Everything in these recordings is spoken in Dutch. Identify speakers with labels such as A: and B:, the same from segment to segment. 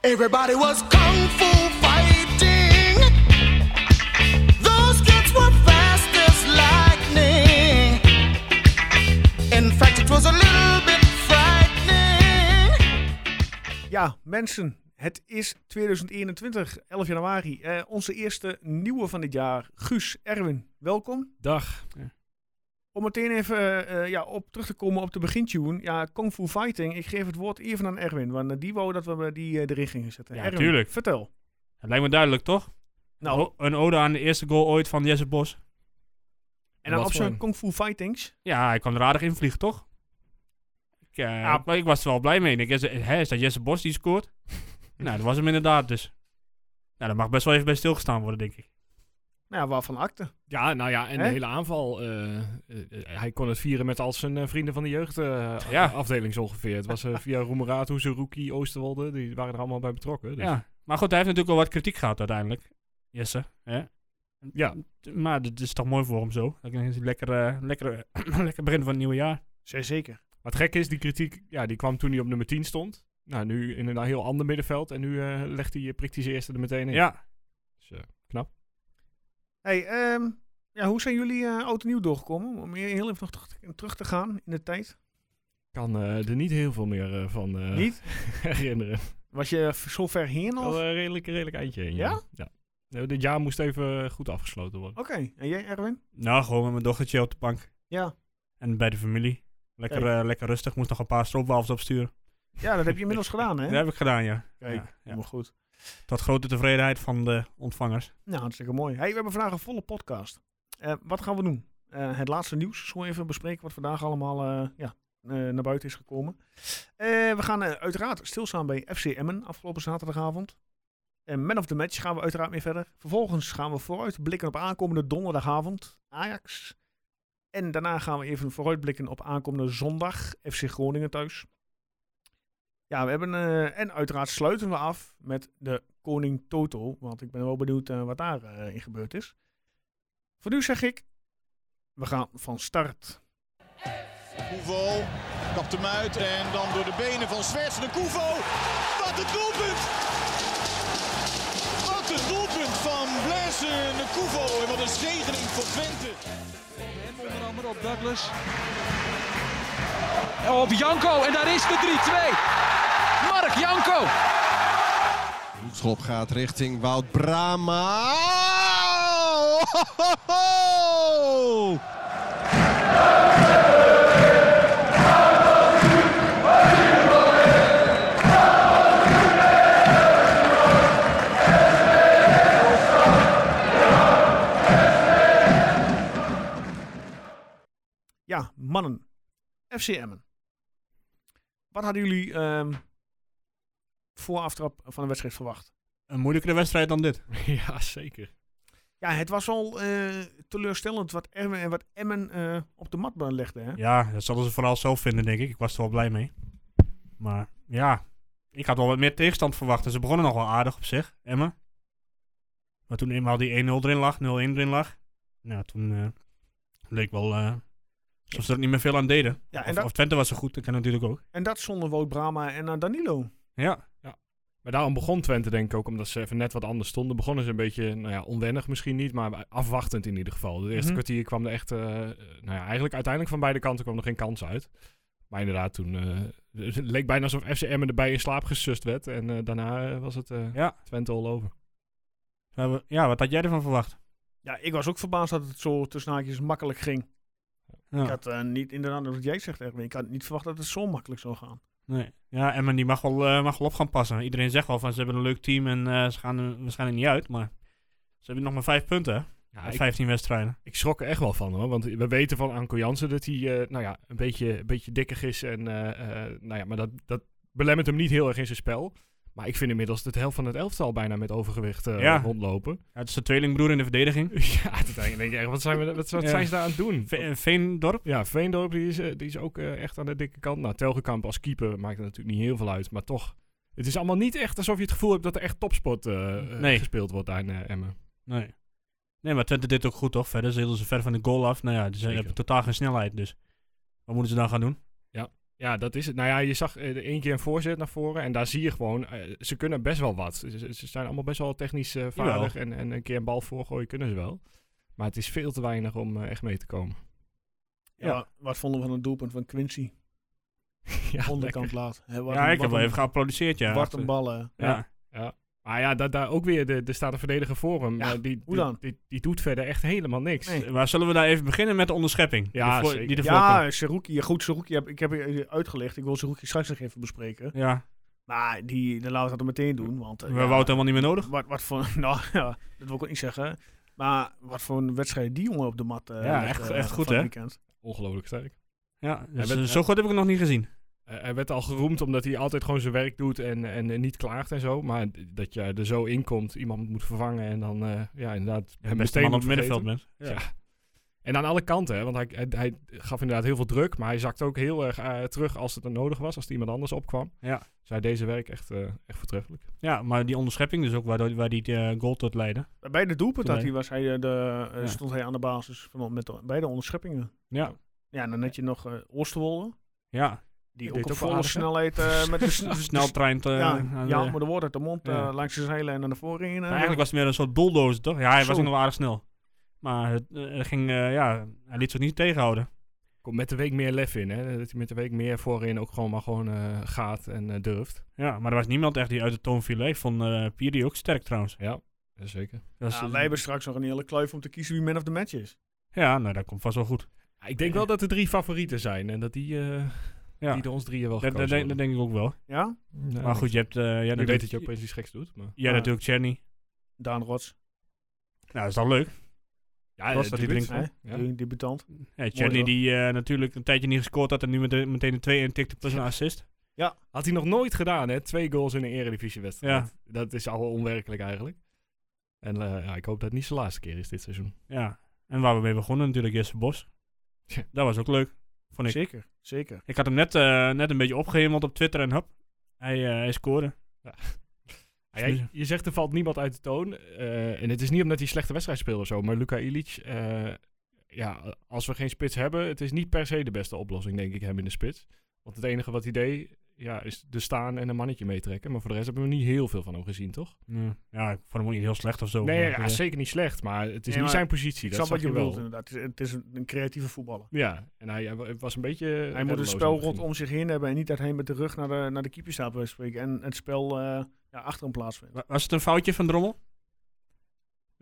A: Everybody was kung fu fighting. Those kids were fast as lightning. In fact, it was a little bit frightening.
B: Ja, mensen, het is 2021, 11 januari. Eh, onze eerste nieuwe van dit jaar. Guus, Erwin, welkom.
C: Dag.
B: Om meteen even eh, eh, ja, op terug te komen op de begintune. Ja, Kung Fu Fighting. Ik geef het woord even aan Erwin, want eh, die wou dat we eh, die eh, erin gingen zetten.
C: Ja,
B: Erwin,
C: tuurlijk.
B: Vertel.
C: Het lijkt me duidelijk, toch?
B: Nou,
C: O- een ode aan de eerste goal ooit van Jesse Bos.
B: en dan
C: wat
B: op
C: voor
B: zijn
C: een-
B: Kung Fu Fightings.
C: Ja, hij kwam er aardig in vliegen, toch? Ik, eh,
B: Ja.
C: ik, ik was er wel blij mee. Ik denk, is, hè, is dat Jesse Bos die scoort? nou, dat was hem inderdaad dus. Nou, daar mag best wel even bij stilgestaan worden, denk ik.
B: Nou, ja, waarvan akte.
D: Ja, nou ja, en
B: Hè?
D: de hele aanval. eh, eh, eh, hij kon het vieren met al zijn eh, vrienden van de jeugdafdeling
C: Ja.
D: afdeling zo ongeveer. Het was eh, via Roemerato, Zerouki, Oosterwolde. Die waren er allemaal bij betrokken. Dus.
C: Ja. Maar goed, hij heeft natuurlijk al wat kritiek gehad uiteindelijk. Jesse. Hè?
D: Ja.
C: T- Maar dit is toch mooi voor hem zo. Dat is een lekker, eh, lekker, lekker begin van het nieuwe jaar.
B: Zeer zeker.
D: Wat gek is, die kritiek ja, die kwam toen hij op nummer 10 stond. Nou, nu in een heel ander middenveld. En nu eh, legt hij, eh, prikt hij zijn eerste er meteen in.
C: Ja.
D: Dus, eh,
B: Hey, ehm, ja, hoe zijn jullie eh, oud en nieuw doorgekomen? Om hier heel even nog terug te, terug te gaan in de tijd.
D: kan eh, er niet heel veel meer eh, van eh,
B: Niet?
D: herinneren.
B: Was je v- zo ver heen al?
D: Wel
B: Oké.
D: een redelijk, redelijk eindje heen.
B: Ja? Oh.
D: Ja. Nou, dit jaar moest even goed afgesloten worden.
B: En jij, Erwin?
C: Nou, gewoon met mijn dochtertje op de bank.
B: Ja.
C: En bij de familie. Lekker, eh, lekker rustig. Moest nog een paar stroopwafels opsturen.
B: Ja, dat heb je inmiddels gedaan, hè?
C: Dat heb ik gedaan, ja.
B: Kijk,
C: Ja, ja.
B: helemaal goed.
C: Tot grote tevredenheid van de ontvangers.
B: Nou, hartstikke mooi. Hey, we hebben vandaag een volle podcast. Eh, wat gaan we doen? Eh, het laatste nieuws. Zo even bespreken wat vandaag allemaal eh, ja, eh, naar buiten is gekomen. Eh, we gaan eh, uiteraard stilstaan bij FC Emmen afgelopen zaterdagavond. En Man of the Match gaan we uiteraard mee verder. Vervolgens gaan we vooruitblikken op aankomende donderdagavond Ajax. En daarna gaan we even vooruitblikken op aankomende zondag FC Groningen thuis. Ja, we hebben, eh, en uiteraard sluiten we af met de Koning Toto. Want ik ben wel benieuwd eh, wat daar eh, in gebeurd is. Voor nu zeg ik, we gaan van start.
E: Koevo kapt hem uit en dan door de benen van Zwerts de Koevo. Wat een doelpunt! Wat een doelpunt van Blaise de Koevo en wat een zegening voor Twente.
F: Hem onder andere op Douglas. Op Janko en daar is de 3-2. Mark Janko.
G: Hoekschop gaat richting Wout Brama. Oh,
B: Ja, mannen. FC Emmen. Wat hadden jullie ehm voor aftrap van de wedstrijd verwacht?
C: Een moeilijkere wedstrijd dan dit.
D: ja, zeker.
B: Ja, het was al eh, teleurstellend wat Emmen, en wat Emmen eh, op de mat legde. Hè?
C: Ja, dat zullen ze vooral zelf vinden, denk ik. Ik was er wel blij mee. Maar ja, ik had wel wat meer tegenstand verwacht. En ze begonnen nog wel aardig op zich, Emma. Maar toen eenmaal die 1-0 erin lag, 0-1 erin lag. Nou, toen eh, leek wel eh alsof ze er niet meer veel aan deden.
B: Ja, en,
C: Of,
B: dat,
C: of Twente was zo goed, dat kan natuurlijk ook.
B: en dat zonder Wout Brama en eh, Danilo.
C: Ja,
D: Maar daarom begon Twente denk ik ook, omdat ze even net wat anders stonden. Begonnen ze een beetje, nou ja, onwennig misschien niet, maar afwachtend in ieder geval. Het
B: Mhm.
D: eerste kwartier kwam er echt, eh, nou ja, eigenlijk uiteindelijk van beide kanten kwam er geen kans uit. Maar inderdaad, toen eh, het leek bijna alsof FCM erbij in slaap gesust werd. En eh, daarna eh, was het eh,
C: Ja.
D: Twente all over.
C: we hebben- ja wat had jij ervan verwacht?
B: Ja, ik was ook verbaasd dat het zo tussen haakjes makkelijk ging.
C: Ja.
B: Ik had eh, niet, inderdaad, wat jij zegt, Erwin, ik had niet verwacht dat het zo makkelijk zou gaan.
C: Nee. Ja, Emmen die mag wel, eh, mag wel op gaan passen. Iedereen zegt wel van ze hebben een leuk team en eh, ze gaan er waarschijnlijk niet uit. Maar ze hebben nog maar vijf punten hè,
D: Ja,
C: uit
D: ik,
C: 15 wedstrijden.
D: ik schrok er echt wel van hoor. Want we weten van Anko Jansen dat hij eh, nou ja, een beetje, een beetje dikkig is. En, eh, eh, nou ja, maar dat, dat belemmert hem niet heel erg in zijn spel. Maar ik vind inmiddels dat de helft van het elftal bijna met overgewicht eh,
C: Ja.
D: rondlopen.
C: Ja, het is de tweelingbroer in de verdediging.
D: Ja, uiteindelijk denk je echt, wat zijn, we, wat, wat
C: Ja.
D: zijn ze daar aan het doen?
C: Ve- eh, Veendorp.
D: Ja, Veendorp die is, eh, die is ook eh, echt aan de dikke kant. Nou, Telgekamp als keeper maakt het natuurlijk niet heel veel uit. Maar toch, het is allemaal niet echt alsof je het gevoel hebt dat er echt topsport eh, eh,
C: Nee.
D: gespeeld wordt aan eh, Emmen.
C: Nee. Nee, maar Twente deed ook goed, toch? Verder ze hielden ze ver van de goal af. Nou ja, ze
D: Zeker.
C: hebben totaal geen snelheid, dus... Wat moeten ze dan gaan doen?
D: Ja, dat is het. Nou ja, je zag eh, de één keer een voorzet naar voren. En daar zie je gewoon, eh, ze kunnen best wel wat. Ze, ze- ze zijn allemaal best wel technisch eh, vaardig. En, en een keer een bal voorgooien kunnen ze wel. Maar het is veel te weinig om eh, echt mee te komen.
B: Ja. Wat vonden we van het doelpunt van Quincy?
D: ja,
B: Onderkant laat. Hè, wat een-
C: ja, ik heb
B: wat
C: wel
B: een-
C: even geapplaudisseerd, ja.
B: Wat een bal. hè.
C: Ja.
D: Ja. Maar ja, daar, daar ook weer, de- er staat een verdediger voor hem.
B: Ja,
D: maar die,
B: hoe
D: die-
B: dan?
D: Die, die doet verder echt helemaal niks.
B: Nee.
C: Maar Eh, zullen we daar even beginnen met de onderschepping?
D: Ja,
C: die,
D: zeker.
C: die ervoor kwam?
B: Ja, Seruki. ja, Goed, Seruki. heb- Ik heb je eh, uitgelegd. Ik wil Seruki straks nog even bespreken.
C: ja.
B: Maar die, dan laten we dat meteen doen. Want, eh,
C: We
B: ja,
C: wouden het helemaal niet meer nodig.
B: wat, wat voor... Nou, ja, dat wil ik ook niet zeggen. Maar wat voor een wedstrijd die jongen op de mat eh,
C: Ja,
B: legt,
C: echt-
B: eh,
C: echt goed,
B: van het
C: hè?
B: weekend.
D: Ongelooflijk sterk.
C: Ja,
D: dus,
C: dus,
D: eh,
C: zo goed heb ik het nog niet gezien.
D: Eh, hij werd al geroemd omdat hij altijd gewoon zijn werk doet en, en eh, niet klaagt en zo. Maar d- dat je er zo in komt, iemand moet vervangen en dan eh, ja, inderdaad
C: Ja, beste
D: meteen
C: man op
D: moet
C: het middenveld
D: vergeten.
C: bent.
D: Ja. En aan alle kanten, hè, want hij, hij, hij gaf inderdaad heel veel druk, maar hij zakte ook heel erg eh, terug als het er nodig was, als er iemand anders opkwam.
C: Ja.
D: Dus hij deed zijn werk echt, eh, echt voortreffelijk.
C: Ja, maar die onderschepping dus ook, waardoor, waar die eh, goal tot leidde.
B: Bij de doelpunt dat
C: Toen hij-
B: hij was, hij, eh, de, eh,
C: Ja.
B: stond hij aan de basis van, met de, bij de onderscheppingen.
C: Ja.
B: Ja, en dan had je nog eh Oosterwolde.
C: Ja,
B: Die
D: Die
B: ook
D: deed
B: op
D: ook wel
B: volle
D: aardig, hè?
B: snelheid eh, met de sn-
C: sneltrein. eh,
B: Ja,
C: aan de-
B: ja, maar de woord uit de mond eh,
C: Ja.
B: langs de zeilen en naar eh. de voorin.
C: Maar eigenlijk was het meer een soort bulldozer, toch? Ja, hij was
B: Zo.
C: ook nog wel aardig snel. Maar het, eh, het ging, eh, ja, hij liet zich niet tegenhouden.
D: Komt met de week meer lef in, hè? dat hij met de week meer voorin ook gewoon maar gewoon eh, gaat en eh, durft.
C: Ja, maar er was niemand echt die uit de toon viel. hè. Ik vond eh Piri ook sterk trouwens.
D: Ja, zeker.
C: Dat is-
B: Ja, wij hebben straks nog een hele kluif om te kiezen wie man of the match is.
C: ja, nou, dat komt vast wel goed.
D: Ik denk wel dat er drie favorieten zijn en dat die, eh,
C: Ja.
D: die door ons drieën
C: Dat,
D: wel gekozen
C: dat, denk, dat denk ik ook wel.
B: Ja?
D: worden. Ja,
C: maar goed, je hebt... eh, jij
D: Ik
C: natuurlijk-
D: weet dat je ook precies iets geks doet, maar...
C: Jij
B: Ja.
C: natuurlijk Cherny.
B: Daan Rots.
C: Nou, dat is dan leuk.
D: Ja,
C: Was dat die
D: debuut,
C: drink-
D: hè? Ja.
B: Die debutant.
C: Ja, Cherny
B: hoor.
C: die eh, natuurlijk een tijdje niet gescoord had en nu met- meteen een 2 en tikte plus een assist.
D: Had hij nog nooit gedaan, hè? Twee goals in een eredivisiewedstrijd. Dat is al onwerkelijk eigenlijk. En eh, ja, ik hoop dat het niet zijn laatste keer is dit seizoen.
C: Ja, en waar we mee begonnen natuurlijk Jesse Bos.
D: Ja.
C: Dat was ook leuk, vond ik.
B: Zeker, zeker.
C: Ik had hem net, eh, net een beetje opgehemeld op Twitter en hop, hij, eh, hij scoorde.
D: Ah, ja, je zegt er valt niemand uit de toon. eh, en het is niet omdat hij een slechte wedstrijd speelde of zo. Maar Luka Ilic, eh, ja, als we geen spits hebben, het is niet per se de beste oplossing, denk ik, hem in de spits. Want het enige wat hij deed, ja, is de staan en een mannetje meetrekken. Maar voor de rest hebben we niet heel veel van hem gezien, toch?
C: Ja, Ja, ik vond hem ook niet heel slecht of zo.
D: nee,
C: maar,
D: ja,
C: eh,
D: zeker niet slecht, maar het is
B: Nee,
D: niet
B: maar
D: zijn positie.
B: Ik
D: dat
B: snap wat
D: zag
B: je bedoelt
D: wel.
B: inderdaad. Het is, het is een, een creatieve voetballer.
D: Ja, en hij, hij was een beetje...
B: Hij moet het spel rondom zich heen hebben en niet dat hij met de rug naar de, naar de keeper staat bij wijze van spreken. En het spel eh, ja, achter hem plaatsvindt.
C: wa- Was het een foutje van Drommel?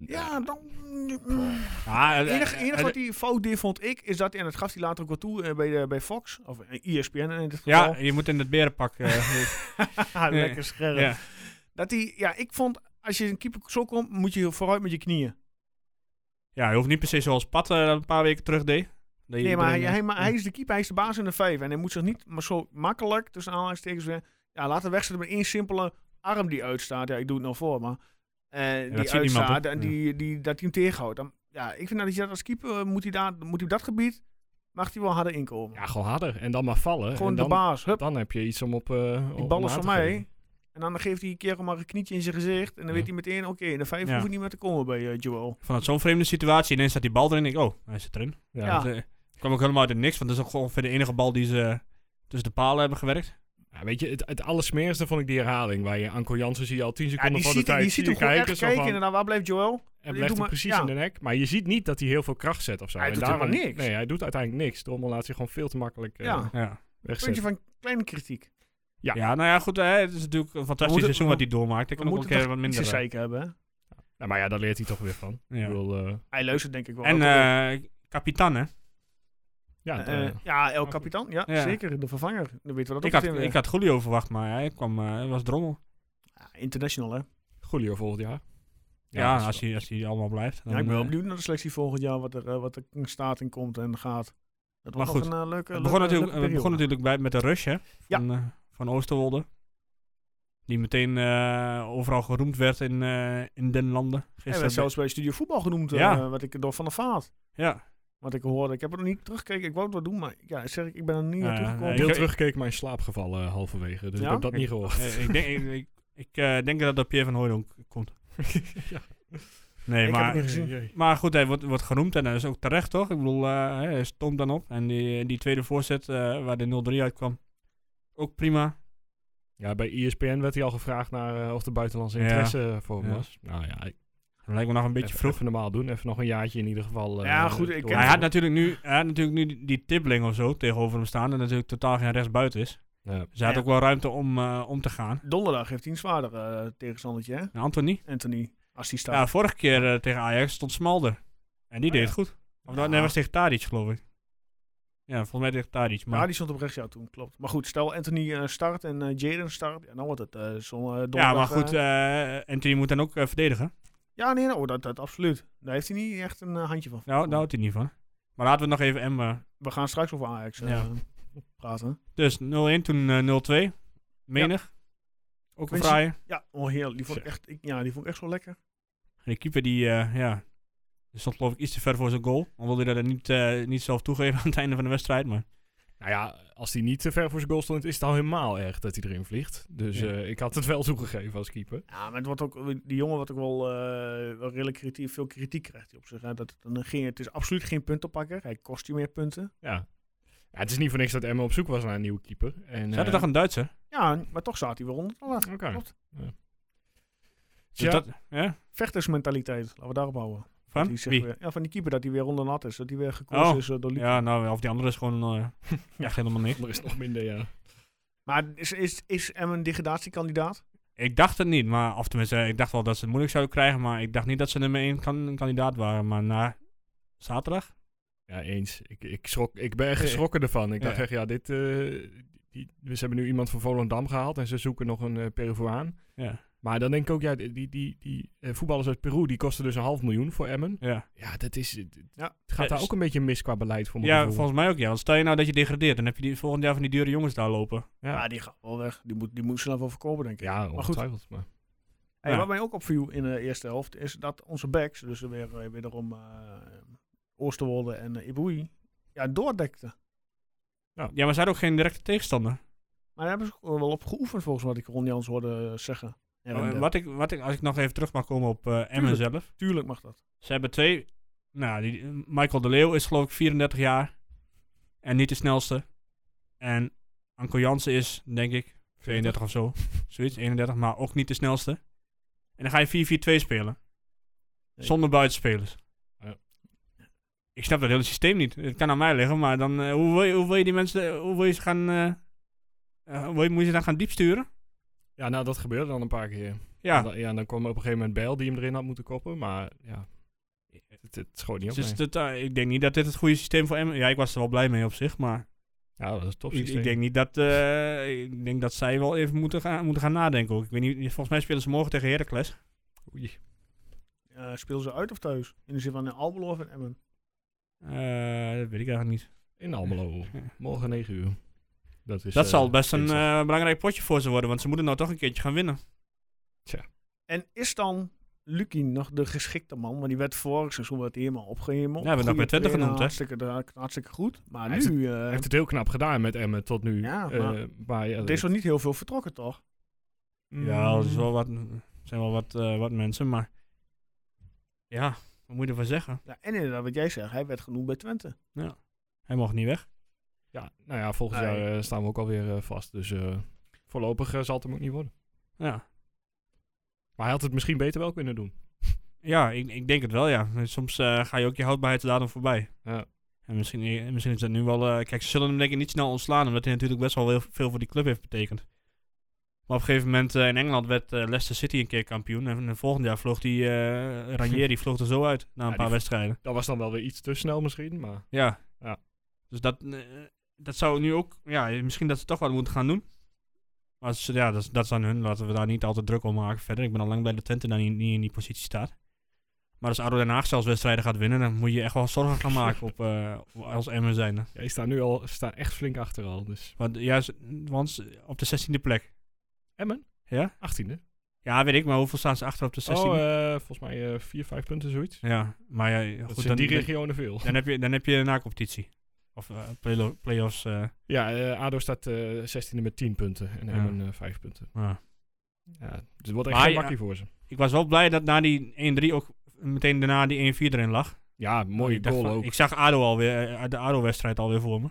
B: Ja, dan...
C: Ja, eh,
B: Het enige, enige wat
C: ja,
B: hij fout deed, vond ik, is dat hij, en dat gaf hij later ook wel toe eh, bij, de, bij Fox, of eh, E ESPN in dit geval.
C: je moet in het berenpak. eh,
B: Ja, lekker scherp.
C: ja.
B: Dat hij, ja, ik vond, als je een keeper zo komt, moet je vooruit met je knieën.
C: ja, je hoeft niet precies zoals Pat eh, een paar weken terug deed. Dat je
B: Nee, maar hij,
C: iedereen, eh,
B: hij, maar hij is de keeper, hij is de baas in de vijf. En hij moet zich niet maar zo makkelijk, tussen aanhalingstekens, weer ja, laten wegzetten met één simpele arm die uitstaat. Ja, ik doe het nou voor, maar eh,
C: dat
B: die
C: ziet niemand,
B: uitstaat
C: hè?
B: en
C: Ja.
B: die, die, dat hij hem tegenhoudt. Dan, ja, ik vind dat hij dat als keeper, eh, moet hij, daar, moet hij op dat gebied, mag hij wel harder inkomen.
D: Ja, gewoon harder. En dan maar vallen.
B: Gewoon
D: en
B: de
D: dan,
B: baas, hup,
D: Dan heb je iets om op... eh
B: die
D: om
B: bal
D: aan
B: is van
D: te
B: mij.
D: geven.
B: En dan geeft hij een keer maar een knietje in zijn gezicht. En dan
D: Ja.
B: weet hij meteen, oké, in de vijf
C: Ja.
B: hoef ik niet meer te komen bij eh, Joel.
C: Vanuit zo'n vreemde situatie, ineens staat die bal erin. Ik, denk, oh, hij zit erin.
D: Ja.
B: Ja.
D: Ja.
C: Dat, eh, kwam ook helemaal uit het niks, want dat is ook ongeveer de enige bal die ze eh, tussen de palen hebben gewerkt.
D: weet je, het, het allersmerigste vond ik die herhaling. Waar je Anko Jansen zie je al 10
B: Ja,
D: seconden
B: die
D: van de
B: ziet,
D: tijd.
B: die ziet
D: zie
B: hem
D: je
B: gewoon echt
D: kijken, zo van,
B: kijken. En dan, waar blijft Joel?
D: En
B: Doe
D: legt hem
B: maar-
D: precies
B: ja.
D: in de nek. Maar je ziet niet dat hij heel veel kracht zet of zo.
B: Hij
D: En
B: doet
D: daarom-
B: helemaal niks.
D: Nee, hij doet uiteindelijk niks. Drommel laat zich gewoon veel te makkelijk eh,
B: Ja.
C: Ja.
B: Puntje
D: wegzetten.
B: van kleine kritiek.
C: Ja. nou ja, goed. Hè, het is natuurlijk een fantastisch
B: moeten-
C: seizoen
B: we-
C: wat hij doormaakt. Ik
B: we
C: kan ook wel een
B: moeten
C: keer wat
B: Niet
C: minder.
B: zo
C: eh,
B: zeker hebben. hè?
D: Nou, maar ja, daar leert hij toch weer van.
C: Ja.
D: Ik bedoel, eh,
B: Hij luistert denk ik wel.
C: En
B: Ook wel.
C: eh kapitan, hè.
D: ja,
B: Eh,
D: de-
B: ja, El Capitan. Ja,
C: Ja.
B: zeker. De vervanger. Dan weten we dat
C: Ik
B: ook
C: had,
B: meteen weer.
C: ik had Julio verwacht, maar hij kwam, eh, hij was drommel.
B: Ja, international, hè?
D: Julio volgend jaar.
C: Ja,
D: dat is
C: als, hij, als hij allemaal blijft.
B: ja, ik ben wel
C: eh,
B: benieuwd naar de selectie volgend jaar. Wat er, eh, wat er staat in komt en gaat. Dat
C: Maar
B: was
C: goed,
B: nog een eh, leuke
C: Het
B: leuke-
C: begon natuurlijk,
B: leuke
C: het
B: periode.
C: begon natuurlijk bij, met de rush, hè.
B: Ja.
C: Van, eh, van Oosterwolde. eh, Die meteen eh, overal geroemd werd in, eh, in den landen.
B: Hij werd
C: Gisteren.
B: zelfs bij Studio Voetbal genoemd, eh,
C: Ja.
B: wat ik door Van der Vaart.
C: ja,
B: Wat ik hoorde. Ik heb het nog niet teruggekeken. Ik wou het wel doen, maar ja, zeg ik, ik ben er niet
C: Ja, eh,
B: aan
C: ja,
B: toegekomen.
C: ja.
D: Heel
C: Ik-
D: teruggekeken, maar in slaap gevallen eh, halverwege. Dus
B: Ja?
D: ik heb dat niet gehoord.
C: Eh, ik, denk, ik, ik, ik, eh, denk dat dat Pierre van Hooydonk komt. Nee,
B: Ik heb het
C: maar
B: niet gezien.
C: Maar goed, hij wordt, wordt genoemd en dat is ook terecht, toch? Ik bedoel, eh, hij stond dan op. En die, die tweede voorzet eh, waar de 0-3 uitkwam, ook prima.
D: Ja, bij E ESPN werd hij al gevraagd naar eh, of er buitenlandse
C: Ja.
D: interesse voor hem
C: Ja.
D: was. Nou ja, ik-
C: Dat lijkt me nog een beetje
D: even,
C: vroeg.
D: even normaal doen. Even nog een jaartje in ieder geval. eh,
B: Ja, goed, ik
D: door-
B: ken
C: hij, had natuurlijk nu, hij had natuurlijk nu die- die Tibbling of zo tegenover hem staan. En natuurlijk totaal geen rechtsbuiten is.
D: Ja.
C: Dus hij had
B: Ja.
C: ook wel ruimte om, eh, om te gaan.
B: Donderdag heeft hij een zwaarder eh, tegenstandertje, hè?
C: En Anthony?
B: Anthony, als die staat.
C: Ja, vorige keer eh, tegen Ajax stond Smalder. En die
B: Oh,
C: deed
B: ja.
C: het goed. Of dat nee, was tegen Tadic, geloof ik. Ja, volgens mij tegen Tadic. Maar
B: Ja, die stond op rechts jou toen, klopt. Maar goed, stel Anthony eh, start en eh, Jaden start. Ja, dan wordt het eh, zo'n eh, donderdag...
C: ja, maar goed,
B: eh,
C: eh, Anthony moet dan ook eh, verdedigen.
B: ja, nee, nou, dat, dat absoluut. Daar heeft hij niet echt een eh, handje van.
C: Nou, daar houdt hij niet van. Maar laten we nog even M. eh,
B: We gaan straks over Ajax eh,
C: Ja.
B: praten.
C: Dus 0-1, toen eh, 0-2. Menig. Ook een
B: Mensen-
C: fraaie.
B: Ja, oh heerlijk. Die vond ik echt, ik, ja, die vond ik echt zo lekker.
C: En de keeper die, eh, ja, die stond geloof ik iets te ver voor zijn goal. Al wilde hij dat niet, eh, niet zelf toegeven aan het einde van de wedstrijd. Maar
D: Nou ja, als hij niet te ver voor zijn goal stond, is het al helemaal erg dat hij erin vliegt. Dus
C: Ja.
D: eh, ik had het wel toegegeven als keeper.
B: Ja, maar het wordt ook, eh, die jongen wat ook wel, eh, wel redelijk kritiek, veel kritiek krijgt hij op zich. Hè? Dat het, een, geen, het is absoluut geen puntenpakker. Hij kost je meer punten.
D: Ja. ja. Het is niet voor niks dat Emma op zoek was naar een nieuwe keeper. En,
C: ze hadden
D: eh,
C: toch een Duitser?
B: Ja, maar toch staat hij weer onder. de lat.
D: Oké.
B: Klopt.
D: Ja.
C: Dus
D: Ja.
C: dat, ja?
B: Vechtersmentaliteit, laten we daarop houden.
C: Van?
B: Die zegt
C: Wie?
B: weer- ja, van die keeper dat hij weer onder de lat is. Dat hij weer gekozen
C: Oh,
B: is eh, door Luca.
C: Ja, nou, of die andere is gewoon eh, echt helemaal niks.
D: er is nog minder, ja.
B: Maar is, is, is hem een degradatiekandidaat?
C: Ik dacht het niet, maar, of tenminste, eh, ik dacht wel dat ze het moeilijk zouden krijgen. Maar ik dacht niet dat ze nummer 1 kan, kandidaat waren. Maar na zaterdag?
D: Ja, eens. Ik, ik, schrok, ik ben echt geschrokken ervan. Ik
C: Ja.
D: dacht echt, ja, dit... eh, die, ze hebben nu iemand van Volendam gehaald en ze zoeken nog een eh Peruaan.
C: Ja.
D: Maar dan denk ik ook, ja, die, die, die, die eh, voetballers uit Peru, die kosten dus een half miljoen voor Emmen.
C: Ja.
D: Ja, dat is... Het
B: Ja.
D: het gaat
C: Ja,
D: daar
C: is-
D: ook een beetje mis qua beleid voor mijn
C: Ja,
D: gevoel.
C: volgens mij ook ja. Want stel je nou dat je degradeert, dan heb je die, volgend jaar van die dure jongens daar lopen.
B: Ja,
D: Ja,
B: die gaat wel weg. Die moet, die moet snel wel verkopen, denk ik.
D: ja
B: goed.
D: ongetwijfeld. Maar
B: Hey,
C: Ja.
B: Wat mij ook opviel in de eerste helft is dat onze backs, dus weer eh, wederom eh Oosterwolde en eh, Ibui, ja, doordekten.
C: Ja, maar ze hadden ook geen directe tegenstander.
B: Maar daar hebben ze ook wel op geoefend, volgens wat ik Ron Jans hoorde eh, zeggen. Ja, eh,
C: Oh, en wat ik, wat ik, als ik nog even terug mag komen op eh Emmen
B: Tuurlijk.
C: zelf.
B: Tuurlijk mag dat.
C: Ze hebben twee... Nou, die, Michael de Leeuw is geloof ik 34 jaar. En niet de snelste. En Anko Jansen is, denk ik, 32 of zo. Zoiets, 31, maar ook niet de snelste. En dan ga je 4-4-2 spelen.
B: Nee.
C: Zonder buitenspelers.
D: Ja.
C: Ik snap dat hele systeem niet. Het kan aan mij liggen, maar dan, eh, hoe, wil je, hoe wil je die mensen... Hoe wil je ze gaan... eh, eh, hoe wil je- moet je ze dan gaan diepsturen?
D: ja, nou, dat gebeurde dan een paar keer.
C: Ja.
D: En dan, ja, dan kwam op een gegeven moment Bijl die hem erin had moeten koppen. Maar ja, het, het schoot niet op.
C: Dus
D: nee.
C: dat, eh, ik denk niet dat dit het goede systeem voor Emmen... Ja, ik was er wel blij mee op zich, maar...
D: Ja, dat is top.
C: Ik, ik denk niet dat... eh, ik denk dat zij wel even moeten gaan, moeten gaan nadenken ook. Ik weet niet, volgens mij spelen ze morgen tegen Heracles.
B: Eh speel ze uit of thuis? In de zin van in Albelo of in Emmen?
C: Eh, dat weet ik eigenlijk niet.
D: In Almelo. Morgen 9 uur. Dat, is,
C: dat
D: eh,
C: zal best een
D: dinsdag.
C: Dus, eh, belangrijk potje voor ze worden, want ze moeten nou toch een keertje gaan winnen.
B: En is dan Lucky nog de geschikte man? Want die werd vorig seizoen werd hij helemaal opgehemeld.
C: Ja, we hebben dat
B: Goeie
C: bij Twente
B: trainer,
C: genoemd, hè?
B: Hartstikke, da- hartstikke goed. Maar
D: Hij
B: nu...
D: heeft
B: eh,
D: Hij heeft het heel knap gedaan met Emmen tot nu.
B: Ja,
D: Eh,
B: maar-
D: maar ja,
B: er
D: dat-
B: is nog niet heel veel vertrokken, toch?
C: Ja, er is wel wat, zijn wel wat, eh, wat mensen, maar... Ja, wat moet je ervan zeggen?
B: Ja, en inderdaad, wat jij zegt, hij werd genoemd bij Twente.
C: Hij mag niet weg.
D: Ja, nou ja, volgend jaar eh, staan we ook alweer eh, vast. Dus eh, voorlopig eh, zal het hem ook niet worden.
C: Ja,
D: Maar hij had het misschien beter wel kunnen doen.
C: ja ik, ik denk het wel, ja. Soms eh, ga je ook je houdbaarheidsdatum voorbij.
D: Ja.
C: En misschien, en misschien is dat nu wel... eh, kijk, ze zullen hem denk ik niet snel ontslaan, omdat hij natuurlijk best wel heel veel voor die club heeft betekend. Maar op een gegeven moment eh, in Engeland werd eh, Leicester City een keer kampioen. En het volgend jaar vloog die eh Ranieri vloog er zo uit na een
D: die
C: paar
D: v-
C: wedstrijden.
D: Dat was dan wel weer iets te snel misschien, maar...
C: Ja.
D: Ja.
C: Dus dat, eh, dat zou nu ook... Ja, misschien dat ze toch wat moeten gaan doen. Maar ze- ja, dat, is- dat is aan hun. Laten we daar niet altijd druk om maken verder. Ik ben al lang blij dat Twente daar niet, niet in die positie staat. Maar als ADO Den Haag zelfs wedstrijden gaat winnen, dan moet je echt wel zorgen gaan maken op, eh, als Emmen zijn.
D: Ja, je staat nu al, staat echt flink achter al, dus...
C: Want juist, want ze- op de 16e plek.
D: Emmen?
C: Ja? Oh,
D: 18e.
C: Ja, weet ik, maar hoeveel staan ze achter op de 16?
D: Oh, eh, volgens mij eh, vier, vijf punten, zoiets.
C: ja, maar ja,
D: Dat
C: goed,
D: is
C: dan,
D: in die regionen veel.
C: dan, heb je, dan heb je na competitie. Of eh, playlo- play-offs. eh,
D: Ja, eh, ADO staat eh 16e met 10 punten en
C: Ja.
D: Emmen eh, 5 punten.
C: maar
D: Ja, dus het wordt echt
C: Maar
D: geen
C: ja.
D: makkie voor ze.
C: Ik was wel blij dat na die 1-3 ook meteen daarna die 1-4 erin lag.
D: Ja, mooie
C: ik dacht
D: goal
C: van-
D: ook.
C: Ik zag ADO alweer, eh, de ADO-wedstrijd alweer voor me.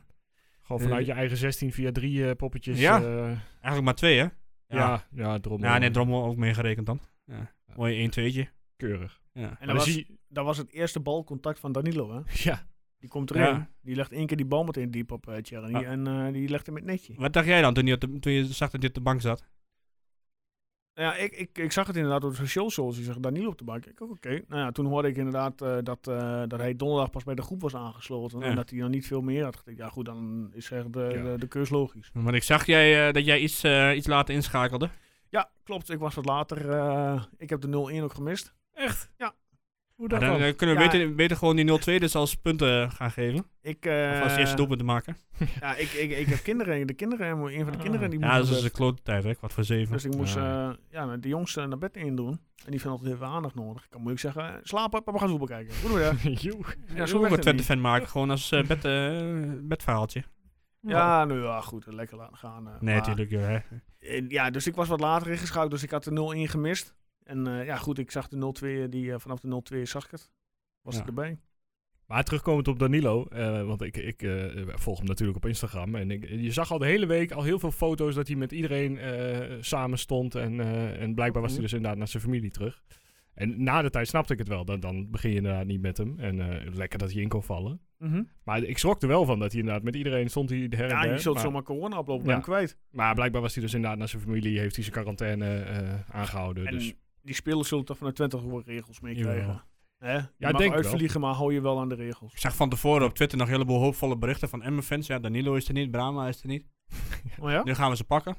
D: Gewoon vanuit
C: eh,
D: je eigen 16 via drie eh, poppetjes.
C: Ja.
D: eh, ja,
C: Eigenlijk maar twee, hè? Ja, ja,
D: ja, ja drommel.
C: net Drommel ook meegerekend dan. Ja. Mooi 1-2'tje.
D: Keurig.
C: Ja.
B: En
D: Maar
B: dat
D: dan
B: was,
D: zie
B: dat was het eerste balcontact van Danilo, hè?
D: Ja,
B: Die komt erin.
C: Ja.
B: Die legt één keer die bal meteen diep op eh Tjerni.
C: Ah.
B: En eh, die legt hem met netje.
C: Wat dacht jij dan toen je, op de- toen je zag dat dit op de bank zat?
B: Nou Ja, ik, ik, ik zag het inderdaad op de social zoals Die zag Danilo op de bank. Ik ook, oké. Nou ja, toen hoorde ik inderdaad eh, dat, eh, dat hij donderdag pas bij de groep was aangesloten.
C: Ja.
B: En dat hij dan niet veel meer had gekregen. Ja, goed, dan is echt de,
D: Ja.
B: de, de keus logisch.
C: Maar ik zag jij, eh, dat jij iets, eh, iets later inschakelde.
B: Ja, klopt. Ik was wat later. eh, ik heb de 0-1 ook gemist.
D: echt?
B: Ja.
D: Hoe
C: Maar
D: dat
C: dan
D: dan?
C: eh, kunnen we
B: Ja.
C: beter, beter gewoon die 0-2 dus als punten gaan geven.
B: Ik, eh,
C: of als eerste doelpunt te maken.
B: Ja, ik, ik, ik heb kinderen. De kinderen, een van de
D: Ah.
B: kinderen die moest
C: Ja, dat
B: naar
C: is dus
B: bed.
C: een klote tijd, hè? Kwart voor zeven.
B: Dus ik moest
D: Ja.
B: eh, ja, de jongste naar bed in doen. En die vindt altijd heel veel aandacht nodig. Ik kan moeilijk zeggen, eh, slapen, papa gaan voetbal kijken. Goedemiddag.
D: Joe.
B: Ja,
C: zo
B: zo
C: ook
B: werkt
C: een
B: het niet.
C: fan maken. Gewoon als eh, bed, eh, bedverhaaltje.
B: Ja, nou ja, goed. Lekker laten gaan. eh,
C: Nee,
B: maar-
C: natuurlijk. joh, hè.
B: En ja, dus ik was wat later ingeschouwd, dus ik had de 0-1 gemist. En eh, ja, goed, ik zag de 0-2, die, eh, vanaf de 0-2 zag ik het. Was
C: Ja.
B: ik erbij.
D: Maar terugkomend op Danilo, eh, want ik, ik eh, volg hem natuurlijk op Instagram. En ik, je zag al de hele week al heel veel foto's dat hij met iedereen eh, samen stond. En, eh, en blijkbaar was hij
B: Mhm.
D: dus inderdaad naar zijn familie terug. En na de tijd snapte ik het wel. Dan, dan begin je inderdaad niet met hem. En eh, lekker dat hij in kon vallen. Maar ik schrok er wel van dat hij inderdaad met iedereen stond. Hij her en
B: Ja,
D: der,
B: je zult
D: maar,
B: zomaar corona oplopen, ben
D: Ja.
B: hem kwijt.
D: maar blijkbaar was hij dus inderdaad naar zijn familie. Heeft hij zijn quarantaine eh, aangehouden.
B: En
D: dus
B: die spelers zullen toch vanuit 20 hoor regels mee
C: Jawel.
B: krijgen. Hè? Je
D: Ja,
B: mag
D: denk ik
B: uitvliegen, maar hou je wel aan de regels.
C: Ik zag van tevoren op Twitter nog een heleboel hoopvolle berichten van Emmen-fans. Ja, Danilo is er niet, Brahma is er niet.
B: Oh ja?
C: Nu gaan we ze pakken.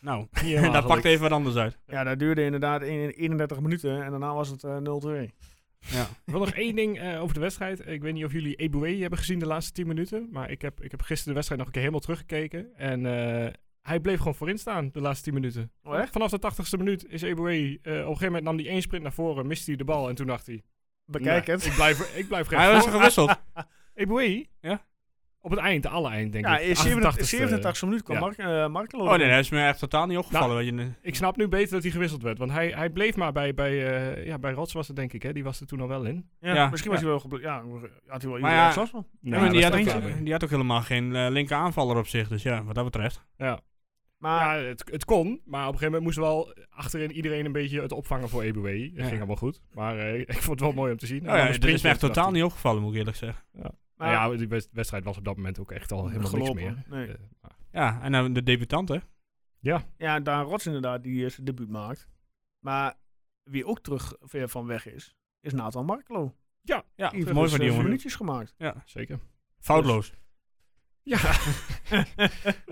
C: Nou,
D: Ja,
C: en daar
D: eigenlijk.
C: pakt even wat anders uit.
B: Ja, dat duurde inderdaad een- 31 minuten en daarna was het eh, 0-2.
C: Ja.
D: Wel nog één ding eh, over de wedstrijd. Ik weet niet of jullie Eboué hebben gezien de laatste 10 minuten. Maar ik heb, ik heb gisteren de wedstrijd nog een keer helemaal teruggekeken. En eh, hij bleef gewoon voorin staan de laatste 10 minuten.
B: Oh echt?
D: Vanaf de 80ste minuut is Eboué. eh, op een gegeven moment nam hij één sprint naar voren, miste hij de bal. En toen dacht hij:
B: Bekijk
D: "Nee,
B: het.
D: Ik blijf, ik blijf
C: Ah, Hij was
D: rechts.
C: er
D: voor."
C: gewisseld.
D: Eboué?
C: Ja.
D: Op het eind, de alle eind, denk
B: Ja,
D: ik.
B: in 87,
D: 88ste.
B: 87 minuten kwam
D: Ja.
B: Mark, eh Markelo
C: Oh nee, Nou,
B: erin.
C: hij is me echt totaal niet opgevallen. weet je.
D: Ik snap nu beter dat hij gewisseld werd. Want hij, hij bleef maar bij, bij, eh, ja, bij Rots was het, denk ik. Hè? Die was er toen al wel in.
B: Ja,
C: Ja.
B: Misschien was hij wel gebl- Ja, had hij wel
C: Maar
B: iedereen
C: ja,
B: last van.
C: Ja, maar
D: daar
C: die,
D: was
C: had
D: ik
C: ook,
D: klaar mee.
C: die had ook helemaal geen eh, linker aanvaller op zich. Dus ja, wat dat betreft.
D: Ja.
B: Maar
D: ja, het, het kon, maar op een gegeven moment moest wel achterin iedereen een beetje het opvangen voor EBW. Dat
C: Ja.
D: ging allemaal goed, maar eh, ik vond het wel mooi om te zien. En
C: Oh,
D: dan
C: ja,
D: een
C: dit
D: sprintje
C: is me echt
D: en toen
C: totaal
D: dacht
C: niet opgevallen, moet ik eerlijk zeggen.
D: hij- Nou ja, die wed- wedstrijd was op dat moment ook echt al helemaal
B: gelopen.
D: niks meer.
B: Nee.
D: Eh, maar-
C: Ja, en dan de debutant, hè?
D: ja,
B: Ja, Daan Rots inderdaad, die eh, zijn debuut maakt. Maar wie ook terug ver van weg is, is Nathan Markelo.
C: Ja,
B: Die heeft
C: mooi
B: dus,
C: van die
B: eh,
C: jongen.
B: minuutjes gemaakt.
C: Ja,
D: zeker.
C: foutloos.
D: Ja,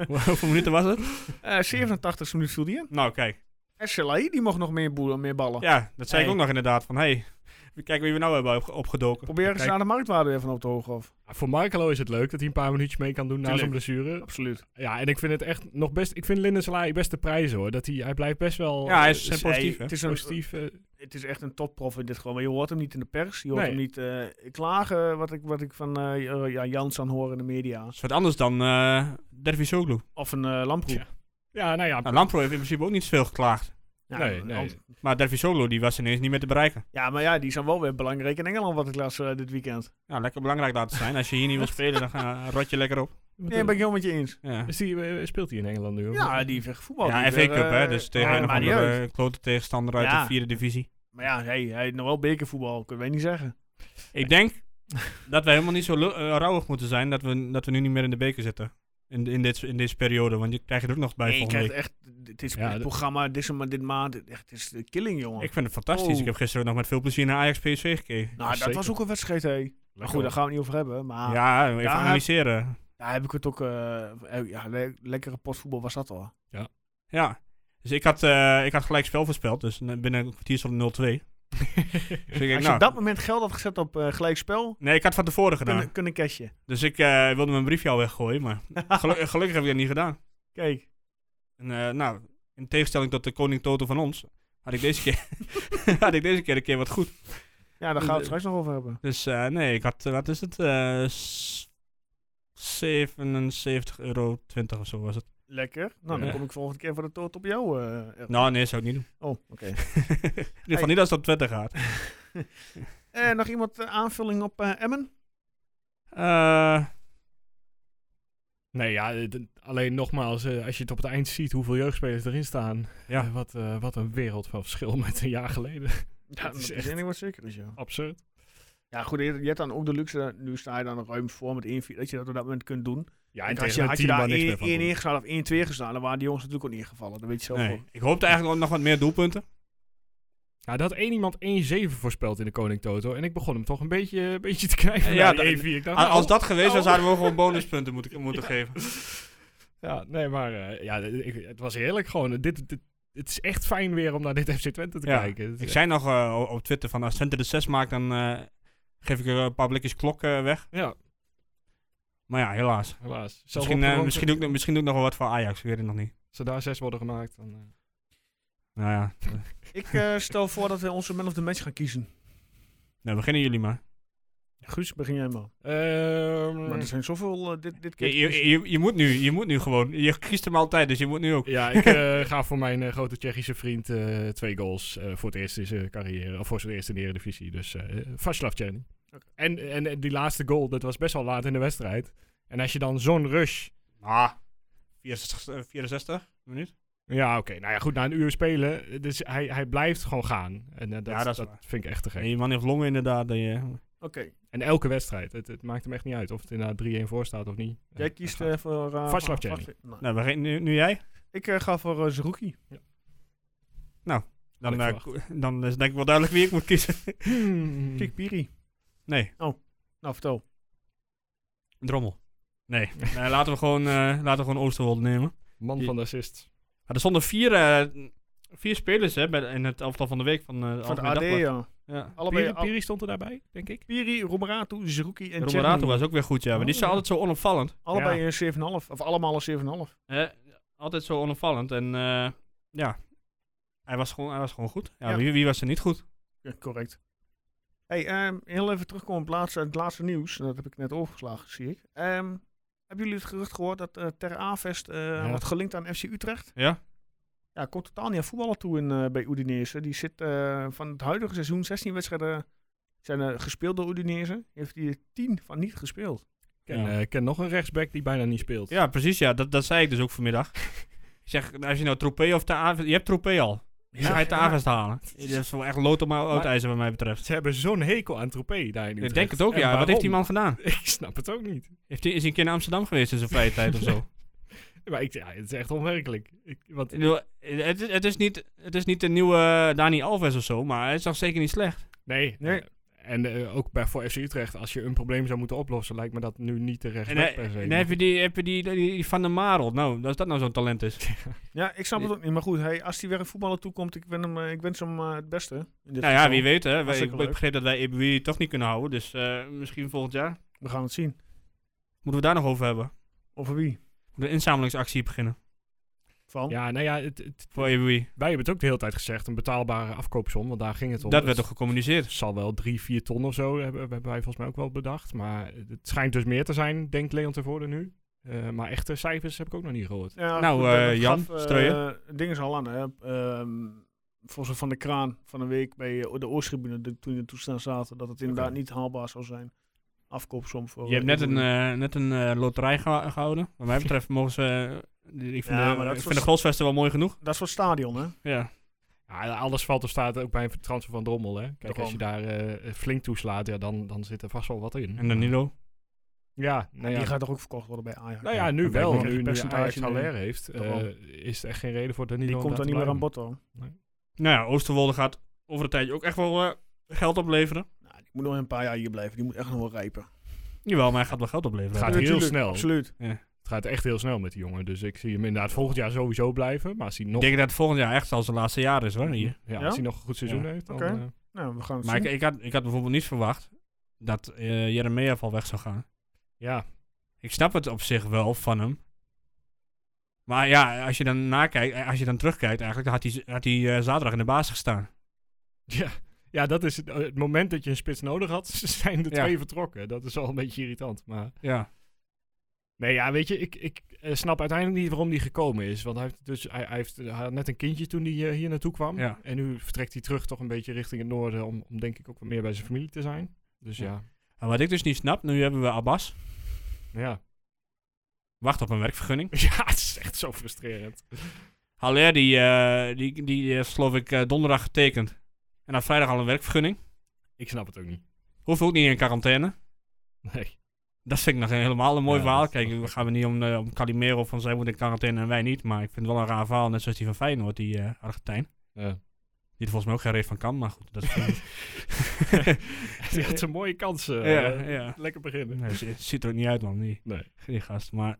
C: Hoeveel minuten was het?
B: Eh 87 minuut viel die in.
C: Nou, kijk.
B: En Selahi, die mocht nog meer, boelen, meer ballen.
C: Ja, dat zei ik
B: Oh. Hey.
C: ook nog inderdaad. Van, hé, hey, kijk wie we nou hebben opge- opgedoken.
B: Probeer eens
D: Kijk.
B: naar de marktwaarde even op te hoog af.
D: voor Marcelo is het leuk dat hij een paar minuutjes mee kan doen na zijn
B: Tuurlijk.
D: blessure.
B: Absoluut.
D: Ja, en ik vind het echt nog best, ik vind Linden Salai best de prijs hoor. Dat hij, hij blijft best wel
C: Ja, hij is
D: eh,
C: zijn positief, hè?
B: Het is, een,
D: positief. eh,
B: het is echt een topprof in dit gewoon. Maar je hoort hem niet in de pers. Je hoort
D: Nee.
B: hem niet eh, klagen, wat ik, wat ik van eh, eh, ja, Jans aan hoor in de media.
C: Dat is Dus wat anders dan eh Dervis Soglu.
B: Of een eh Lamproe.
D: Tja. ja, nou ja,
C: Nou, Lampro heeft in principe ook niet zoveel geklaagd.
B: Ja,
D: nee,
B: een
D: nee.
B: ander-
C: Maar Dervis Soglu, die was ineens niet meer te bereiken.
B: ja, maar ja, die zijn wel weer belangrijk in Engeland, wat ik las eh, dit weekend.
C: Nou, lekker belangrijk laten zijn. Als je hier niet wil spelen, dan ga, rot je lekker op.
B: Nee, ben ik helemaal met je eens.
C: Ja,
D: Is die, eh, speelt hij in Engeland nu? hoor?
B: Ja, die heeft voetbal.
C: ja
B: die
C: FA
B: weer,
C: Cup, hè.
B: eh,
C: Dus tegen
B: ja,
C: een of
B: maakt niet uit.
C: andere klote tegenstander uit
B: Ja.
C: de vierde divisie.
B: Maar ja, hij, hij heeft nog wel bekervoetbal, kunnen wij niet zeggen.
C: Ik denk dat we helemaal niet zo lu- eh, rauwig moeten zijn dat we, dat we nu niet meer in de beker zitten. In, in, dit, in deze periode, want je krijgt er ook nog bij
B: Nee, je
C: volgende
B: krijgt
C: week.
B: echt, dit is
D: Ja,
B: het
D: d-
B: programma, dit, is, een- dit maand, echt, het is de killing, jongen.
C: Ik vind het fantastisch.
B: Oh.
C: Ik heb gisteren ook nog met veel plezier naar Ajax PSV gekeken.
B: nou, dat
D: zeker.
B: was ook een wedstrijd, hé. Maar goed, daar gaan we het niet over hebben. Maar
C: ja, even
B: Ah. ja,
C: analyseren.
B: daar heb ik het ook, eh, eh, ja, le- lekkere postvoetbal was dat al.
C: Ja. Dus ik had, eh, ik had gelijk spel voorspeld, dus na- binnen een kwartier stond het 0-2. Dus ik denk,
B: Als je
C: nou,
B: op dat moment geld had gezet op eh gelijkspel,
C: Nee, ik had het van tevoren gedaan.
B: kunnen, kunnen cashje.
C: Dus ik eh, wilde mijn briefje al weggooien, maar gelu- gelukkig heb ik dat niet gedaan.
B: Kijk,
C: En, eh, nou, In tegenstelling tot de koning Toto van ons, had ik deze keer, had ik deze keer een keer wat goed.
B: Ja, daar gaan we het straks nog over hebben.
C: Dus eh, nee, ik had, eh, wat is het? Eh, s- 77,20 euro of zo was het.
B: Lekker. Nou, dan
C: Ja.
B: kom ik volgende keer voor de toot op jou. eh, erf.
C: Nou, nee, zou ik niet doen.
B: Oh, oké.
C: In ieder geval niet als dat Twitter gaat.
B: Eh, nog iemand eh, aanvulling op eh, Emmen?
C: Eh,
D: Nee, ja, d- alleen nogmaals, eh, als je het op het eind ziet hoeveel jeugdspelers erin staan.
C: Ja.
D: eh, wat, eh, wat een wereld van verschil met een jaar geleden.
B: Ja,
D: dat
B: dat
D: is
B: is
D: echt-
B: één ding wat zeker is, ja.
D: Absurd.
B: Ja, goed, je, je hebt dan ook de luxe, eh, nu sta je dan ruim voor met 1-4, dat je dat op dat moment kunt doen.
D: Ja,
B: en als je, had je daar 1-1 gestaan of 1-2 gestaan, dan waren die jongens natuurlijk ook niet gevallen. Dat weet je zelf
C: nee.
B: wel.
C: Ik hoopte eigenlijk nog wat meer doelpunten.
D: Ja, dat één iemand 1-7 voorspeld in de Koning Toto. En ik begon hem toch een beetje, een beetje te krijgen.
C: Ja,
D: Ja,
C: dat-
D: 1-4. Ik dacht,
C: A-
D: nou,
C: Als dat geweest was,
D: oh.
C: hadden we gewoon bonuspunten moeten, moeten geven.
D: Ja, nee, maar eh, ja, ik- het was heerlijk gewoon. Dit, dit, het is echt fijn weer om naar dit FC Twente te
C: Ja,
D: kijken. Het
C: Ik
D: is-
C: zei nog eh, o- op Twitter van als Twente de 6 maakt, dan eh, geef ik er een paar blikjes klok eh, weg.
D: Ja,
C: Maar ja, helaas.
D: helaas. Zelf
C: Misschien, eh,
D: opgeronken.
C: misschien, doe ik, nog- misschien doe ik nog wel wat voor Ajax, ik weet het nog niet.
D: Als er daar zes worden gemaakt, dan... eh,
C: Nou ja,
B: Ik eh, stel voor dat we onze man of the match gaan kiezen.
C: nou, beginnen jullie maar.
B: Guus, begin jij maar.
D: Ehm,
B: Maar er zijn zoveel eh, dit, dit keer.
C: Je,
B: te
C: je,
D: dus-
B: kiezen.
C: je, je moet nu, je moet nu gewoon. Je kiest hem altijd, dus je moet nu ook.
D: ja, ik eh, ga voor mijn eh, grote Tsjechische vriend eh, twee goals eh, voor het eerst in zijn carrière. Of voor zijn eerst in de Eredivisie. Dus eh Vaslav Czerny. En, en, en die laatste goal, dat was best wel laat in de wedstrijd. En als je dan zo'n rush...
C: Ah, 64, eh, 64 minuut.
D: Ja, oké. Nou ja, goed, na een uur spelen. eh, Dus hij, hij blijft gewoon gaan. En eh, dat,
C: Ja, dat
D: dat,
C: is waar.
D: vind ik echt te gek.
C: En je man heeft longen inderdaad. die, eh,
B: Oké,
D: En elke wedstrijd. Het, het maakt hem echt niet uit of het inderdaad 3-1 voor staat of niet.
B: jij
D: Eh,
B: kiest
D: hij gaat.
B: eh, voor... eh,
D: Vaslav
B: Vaslav-
D: Černý.
B: Nou,
C: nou, begin, nu, nu jij.
B: Ik eh, ga voor eh Zerouki.
C: Dan,
D: ik
C: eh,
D: verwacht.
C: ko- dan is denk ik wel duidelijk wie ik moet kiezen.
D: Hmm.
B: Kik Piri.
C: Nee,
B: Nou, vertel.
C: drommel. Nee, Nee, laten, we gewoon, eh, laten we gewoon Oosterwold nemen.
D: Man van de assist.
C: Maar er stonden vier, eh, vier spelers hè, bij, in het elftal van de week van, eh
B: Van de
C: Algemeen
B: AD,
C: Dagblad.
B: ja.
C: Ja.
B: Allebei...
D: Piri,
B: al- Piri,
D: Piri stond er daarbij, denk ik.
B: Romeratu, Zerouki en
C: Romorato
B: Černý.
C: was ook weer goed, ja. Maar die is
D: Oh, ja.
C: altijd zo onopvallend.
B: Allebei een 7,5. Of allemaal een 7,5.
C: Hè, altijd zo onopvallend. En eh, ja, hij was gewoon, hij was gewoon goed. Ja,
B: Ja.
C: Wie, wie was er niet goed?
B: Ja, correct. Hey, ehm, heel even terugkomen op het laatste, het laatste nieuws. Dat heb ik net overgeslagen, zie ik. Ehm, hebben jullie het gerucht gehoord dat eh Ter Avest eh, wordt gelinkt aan FC Utrecht?
C: Ja.
B: Ja, komt totaal niet aan voetballen toe in, eh, bij Udinese. Die zit eh, van het huidige seizoen 16 wedstrijden zijn er gespeeld door Udinese. Heeft hij er 10 van niet gespeeld.
D: Ik ken,
C: Ja.
D: eh, ik ken nog een rechtsback die bijna niet speelt.
C: Ja, precies. Ja, dat, dat zei ik dus ook vanmiddag. ik zeg, als je nou Troepé of de Avest... Je hebt Troepé al. Dus ga je de Avest halen. Dat is wel echt lood om uitijzer wat mij betreft.
D: Ze hebben zo'n hekel aan Troepé daar in
C: Ik
D: Utrecht.
C: denk het ook,
D: En
C: ja. Wat
D: waarom?
C: heeft die man gedaan?
D: Ik snap het ook niet.
C: Heeft hij is hij een keer in Amsterdam geweest in zijn vrije tijd of zo?
D: Maar ik, ja, het is echt onwerkelijk. Ik, want,
C: Ik bedoel, het, is, het, is niet, het is niet de nieuwe eh, Dani Alves of zo, maar hij is nog zeker niet slecht.
D: nee.
B: Nee.
D: En eh, ook bij, voor FC Utrecht, als je een probleem zou moeten oplossen, lijkt me dat nu niet de
C: En,
D: rechtsback
C: hij-
D: per se.
C: en heb je die, heb je die, die, die Van der Marel? Nou, als dat nou zo'n talent is.
B: Ja, ik snap het ook niet. Maar goed, hij, als hij weer in voetballen toekomt, ik, ben hem, eh, ik wens hem eh, het beste. in dit
C: Nou ja,
B: geval.
C: wie weet hè. Wij- Ik
B: Hartstikke leuk.
C: begreep dat wij Ebui toch niet kunnen houden. Dus eh, misschien volgend jaar.
B: We gaan het zien.
C: Moeten we daar nog over hebben.
B: Over wie?
C: Moeten we een inzamelingsactie beginnen
B: Van?
D: Ja, nou ja, het, het-
C: voor Ebui.
D: wij hebben het ook de hele tijd gezegd, een betaalbare afkoopsom, want daar ging het om.
C: Dat werd
D: Het
C: toch gecommuniceerd?
D: zal wel drie, vier ton of zo, hebben, hebben wij volgens mij ook wel bedacht. Maar het schijnt dus meer te zijn, denkt Leon tevoren nu. Eh, maar echte cijfers heb ik ook nog niet gehoord.
B: Ja,
C: Nou,
B: goed,
C: eh,
B: dat
C: Jan,
B: gaf, eh,
C: Streuer.
B: Het ding is al aan, hè. Ehm, volgens mij van de kraan van een week bij eh, de Oorschibune, de- toen in de toestand zaten, dat het inderdaad
D: Oké.
B: niet haalbaar zou zijn. Afkoopsom voor...
C: Je hebt net een, eh, net een eh, loterij geha- gehouden. Wat mij betreft mogen ze... eh, ik vind,
B: Ja, maar
C: de,
B: dat
C: ik
B: was-
C: vind de goalsvesten wel mooi genoeg.
B: dat soort stadion, hè?
C: Ja.
D: Ja, alles valt of staat ook bij een transfer van Drommel. Hè? Kijk,
B: Daarom.
D: als je daar eh, flink toeslaat, ja, dan, dan zit er vast wel wat in.
C: En Danilo.
D: Ja, nou ja,
B: Die gaat toch ook verkocht worden bij Ajax?
D: nou ja nu
B: Dan
D: wel.
B: krijg je
D: Nu, nu
B: percentage
D: Ajax
B: nu.
D: Haller heeft,
B: Daarom.
D: eh, is er echt geen reden voor Danilo.
B: Die
D: om
B: komt dan
D: daar te
B: niet meer aan
D: blijven.
B: bod, hoor.
C: Nou ja, Oosterwolde gaat over een tijdje ook echt wel eh, geld opleveren.
B: Nou, die moet nog een paar jaar hier blijven. Die moet echt nog wel rijpen.
C: Jawel, maar hij gaat wel geld opleveren.
D: Gaat
C: Ja,
D: heel
B: tuurlijk,
D: snel.
B: Absoluut.
D: Het gaat echt heel snel met die jongen. Dus ik zie hem inderdaad volgend jaar sowieso blijven. Maar als hij
C: Ik
D: nog,
C: denk dat het volgend jaar echt al zijn laatste jaar is hoor. Hier.
D: ja,
B: Ja?
D: Als hij nog een goed seizoen
C: Ja.
D: heeft, dan...
B: Oké.
D: eh,
B: Nou, we gaan het
C: Maar ik,
B: zien.
C: ik, had, ik had bijvoorbeeld niet verwacht dat eh Jeremia al weg zou gaan.
D: ja,
C: Ik snap het op zich wel van hem. Maar ja, als je dan nakijkt, eh, als je dan terugkijkt eigenlijk, dan had hij, z- had hij eh, zaterdag in de basis gestaan.
D: Ja. ja, dat is het, eh, het moment dat je een spits nodig had, zijn de
C: Ja.
D: twee vertrokken. Dat is al een beetje irritant, maar...
C: Ja.
D: Nee, ja, weet je, ik, ik eh, snap uiteindelijk niet waarom die gekomen is. Want hij, heeft dus, hij, hij heeft, hij had net een kindje toen hij eh, hier naartoe kwam.
C: Ja.
D: En nu vertrekt hij terug toch een beetje richting het noorden om, om denk ik ook wat meer bij zijn familie te zijn. Dus ja,
C: En wat ik dus niet snap, nu hebben we Abbas.
D: ja.
C: Wacht op een werkvergunning.
D: Ja, het is echt zo frustrerend.
C: Haller, die, eh, die, die heeft geloof ik eh, donderdag getekend. En had vrijdag al een werkvergunning.
D: Ik snap het ook niet.
C: Hoeft ook niet in quarantaine.
D: Nee.
C: Dat vind ik nog een- helemaal een mooi
D: Ja,
C: verhaal.
D: dat is
C: Kijk, we gaan we niet om, eh, om Calimero van zij moet in quarantaine en wij niet. Maar ik vind het wel een raar verhaal. Net zoals die van Feyenoord, die eh, Argentijn.
D: Ja.
C: Die er volgens mij ook geen reet van kan, maar goed. Dat is
D: Het is echt een mooie kans. eh,
C: Ja,
D: eh,
C: ja.
D: Lekker beginnen.
C: Nee, het ziet er ook niet uit, man. Die,
D: Nee.
C: die gast. Maar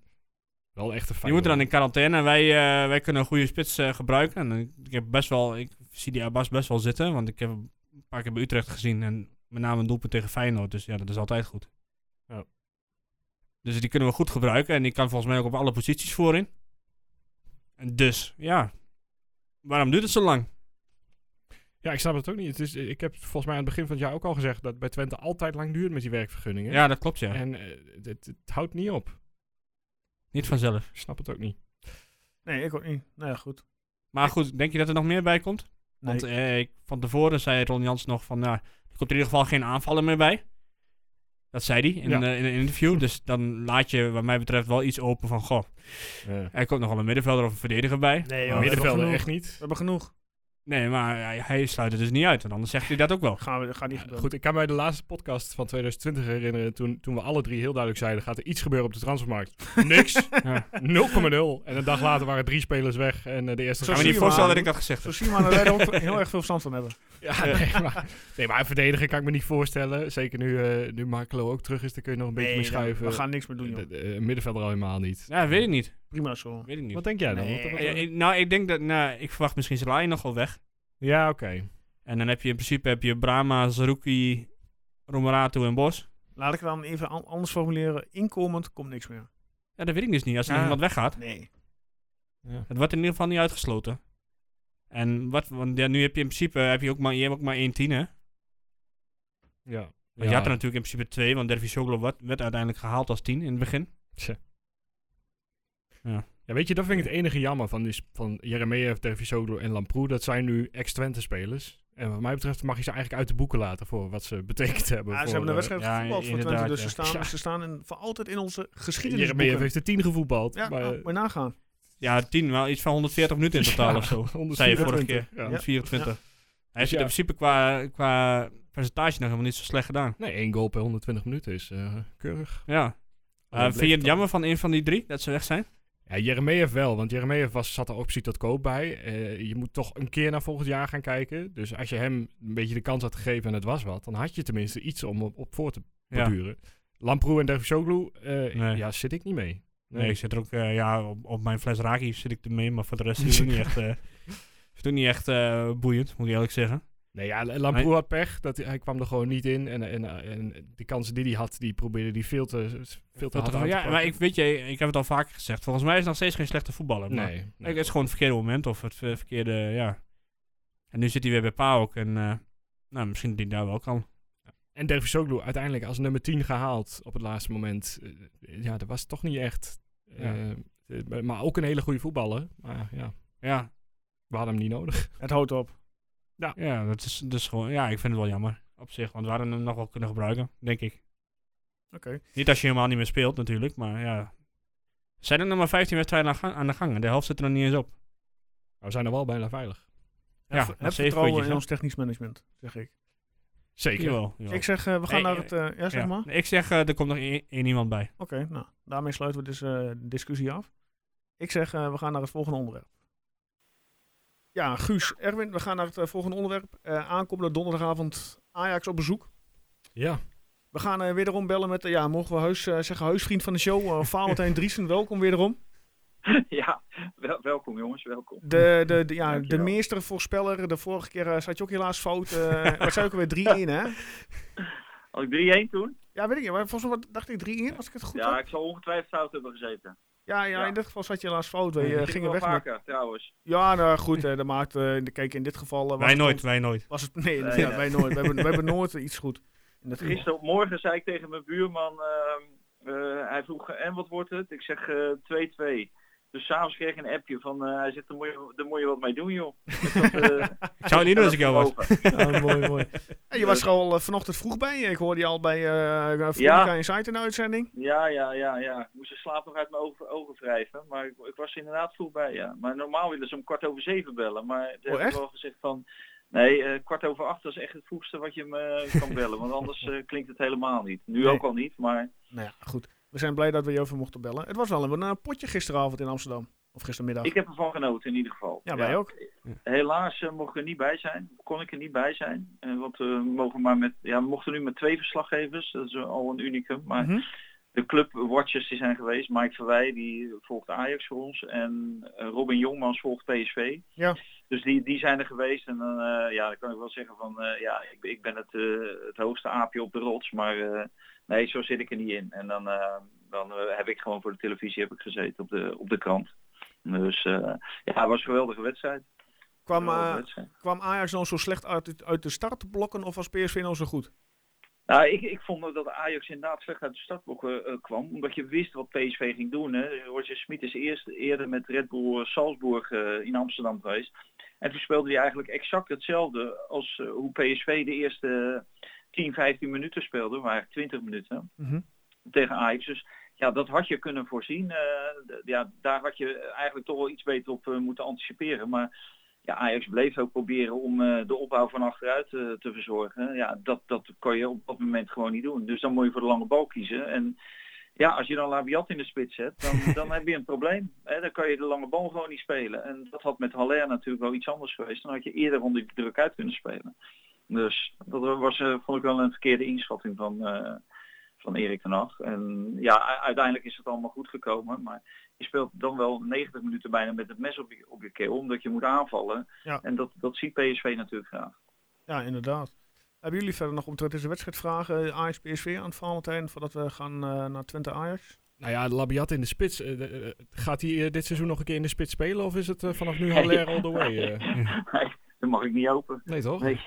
D: Wel echt een fijn.
C: die moeten dan in quarantaine. En wij, eh, wij kunnen een goede spits eh, gebruiken. En ik- ik, heb best wel, ik zie die Abbas best wel zitten. Want ik heb hem een paar keer bij Utrecht gezien. En met name een doelpunt tegen Feyenoord. Dus ja, dat is altijd goed.
D: Ja.
C: Dus die kunnen we goed gebruiken. En die kan volgens mij ook op alle posities voorin. En dus, ja. Waarom duurt het zo lang?
D: Ja, ik snap het ook niet. Het is, ik heb volgens mij aan het begin van het jaar ook al gezegd dat bij Twente altijd lang duurt met die werkvergunningen.
C: Ja, dat klopt ja.
D: En eh, het, het, het houdt niet op.
C: Niet vanzelf.
D: Ik snap het ook niet.
B: Nee, ik ook niet. Nou ja, goed.
C: Maar goed, denk je dat er nog meer bij komt?
B: Nee.
C: Want eh, ik, van tevoren zei Ron Jans nog van, nou, er komt in ieder geval geen aanvallen meer bij. Dat zei hij in,
D: Ja.
C: eh, in een interview. Dus dan laat je, wat mij betreft, wel iets open van, goh, er komt nog wel een middenvelder of een verdediger bij.
B: Nee,
D: Ja,
B: joh, we hebben
D: middenvelden
B: genoeg.
D: echt niet.
B: We hebben genoeg.
C: Nee, maar hij, hij sluit het dus niet uit. Want anders zegt hij dat ook wel.
B: Gaan we, gaat niet gebeuren.
D: Goed, ik kan mij de laatste podcast van 2020 herinneren. Toen, toen we alle drie heel duidelijk zeiden: gaat er iets gebeuren op de transfermarkt? Niks. 0,0.
C: Ja.
D: En een dag later waren drie spelers weg. En eh, de eerste.
B: Zo
C: Kan
B: zie
C: me niet
B: je
C: voorstellen
B: maar.
C: dat ik dat gezegd
B: Zo
C: heb.
B: zie je maar dat wij er ook heel erg veel verstand van hebben.
D: Ja, nee, maar, nee, maar verdedigen kan ik me niet voorstellen. Zeker nu, eh, nu Markelo ook terug is, dan kun je nog een beetje mee schuiven.
B: we gaan niks meer doen, joh.
D: De- de- eh, middenvelder al helemaal niet.
C: Ja, weet ik niet.
B: Prima zo.
C: Weet ik niet.
D: Wat denk jij dan?
B: Nee.
D: Wat- wat-
C: Eh, eh, nou, ik denk dat, nou, ik verwacht misschien Salai nog wel weg.
D: Ja, oké.
C: En dan heb je in principe heb je Brahma, Zerouki, Romeratu en Bos.
B: Laat ik het dan even an- anders formuleren. Inkomend komt niks meer.
C: Ja, dat weet ik dus niet. Als er
D: Ja.
C: iemand weggaat.
B: Nee.
C: Het wordt in ieder geval niet uitgesloten. En wat, want ja, nu heb je in principe heb je ook maar, je hebt ook maar één tien, hè? Want
D: Ja.
C: Je had er natuurlijk in principe twee, want Dervis werd, werd uiteindelijk gehaald als tien in het begin.
D: Ja, weet je, dat vind ik het enige jammer van, die, sp- van Jeremejeff, Dervisoglu en Lamproe. Dat zijn nu ex-Twente-spelers. En wat mij betreft mag je ze eigenlijk uit de boeken laten voor wat ze betekend hebben.
B: Ja,
D: voor,
B: Ah, ze hebben een
D: eh,
B: wedstrijd
C: ja,
B: gevoetbald voor Twente,
C: inderdaad,
B: dus
C: ja.
B: ze staan,
D: Ja.
B: ze staan in, voor altijd in onze
D: Jeremejeff
B: geschiedenisboeken.
D: heeft er tien gevoetbald.
B: Ja, oh,
D: maar,
B: maar,
D: eh,
B: maar nagaan.
C: Ja, tien, wel iets van 140 minuten in totaal
D: ja,
C: of zo. Zei je
D: 124.
C: vorige keer.
D: Ja.
C: 124. Hij
D: Dus
C: zit
D: ja.
C: in principe qua, qua percentage nog helemaal niet zo slecht gedaan.
D: Nee, één goal per 120 minuten is eh, keurig.
C: Ja. Eh,
D: dat
C: vind je
D: bleef
C: het jammer van een van die drie dat ze weg zijn?
D: Ja, Jeremejeff wel, want Jeremejeff was zat er optie tot koop bij. Eh, je moet toch een keer naar volgend jaar gaan kijken. Dus als je hem een beetje de kans had gegeven en het was wat, dan had je tenminste iets om op, op voor te
C: Ja.
D: borduren. Lamproe en Dervisoglu, eh
C: Nee.
D: ja, zit ik niet mee.
C: Nee, ik zit er ook, eh, ja, op, op mijn fles raki zit ik ermee, maar voor de rest is het ook niet echt, eh, is het ook niet echt eh, boeiend, moet ik eerlijk zeggen.
D: Nee, ja, Lamproe had pech. Dat, hij- hij kwam er gewoon niet in. En, en, en de kansen die hij had, die probeerde hij veel te, veel te hard aan te
C: ja,
D: pakken.
C: maar ik weet je, ik heb het al vaker gezegd. Volgens mij is het nog steeds geen slechte voetballer. maar
D: Nee, nee.
C: Het is gewoon het verkeerde moment of het eh, verkeerde, ja. En nu zit hij weer bij PAOK en eh, nou, misschien dat hij daar wel kan.
D: En Dervisoglu uiteindelijk als nummer 10 gehaald op het laatste moment. Eh, ja, dat was toch niet echt... eh, eh, maar- maar ook een hele goede voetballer. Maar ja,
C: Ja,
D: we hadden hem niet nodig.
B: Het houdt op.
C: ja, dat is dus gewoon, ja, ik vind het wel jammer op zich, want we hadden hem nog wel kunnen gebruiken, denk ik.
B: Oké.
C: Niet als je helemaal niet meer speelt natuurlijk, maar ja. Zijn er nog maar 15 wedstrijden aan, gang- aan de gang en de helft zit er nog niet eens op.
D: Maar Nou, we zijn er wel bijna veilig.
C: Ja,
B: Heb-
C: nog
B: heb
C: zeven
B: vertrouwen
C: puntjes,
B: in
C: hè?
B: ons technisch management, zeg ik.
D: Zeker.
C: Jawel, jawel.
B: Ik zeg, eh, we gaan
C: Hey,
B: naar
C: eh,
B: het... eh, ja, zeg
C: Ja.
B: maar.
C: Nee, Ik zeg, eh, er komt nog één één iemand bij.
B: Oké, nou, daarmee sluiten we dus eh, de discussie af. Ik zeg, eh, we gaan naar het volgende onderwerp. Ja, Guus, Erwin, we gaan naar het eh, volgende onderwerp. Eh, aankomende donderdagavond Ajax op bezoek.
D: Ja.
B: We gaan eh wederom bellen met, eh, ja, mogen we huis, eh, zeggen, huisvriend van de show, eh Valentijn Driesen. Welkom wederom.
H: Ja, wel, welkom jongens, welkom.
B: De, de, de- ja, de
H: Dankjewel.
B: meester voorspeller. De vorige keer eh, zat je ook helaas fout. eh wat zei ik alweer? 3-1, hè?
H: Had ik 3-1 toen?
B: Ja, weet ik niet. Maar volgens mij dacht ik 3-1, als ik het goed
H: Ja,
B: had.
H: ik zal ongetwijfeld fout hebben gezeten.
B: Ja, ja,
I: Ja.
B: in dit geval zat je helaas fout. We eh,
I: Dat ging
B: gingen
I: wel
B: weg. met-
I: vaker, trouwens.
B: Ja, nou goed, eh dat maakt. eh, kijk, in dit geval. eh, was
C: Wij
B: het
C: nooit,
B: ons-
C: wij nooit.
B: Was het, nee,
I: Nee,
B: ja,
I: nee.
B: wij nooit. We hebben, we hebben nooit iets goed. In dat geval.
I: Gisteren op morgen zei ik tegen mijn buurman, ehm, eh, hij vroeg, en wat wordt het? Ik zeg eh, 2-2. dus s'avonds kreeg ik een appje van, eh, hij zegt, daar moet, je, daar moet je wat mee doen, joh. Dus dat, eh,
C: Ik zou het niet doen als ik jou was.
I: over.
B: Ja, mooi, mooi. En je was gewoon al eh, vanochtend vroeg bij. Ik hoorde je al bij eh Veronica Insight in de uitzending.
I: Ja, ja, ja, ja. Ik moest de slaap nog uit mijn ogen, ogen wrijven. Maar ik, ik was er inderdaad vroeg bij, ja. Maar normaal willen ze om kwart over zeven bellen. Maar daar heb
B: Oh, echt?
I: ik wel gezegd van... Nee, eh, kwart over acht dat is echt het vroegste wat je me kan bellen. Want anders eh, klinkt het helemaal niet. Nu
B: Nee.
I: ook al niet, maar...
B: Nou ja, goed. We zijn blij dat we je even mochten bellen. Het was wel een, eh, potje gisteravond in Amsterdam. Of gistermiddag.
I: Ik heb ervan genoten in ieder geval.
B: ja, wij ook.
I: Helaas eh, mocht ik er niet bij zijn. Kon ik er niet bij zijn. Eh, want eh, we mogen maar met... Ja, we mochten nu met twee verslaggevers. Dat is eh, al een unicum. Maar
B: Mhm.
I: de clubwatchers die zijn geweest. Mike Verwij die volgt Ajax voor ons en eh, Robin Jongmans volgt PSV.
B: Ja.
I: Dus die, die zijn er geweest en dan, eh, ja, dan kan ik wel zeggen van eh, ja, ik, ik ben het, eh, het hoogste aapje op de rots, maar eh, nee, zo zit ik er niet in. En dan, eh, dan eh, heb ik gewoon voor de televisie heb ik gezeten op de, op de krant. Dus eh, ja, het was een geweldige wedstrijd.
B: Kwam, eh,
I: Geweldige wedstrijd.
B: kwam Ajax nou zo slecht uit, uit de startblokken of was PSV nou zo goed?
I: Nou, ik, ik vond dat Ajax inderdaad slecht uit de startblokken eh, kwam. Omdat je wist wat PSV ging doen. Hè. Roger Smit is eerst eerder met Red Bull Salzburg eh, in Amsterdam geweest. En toen speelde hij eigenlijk exact hetzelfde als eh, hoe PSV de eerste 10, 15 minuten speelde. Maar eigenlijk 20 minuten
B: Mhm.
I: tegen Ajax. Dus ja, dat had je kunnen voorzien. Eh, d- ja, daar had je eigenlijk toch wel iets beter op eh, moeten anticiperen. Maar ja, Ajax bleef ook proberen om eh, de opbouw van achteruit eh, te verzorgen. Ja, dat, dat kon je op dat moment gewoon niet doen. Dus dan moet je voor de lange bal kiezen. En ja, als je dan Labiat in de spits zet, dan, dan heb je een probleem. Hè, dan kan je de lange bal gewoon niet spelen. En dat had met Haller natuurlijk wel iets anders geweest. Dan had je eerder onder die druk uit kunnen spelen. Dus dat was, eh, vond ik wel een verkeerde inschatting van, eh, van Erik ten Hag. En ja, u- uiteindelijk is het allemaal goed gekomen. Maar je speelt dan wel 90 minuten bijna met het mes op je, op je keel, omdat je moet aanvallen.
B: Ja.
I: En dat, dat ziet PSV natuurlijk graag.
B: Ja, inderdaad. Hebben jullie verder nog omtrent deze wedstrijd vragen? Ajax PSV aan het Valentijn voordat we gaan eh, naar Twente Ajax?
D: Nou ja, Labiat in de spits. eh, de- eh, gaat hij eh, dit seizoen nog een keer in de spits spelen? Of is het eh, vanaf nu Haller all the way? eh?
I: Nee, dat mag ik niet hopen.
D: Nee, toch?
I: Nee,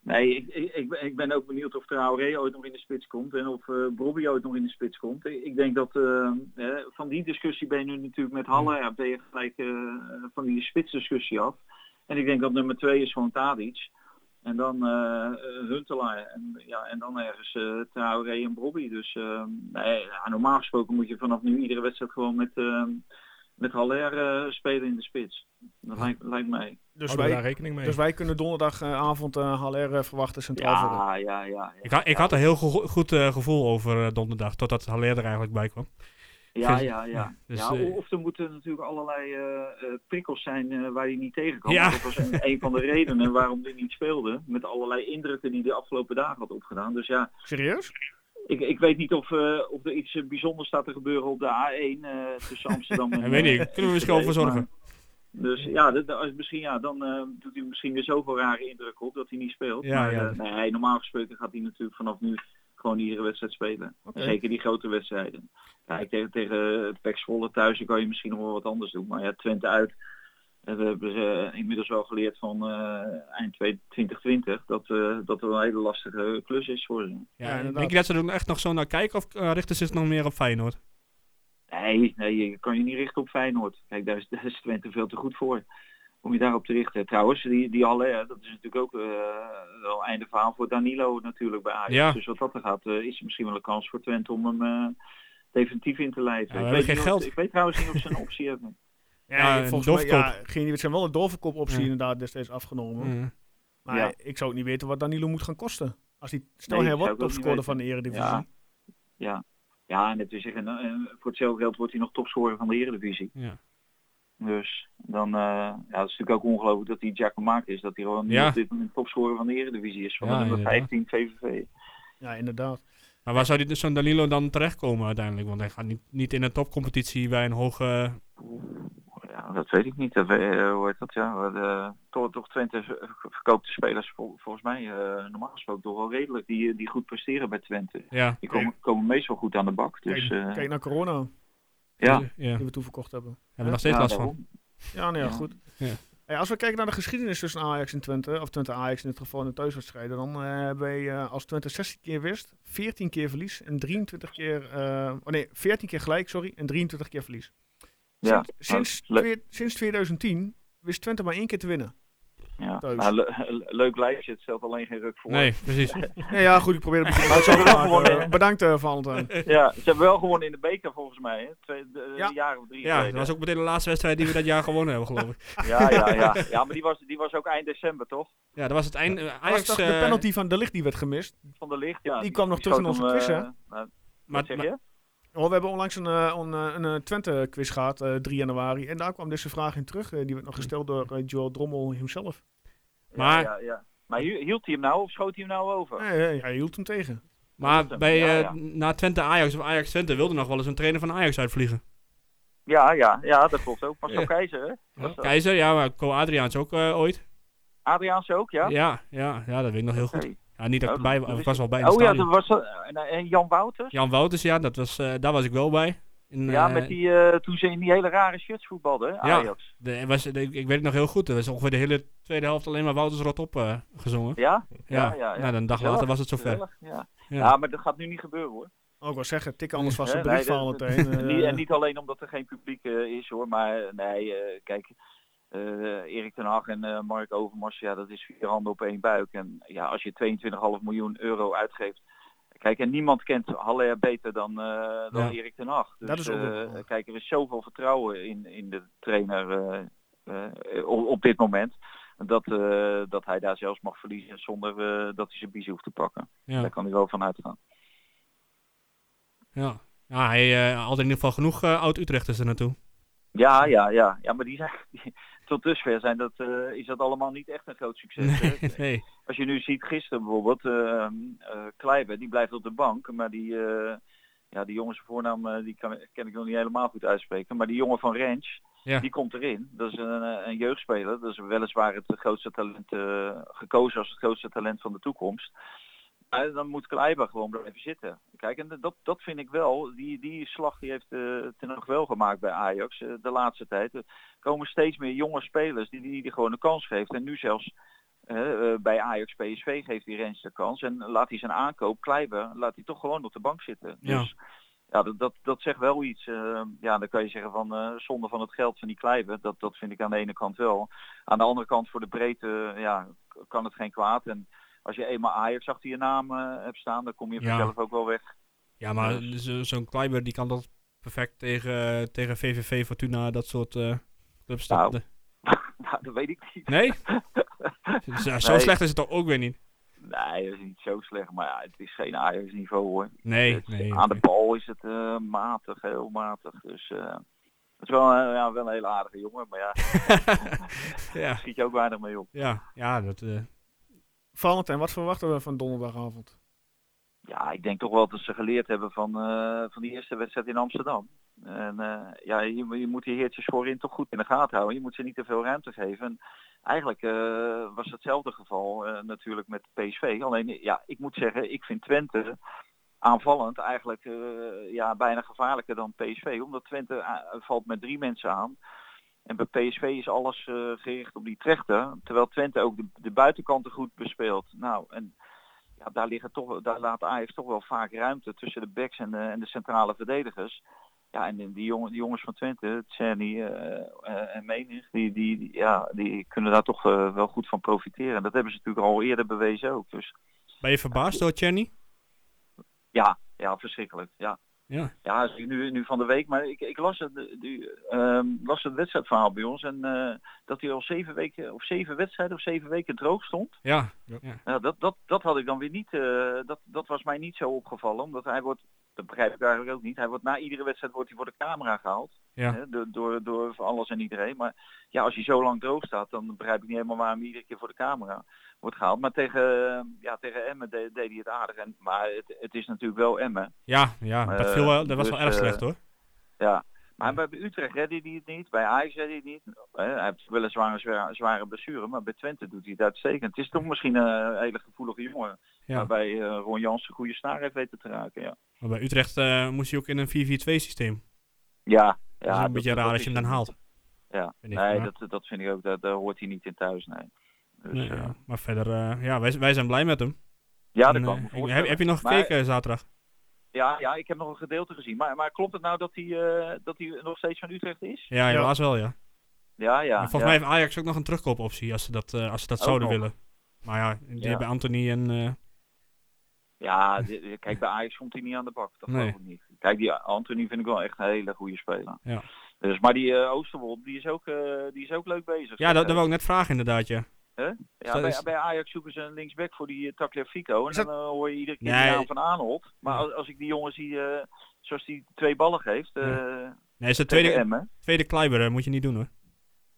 I: nee ik, ik, ik ben- ik ben ook benieuwd of Traoré ooit nog in de spits komt en of eh Brobbey ooit nog in de spits komt. Ik, ik denk dat eh, eh, van die discussie ben je nu natuurlijk met Halle, ja, ben je gelijk eh, van die spitsdiscussie af. En ik denk dat nummer twee is gewoon Tadic. En dan eh, eh, Huntelaar. En, ja, en dan ergens eh Traoré en Brobbey. Dus eh, nee, ja, normaal gesproken moet je vanaf nu iedere wedstrijd gewoon met, eh, met Haller eh, spelen in de spits. Dat lijkt, lijkt mij.
B: Dus,
C: Oh,
D: Houden we daar
B: wij,
D: rekening mee?
B: dus wij kunnen donderdagavond eh Haller eh, verwachten centraal voor.
I: Ja, ja, ja.
C: Ik,
I: Ja,
C: ha- ik had een heel go- goed eh, gevoel over eh, donderdag, totdat Haller er eigenlijk bij kwam.
I: ja, ja. ja.
C: Dus,
I: ja
C: eh,
I: o- of er moeten natuurlijk allerlei eh, eh, prikkels zijn eh, waar hij niet tegen kan.
C: Ja.
I: Dat was een, een van de redenen waarom hij niet speelde. Met allerlei indrukken die hij de afgelopen dagen had opgedaan. Dus ja,
B: Serieus?
I: ik, ik weet niet of, eh, of er iets eh, bijzonders staat te gebeuren op de A1 eh, tussen Amsterdam en...
C: Ik weet niet,
I: eh,
C: kunnen we misschien wel voor
I: maar-
C: zorgen.
I: Dus ja, dat, dat- als- misschien, ja dan eh, doet hij misschien weer zoveel rare indrukken op dat hij niet speelt.
C: Ja,
I: maar
C: ja.
I: eh, nee, normaal gesproken gaat hij natuurlijk vanaf nu gewoon iedere wedstrijd spelen.
B: Oké.
I: Zeker die grote wedstrijden. Kijk, tegen, tegen Pek Zwolle thuis dan kan je misschien nog wel wat anders doen. Maar ja, Twente uit. eh, We hebben eh, inmiddels wel geleerd van eh, eind 2020 dat, eh, dat er een hele lastige klus is voor ze.
B: Ja,
C: Ja,
B: inderdaad.
C: denk je dat ze er echt nog zo naar kijken of eh, richten ze het nog meer op Feyenoord?
I: Nee, nee, je kan je niet richten op Feyenoord. Kijk, daar is, daar is Twente veel te goed voor. Om je daarop te richten. Trouwens, die, die Haller, dat is natuurlijk ook eh, wel einde verhaal voor Danilo natuurlijk bij Ajax.
C: Ja.
I: Dus wat dat er gaat, eh, is er misschien wel een kans voor Twente om hem eh, definitief in te leiden.
C: Ja, we hebben
I: ik, weet
C: geen
I: niet
C: geld.
I: Of, ik weet trouwens niet of ze een optie hebben.
C: Ja, een
B: volgens mij ja,
C: doofkop.
B: geen idee. Het zijn wel een doorverkoop optie
C: Ja.
B: inderdaad destijds afgenomen.
C: Mm.
B: Maar
I: Ja.
B: ik zou ook niet weten wat Danilo moet gaan kosten. Als hij snel
I: Nee,
B: her
I: zou ik
B: wordt
I: ook niet
B: topscorer
I: weten.
B: van de eredivisie.
I: Ja. Ja. ja, en het is zeggen, eh, voor hetzelfde geld wordt hij nog topscorer van de Eredivisie.
C: Ja.
I: Dus dan, eh, ja, het is natuurlijk ook ongelooflijk dat hij Giacomakis is. Dat hij gewoon nu
C: Ja.
I: op dit moment topscorer van de Eredivisie is. Van
C: Ja,
I: de nummer
C: inderdaad.
I: 15 VVV.
B: Ja, inderdaad.
C: Maar waar zou die- zo'n Danilo dan terechtkomen uiteindelijk? Want hij gaat niet, niet in een topcompetitie bij een hoge...
I: Ja, dat weet ik niet. Dat, we- eh, hoe heet dat? Ja, de, toch, toch Twente v- verkoopt de spelers vol- volgens mij eh, normaal gesproken toch wel redelijk die, die goed presteren bij Twente.
C: Ja,
I: Die komen, komen meestal goed aan de bak. Dus, eh,
B: Kijk naar corona.
I: Ja.
C: Ja. Hebben
B: die we toeverkocht hebben.
C: we nog steeds
I: Ja,
C: last van.
I: daarom.
B: Ja, nou ja,
I: Ja.
B: goed.
C: Ja.
B: Hey, als we kijken naar de geschiedenis tussen Ajax en Twente, of Twente Ajax in dit geval in de thuiswedstrijden, dan eh, hebben wij eh, als Twente 16 keer wist, 14 keer verlies en 23 keer, eh, oh nee, 14 keer gelijk, sorry, en 23 keer verlies.
I: Ja, nou,
B: Sinds,
I: le-
B: twee- sinds 2010 wist Twente maar één keer te winnen.
I: ja.
B: thuis.
I: Nou, le- le- leuk lijstje, het stelt alleen geen ruk voor.
C: Nee, precies.
B: Nee, ja, goed, ik probeer het een beetje
I: Maar ze hebben wel
B: te maken.
I: gewonnen,
B: Eh,
I: hè?
B: Bedankt, eh, Valentijn.
I: Ja, ze hebben wel gewonnen in de beker volgens mij, hè? Twee de-
B: Ja.
I: jaren of drie
C: Ja, dat
I: geleden.
C: was ook meteen de laatste wedstrijd die we dat jaar gewonnen hebben, geloof ik.
I: Ja, ja, ja. ja, maar die was, die was ook eind december, toch?
C: Ja, dat was het einde. eh,
B: Was
C: Ajax,
B: toch de
C: eh,
B: penalty van de licht die werd gemist.
I: Van de licht, ja.
B: Die kwam nog terug in
I: schoot
B: onze
I: hem,
B: quiz, hè?
I: eh, nou,
C: maar-
I: wat zeg
C: maar-
I: je?
B: Oh, we hebben onlangs een, eh, on- eh, een, Twente-quiz gehad, eh, 3 januari. En daar kwam deze vraag in terug. eh, die werd nog gesteld door eh, Joel Drommel himself.
C: maar-
I: Ja, ja, ja. Maar hi- hield hij hem nou of schoot hij hem nou over?
B: Nee, nee, hij hield hem tegen.
C: Maar bij,
I: Ja,
C: eh,
I: ja.
C: na Twente Ajax of Ajax Twente wilde nog wel eens een trainer van Ajax uitvliegen.
I: Ja, ja, ja, dat klopt ook. Pascal
C: Ja.
I: Keizer, hè? Was eh, dat-
C: Keizer, ja, maar Co Adriaans ook eh, ooit.
I: Adriaanse ook, ja?
C: Ja? Ja, ja, dat weet ik nog heel goed.
I: Oké.
C: Ja, niet dat ik
I: Oh,
C: erbij
I: dat
C: was, ik
I: wist
C: was wel bij in het
I: Oh ja,
C: stadion.
I: dat was, eh, en, en Jan Wouters?
C: Jan Wouters, ja, dat was, eh, daar was ik wel bij. In,
I: Ja,
C: eh,
I: met die, eh, toen ze in die hele rare shirts voetbalden, hè, Ajax.
C: de- er was, de- ik weet het nog heel goed, er was ongeveer de hele tweede helft alleen maar Wouters rot op eh, gezongen.
I: Ja?
C: Ja,
I: ja, ja, ja.
C: Nou, dan een dag later
I: Gezellig,
C: was het zover.
I: Gezellig, Ja.
C: Ja.
I: ja, maar dat gaat nu niet gebeuren, hoor.
B: Ook wel zeggen, tik anders was
I: Hè,
B: zijn brief,
I: nee, dat-
B: Valentijn. eh,
I: Niet- en niet alleen omdat er geen publiek eh, is hoor, maar eh, nee, eh, kijk, eh, Erik ten Hag en eh, Mark Overmars, ja, dat is vier handen op één buik. En ja, als je 22,5 miljoen euro uitgeeft, kijk, en niemand kent Haller beter dan, eh, dan
C: Ja.
I: Erik ten Hag. Dus,
B: Dat is ook
I: eh,
B: wel waar.
I: kijk, er is zoveel vertrouwen in, in de trainer eh, eh, op, op dit moment. Dat, eh, dat hij daar zelfs mag verliezen zonder eh, dat hij zijn biezen hoeft te pakken.
C: Ja,
I: Daar kan hij wel van uitgaan.
C: ja. ja hij eh, had in ieder geval genoeg eh, oud-Utrechters er naartoe.
I: Ja, ja, ja. ja maar die zijn, die- tot dusver zijn dat, eh, is dat allemaal niet echt een groot succes. hè.
C: nee.
I: Als je nu ziet gisteren bijvoorbeeld, eh eh, Kleiber, die blijft op de bank. Maar die, eh, ja, die jongens voornaam eh, die kan, ken ik nog niet helemaal goed uitspreken. Maar die jongen van Rens,
C: Ja.
I: die komt erin. Dat is een, eh, een jeugdspeler. Dat is weliswaar het grootste talent, eh, gekozen als het grootste talent van de toekomst. Maar dan moet Kleiber gewoon blijven zitten. Kijk, en dat, dat vind ik wel. Die, die slag die heeft eh ten nog wel gemaakt bij Ajax eh, de laatste tijd. Er komen steeds meer jonge spelers die, die, die gewoon een kans geeft. En nu zelfs eh, eh, bij Ajax PSV geeft hij Rens de kans. En laat hij zijn aankoop, Kleiber, laat hij toch gewoon op de bank zitten.
C: Ja.
I: Dus ja, dat, dat, dat zegt wel iets. eh, ja, dan kan je zeggen van eh, zonde van het geld van die Kleiber. Dat, dat vind ik aan de ene kant wel. Aan de andere kant voor de breedte eh, ja, k- kan het geen kwaad. En als je eenmaal Ajax achter je naam eh, hebt staan, dan kom je
C: Ja.
I: vanzelf ook wel weg.
C: Ja, maar zo- zo'n Kleiber die kan dat perfect tegen, tegen VVV, Fortuna, dat soort eh, clubs.
I: Nou.
C: Dat-
I: nou, dat weet ik niet.
C: Nee? zo zo
I: Nee.
C: slecht is het toch ook weer niet?
I: Nee, dat is niet zo slecht. Maar ja, het is geen Ajax niveau hoor.
C: Nee,
I: Het-
C: nee.
I: aan de
C: oké.
I: bal is het eh, matig, heel matig. Dus eh, het is wel, een- ja, wel een hele aardige jongen, maar ja, daar
C: Ja,
I: schiet je ook weinig mee op.
C: ja, ja dat, eh,
B: Valentijn, wat verwachten we van donderdagavond?
I: Ja, ik denk toch wel dat ze geleerd hebben van, eh, van die eerste wedstrijd in Amsterdam. En eh, ja, je, moet- je moet die heertjes voorin toch goed in de gaten houden. Je moet ze niet te veel ruimte geven. En eigenlijk eh, was hetzelfde geval eh, natuurlijk met PSV. Alleen ja, ik moet zeggen, ik vind Twente aanvallend eigenlijk eh, ja, bijna gevaarlijker dan PSV. Omdat Twente eh, valt met drie mensen aan. En bij PSV is alles eh, gericht op die trechter. Terwijl Twente ook de, de buitenkanten goed bespeelt. Nou, en ja, daar, liggen toch, daar laat Ajax toch wel vaak ruimte tussen de backs en de, en de centrale verdedigers. Ja, en die, jongen, die jongens van Twente, Tserni eh, eh, en Menig, die, die, die- ja, die kunnen daar toch eh, wel goed van profiteren. En dat hebben ze natuurlijk al eerder bewezen ook. Dus
C: ben je verbaasd door Chenny?
I: ja, ja verschrikkelijk. Ja.
C: Ja.
I: Ja, is nu, nu van de week. Maar ik, ik las, het, die, ehm, las het wedstrijdverhaal bij ons. En eh, dat hij al zeven weken, of zeven wedstrijden of zeven weken droog stond.
C: Ja,
I: Nou, dat, dat, dat had ik dan weer niet. eh, dat, dat was mij niet zo opgevallen. Omdat hij wordt, dat begrijp ik eigenlijk ook niet. Hij wordt na iedere wedstrijd wordt hij voor de camera gehaald.
C: Ja.
I: Hè, door, door, door van alles en iedereen. Maar ja, als hij zo lang droog staat, dan begrijp ik niet helemaal waarom hij iedere keer voor de camera wordt gehaald. Maar tegen, eh, ja, tegen Emmen de- deed hij het aardig. En, maar het, het is natuurlijk wel Emmen.
C: ja, ja dat,
I: Eh,
C: viel wel, dat was
I: dus,
C: wel erg
I: eh,
C: slecht hoor.
I: Ja. Maar bij Utrecht redde hij het niet, bij Ajax redde hij het niet. Eh, hij heeft weliswaar een zware, zware blessure, maar bij Twente doet hij het uitstekend. Het is toch misschien een eh, hele gevoelige jongen.
C: Ja.
I: Waarbij eh, Ron Jans een goede snaar heeft weten te raken. Ja,
C: Maar bij Utrecht eh, moest hij ook in een 4-4-2 systeem.
I: Ja,
C: dat is
I: ja
C: wel een beetje raar als je hem dan haalt.
I: Ja,
C: Vind ik,
I: nee,
C: maar-
I: dat, dat vind ik ook, daar, daar hoort hij niet in thuis, nee. Dus,
C: Nee,
I: eh,
C: ja. Maar verder, eh, ja, wij, wij zijn blij met hem.
I: ja, dat
C: En,
I: kan.
C: eh,
I: me
C: ik- heb,
I: voorstellen.
C: heb je nog
I: Maar-
C: gekeken zaterdag?
I: Ja, ja, ik heb nog een gedeelte gezien. Maar, maar klopt het nou dat hij, eh, dat hij nog steeds van Utrecht is?
C: Ja,
B: Ja.
C: helaas wel, ja.
I: Ja, ja.
C: Maar volgens mij heeft Ajax ook nog een terugkoopoptie als ze dat, eh, als ze dat
I: Ook
C: zouden
I: nog.
C: willen. Maar ja, die
I: Ja.
C: hebben Anthony en... eh,
I: Ja, di- di- kijk, bij Ajax komt hij niet aan de bak. Dat
C: Nee.
I: geloof ik niet. Kijk, die Anthony vind ik wel echt een hele goede speler.
C: Ja.
I: Dus, maar die eh Oosterwold, die is, ook, eh, die is ook leuk bezig.
C: ja, dat, dat wou ik net vragen inderdaad, ja.
I: Ja,
C: dat
I: bij,
C: is-
I: bij Ajax zoeken ze een linksback voor die uh, Tagliafico. En
B: Is dat-
I: dan eh, hoor je iedere keer
C: Nee.
I: de naam van Arnold. Maar als, als ik die jongen zie, eh, zoals die twee ballen geeft, eh
C: Nee, is de
I: tegen
C: tweede,
I: Emmen.
C: tweede Kleiber, eh, moet je niet doen hoor.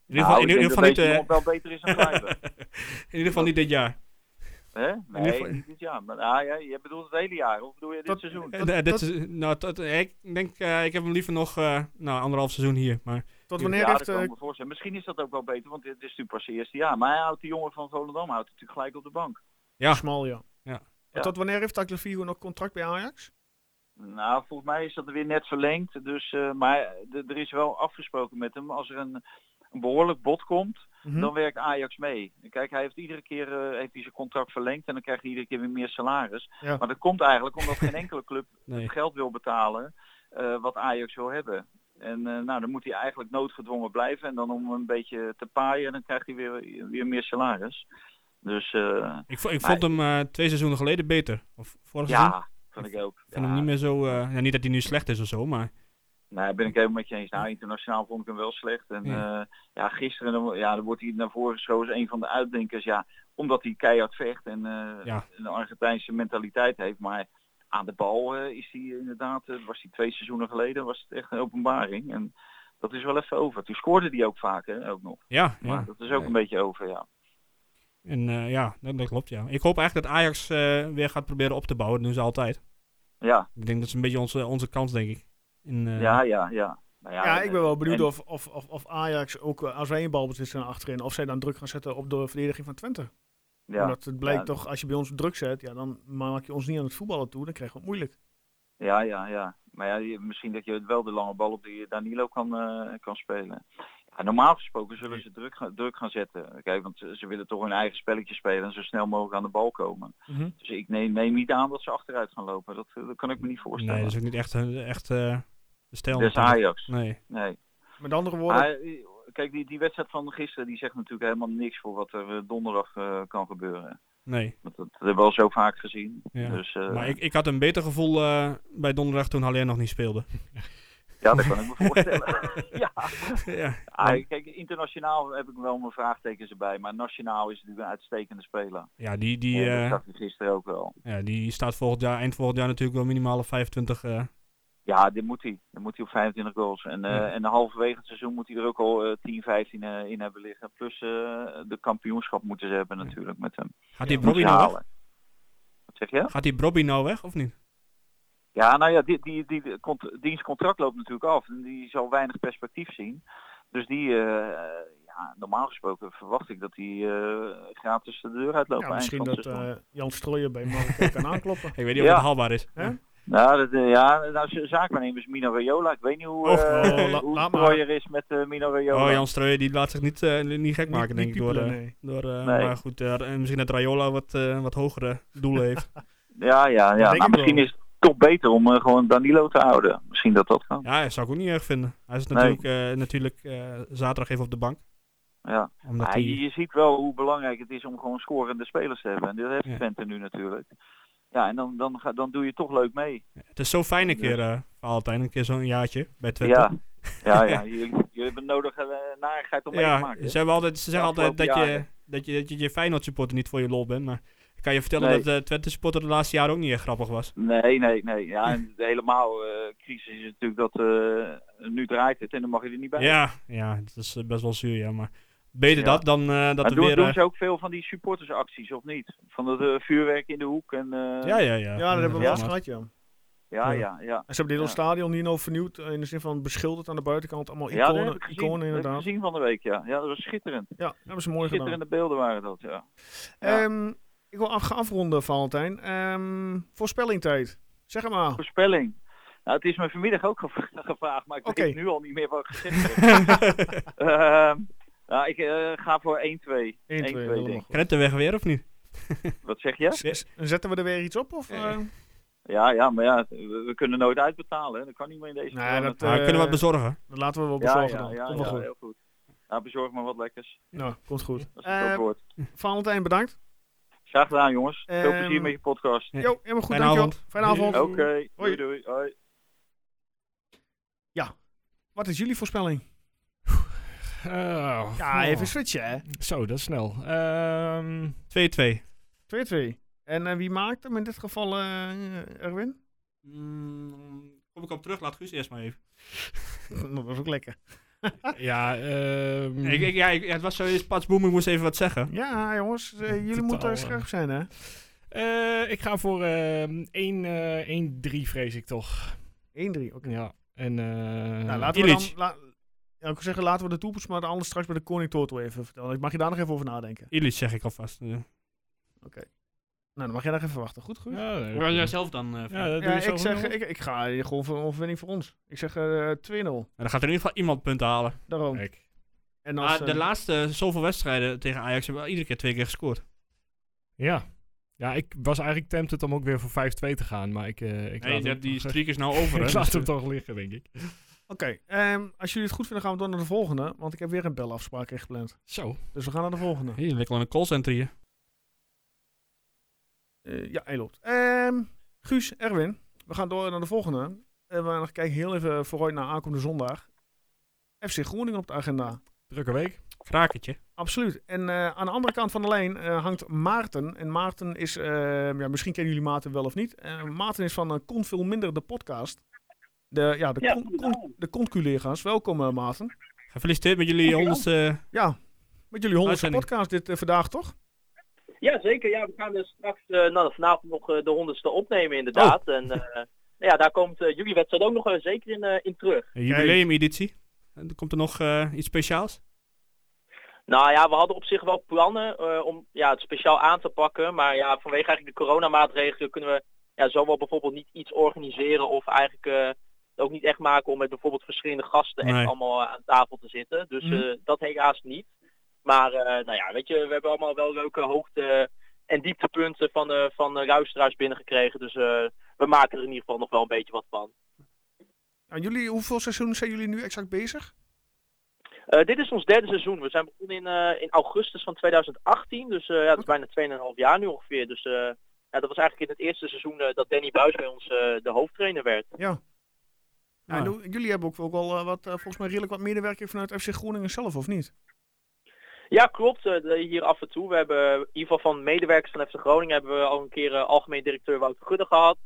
C: In ieder geval,
I: Nou,
C: in,
I: ik
C: ieder
I: denk
C: geval
I: dat
C: niet,
I: deze
C: eh,
I: jongen wel beter is dan Kluivert.
C: in ieder geval niet dit jaar.
I: Hè?
C: ieder
I: Nee,
C: geval-
I: niet dit jaar. Maar, ah, ja, je bedoelt het hele jaar. Of bedoel je dit
B: Dat-
I: seizoen?
C: Eh, eh, dit is, nou, tot- eh, ik denk, eh, ik heb hem liever nog eh, nou, anderhalf seizoen hier. Maar
B: Tot wanneer
I: ja, dat
B: heeft...
I: kan ik
B: eh,
I: me voorstellen. Misschien is dat ook wel beter, want het is natuurlijk pas het eerste jaar. Maar hij houdt die jongen van Volendam houdt natuurlijk gelijk op de bank.
C: Ja.
B: Smal, ja.
C: Ja.
B: Maar Tot wanneer heeft Tagliafico nog contract bij Ajax?
I: Nou, volgens mij is dat weer net verlengd. Dus, eh, maar d- er is wel afgesproken met hem. Als er een, een behoorlijk bod komt,
C: Hm?
B: Mhm.
I: dan werkt Ajax mee. Kijk, hij heeft iedere keer eh, heeft hij zijn contract verlengd en dan krijgt hij iedere keer weer meer salaris.
B: Ja.
I: Maar dat komt eigenlijk omdat geen enkele club
C: nee.
I: geld wil betalen eh, wat Ajax wil hebben. En eh, nou, dan moet hij eigenlijk noodgedwongen blijven. En dan om een beetje te paaien, dan krijgt hij weer, weer meer salaris. Dus eh,
C: Ik, vo- ik
I: Maar-
C: vond hem eh, twee seizoenen geleden beter. Of vorig seizoen.
I: ja, vind ik ook.
C: Ik vind
I: Ja.
C: hem niet meer zo... eh, ja, niet dat hij nu slecht is of zo, maar...
I: Nee, ben ik helemaal met je eens. Nou, internationaal vond ik hem wel slecht. En
C: Ja.
I: ja, ja gisteren dan, ja, dan wordt hij naar voren geschoven als een van de uitdenkers. Ja, omdat hij keihard vecht en eh,
C: Ja.
I: een Argentijnse mentaliteit heeft. Maar aan de bal eh, is hij inderdaad, eh, was hij twee seizoenen geleden, was het echt een openbaring. En dat is wel even over. Toen scoorde hij ook vaak hè, ook nog.
C: Ja,
I: Maar
C: ja.
I: dat is ook een beetje over, ja.
C: En eh, ja, dat, dat klopt, ja. Ik hoop eigenlijk dat Ajax eh, weer gaat proberen op te bouwen. Dat doen ze altijd.
I: Ja,
C: Ik denk dat is een beetje onze, onze kans, denk ik. In, eh,
I: ja, ja, ja. Nou
B: Ja, ik ben wel benieuwd
I: en-
B: of, of, of, of Ajax ook, eh, als wij een balbezit zijn achterin, of zij dan druk gaan zetten op de verdediging van Twente.
I: ja.
B: Omdat het blijkt
I: Ja.
B: toch, als je bij ons druk zet, ja, dan maak je ons niet aan het voetballen toe. Dan krijgen we het moeilijk.
I: Ja, ja, ja. Maar ja, je- misschien dat je wel de lange bal op die Danilo kan, eh, kan spelen. Ja, normaal gesproken zullen ze druk, gaan- druk gaan zetten. Kijk, want ze ze willen toch hun eigen spelletje spelen en zo snel mogelijk aan de bal komen.
C: Mhm.
I: Dus ik neem, neem niet aan dat ze achteruit gaan lopen. Dat, eh, dat kan ik me niet voorstellen.
C: Nee, dat is ook niet echt, eh, echt eh, de stijl.
I: Des
C: natuurlijk.
I: Dus Ajax.
C: Nee.
I: Nee.
B: Met andere woorden,
I: Maar, eh, kijk, die, die wedstrijd van gisteren die zegt natuurlijk helemaal niks voor wat er eh, donderdag eh, kan gebeuren.
C: Nee.
I: Want dat, hebben we al zo vaak gezien.
C: Ja.
I: Dus, eh,
C: Maar ik, ik had een beter gevoel eh, bij donderdag toen Haller nog niet speelde.
I: Ja, dat kan ik me voorstellen. ja.
C: ja.
I: Ah, kijk, internationaal heb ik wel mijn vraagtekens erbij, maar nationaal is het natuurlijk een uitstekende speler.
C: Ja, die, die,
I: En
C: eh,
I: dat zag je gisteren ook wel.
C: ja, die staat volgend jaar, eind volgend jaar natuurlijk wel minimaal op 25. eh,
I: Ja, dit moet hij. Dan moet hij op 25 goals. En, eh
C: Ja.
I: en halverwege het seizoen moet hij er ook al eh, 10, 15 eh, in hebben liggen. Plus eh, de kampioenschap moeten ze hebben natuurlijk met hem.
C: gaat die
I: Moet
C: Brobby
I: ze
C: nou weg?
I: halen. Wat zeg je?
C: Gaat die Brobby nou weg of niet?
I: Ja, nou ja, die, die, die, die cont- diens contract loopt natuurlijk af. En die zal weinig perspectief zien. Dus die, eh, ja, normaal gesproken verwacht ik dat die eh, gratis de deur uitloopt.
B: ja,
I: eind
B: misschien
I: van het
B: dat
I: seizoen.
B: eh, Jan Strooijer bij Marokko kan aankloppen.
C: Ik weet niet of
I: Ja.
C: het haalbaar is.
B: Hè?
I: Nou, dat, eh, ja, nou, z- zaakwaarnemer is Mino Raiola. Ik weet niet hoe,
C: Och,
I: eh
B: oh, la-
I: hoe
B: laat
I: het
B: maar.
I: Royer is met eh, Mino Raiola.
C: Oh, Jan Streuer die laat zich niet, eh, niet gek maken, denk ik. Door,
B: piepelen,
C: eh,
B: nee.
C: door, eh,
I: Nee.
C: Maar goed, eh, en misschien dat Rayola wat, eh, wat hogere doelen heeft.
I: Ja, ja, ja.
B: denk
I: Nou,
B: ik
I: misschien
B: wel.
I: is het toch beter om eh, gewoon Danilo te houden. Misschien dat dat kan.
C: ja, dat zou ik ook niet erg vinden. Hij is
I: Nee.
C: natuurlijk, eh, natuurlijk eh, zaterdag even op de bank.
I: Ja.
C: Omdat
I: Maar
C: hij...
I: je, je ziet wel hoe belangrijk het is om gewoon scorende spelers te hebben. En dat heeft
C: Ja.
I: Twente nu natuurlijk. Ja, en dan, dan, ga, dan doe je toch leuk mee.
C: Het is zo fijn een keer, eh voor altijd, een keer zo'n jaartje bij Twente.
I: Ja, ja, ja. Jullie, jullie hebben nodig eh, narigheid om mee te
C: Ja,
I: maken. hè?
C: ze, hebben altijd, ze zeggen
I: De
C: altijd dat
I: afgelopen
C: je,
I: jaren.
C: dat je dat je je Feyenoord supporter niet voor je lol bent, maar ik kan je vertellen
I: Nee.
C: dat de Twente supporter de laatste jaren ook niet echt grappig was.
I: Nee, nee, nee. Ja, en de helemaal eh, crisis is natuurlijk dat eh, nu draait het en dan mag je er niet bij.
C: Ja, ja, dat is eh, best wel zuur, ja, maar beter
I: Ja.
C: dat dan eh, dat
I: Maar
C: er
I: doen,
C: weer...
I: doen
C: eh,
I: ze ook veel van die supportersacties, of niet? Van het eh, vuurwerk in de hoek en... eh,
C: ja, ja, ja.
B: Ja, dat hebben we wel eens
C: Ja.
B: gehad, ja.
I: ja, ja, ja.
B: En ze hebben dit hele
I: Ja.
B: stadion hier nou vernieuwd, eh, in de zin van beschilderd aan de buitenkant. Allemaal
I: Ja, dat
B: Oh, iconen,
I: heb ik gezien.
B: iconen
I: Dat heb ik
B: inderdaad.
I: gezien van de week, ja. Ja, dat was schitterend.
B: Ja, dat hebben ze mooi gedaan.
I: Schitterende beelden waren dat, ja. Ja.
B: Ehm, ik wil af, gaan afronden, Valentijn. Ehm voorspellingtijd. Zeg het maar.
I: Voorspelling.
H: Nou, het is me vanmiddag ook gevra- gevraagd, maar ik
B: Oké.
H: weet nu al niet meer wat ik gezegd heb. Ehm, nou, ik eh, ga voor 1-2. 1-2
B: helemaal
H: denk ik.
B: goed.
C: Krentenweg weer of niet?
H: Wat zeg je?
B: Z- Zetten we er weer iets op? Of,
G: Ja.
B: eh?
H: Ja, ja, maar ja, we, we kunnen nooit uitbetalen. Hè. Dat kan niet meer in deze
B: Nee,
H: corona-
B: dat,
C: Ah,
B: eh,
C: kunnen we het bezorgen?
B: dat laten we wel
H: ja,
B: bezorgen
H: ja,
B: dan.
H: ja,
B: Komt wel
H: ja,
B: goed.
H: heel goed. Nou, bezorg maar wat lekkers.
B: Nou, komt goed.
H: Als het
B: Eh,
H: dat wordt.
B: Valentijn, bedankt.
H: Graag gedaan, jongens. Veel
B: ehm,
H: plezier met je podcast.
C: Ja.
B: Jo, helemaal goed.
C: Fijne
B: dankjewel.
C: avond.
B: Fijne avond.
H: Oké, doei
B: Hoi.
H: doei. Hoi.
B: Wat is jullie voorspelling?
D: Eh,
B: Ja,
D: oh.
B: even switchen, hè. 2-2.
D: Zo, dat is snel. Ehm,
C: 2-2.
B: En eh, wie maakt hem in dit geval, eh Erwin?
C: Mm, kom ik op terug, laat Guus eerst maar even.
B: Dat was ook lekker. Ah.
D: ja, ehm,
C: Ik, ik, ja, ik, ja, het was zoiets patsboem, ik moest even wat zeggen.
B: Ja, jongens, eh, jullie moeten
D: eh,
B: scherp zijn, hè?
D: eh, ik ga voor ehm 1-3, vrees ik toch.
B: 1-3, oké.
D: Ja. En, eh,
B: Nou, laten we dan...
C: Illich.
B: la- ja, ik wil zeggen, laten we de toekomst, maar anders straks bij de Koning Toto even vertellen. Ik mag je daar nog even over nadenken.
C: Illich zeg ik alvast. Ja,
B: Nou, dan mag jij nog even wachten. Goed, goed.
D: Ja, nee,
C: jij zelf dan. eh,
D: ja,
C: Frank?
D: dat doe
B: Ja,
D: je zo
B: ik, zeg,
D: genoeg.
B: ik, ik ga hier gewoon voor een overwinning voor ons. Ik zeg eh 2-0.
C: En dan gaat er in ieder geval iemand punten halen.
B: Daarom.
D: Kijk.
B: En
D: Ah,
B: als,
C: Maar de
B: eh,
C: laatste zoveel wedstrijden tegen Ajax hebben we iedere keer twee keer gescoord.
D: Ja. Ja, ik was eigenlijk tempted om ook weer voor 5-2 te gaan, maar ik, eh, ik, laat, hem,
C: is nou over.
D: ik laat hem toch liggen, denk ik.
B: Oké, ehm, als jullie het goed vinden gaan we door naar de volgende. Want ik heb weer een belafspraak ingepland.
D: Zo.
B: Dus we gaan naar de volgende.
C: Hier, lekker aan een callcenter hier.
B: Eh, ja, hij loopt. Ehm, Guus, Erwin, we gaan door naar de volgende. En we gaan kijken heel even vooruit naar aankomende zondag. FC Groningen op de agenda.
D: Drukke week.
C: Krakertje.
B: Absoluut. En eh, aan de andere kant van de lijn eh, hangt Maarten. En Maarten is, ehm, ja, misschien kennen jullie Maarten wel of niet. Eh, Maarten is van eh Kon Veel Minder, de podcast. De, ja, de,
H: Ja,
B: con, con, de collega's Welkom, eh, Maarten.
C: Gefeliciteerd met jullie eh, honderdste.
B: Ja, met jullie honderdste
C: Uitzending.
B: podcast dit eh, vandaag, toch?
I: Ja, zeker. Ja, we gaan dus straks eh, nou, vanavond nog eh, de honderdste opnemen inderdaad.
B: Oh.
I: En eh, nou ja, daar komt eh, jullie wedstrijd ook nog eh, zeker in, eh, in terug.
C: eh, jubileumeditie. En Komt er nog eh, iets speciaals?
I: Nou ja, we hadden op zich wel plannen eh, om ja, het speciaal aan te pakken. Maar ja, vanwege eigenlijk de coronamaatregelen kunnen we ja, zowel bijvoorbeeld niet iets organiseren of eigenlijk eh, ook niet echt maken om met bijvoorbeeld verschillende gasten echt
C: Nee.
I: allemaal eh, aan tafel te zitten. Dus
B: Mhm.
I: eh, dat helaas niet. Maar eh, nou ja, weet je, we hebben allemaal wel leuke hoogte- en dieptepunten van, eh van de luisteraars binnengekregen. Dus eh, we maken er in ieder geval nog wel een beetje wat van.
B: Nou, jullie, hoeveel seizoenen zijn jullie nu exact bezig?
I: Eh, dit is ons derde seizoen. We zijn begonnen in, eh, in augustus van 2018. Dus eh, ja, dat is bijna 2,5 jaar nu ongeveer. Dus eh, ja, dat was eigenlijk in het eerste seizoen eh, dat Danny Buis bij ons eh, de hoofdtrainer werd.
B: Nou, en hoe- jullie hebben ook, ook wel eh, wat, eh, volgens mij redelijk wat medewerking vanuit FC Groningen zelf, of niet?
I: Ja, klopt. eh, de- hier af en toe. We hebben eh, in ieder geval van medewerkers van FC Groningen hebben we al een keer eh, algemeen directeur Wouter Gudde gehad.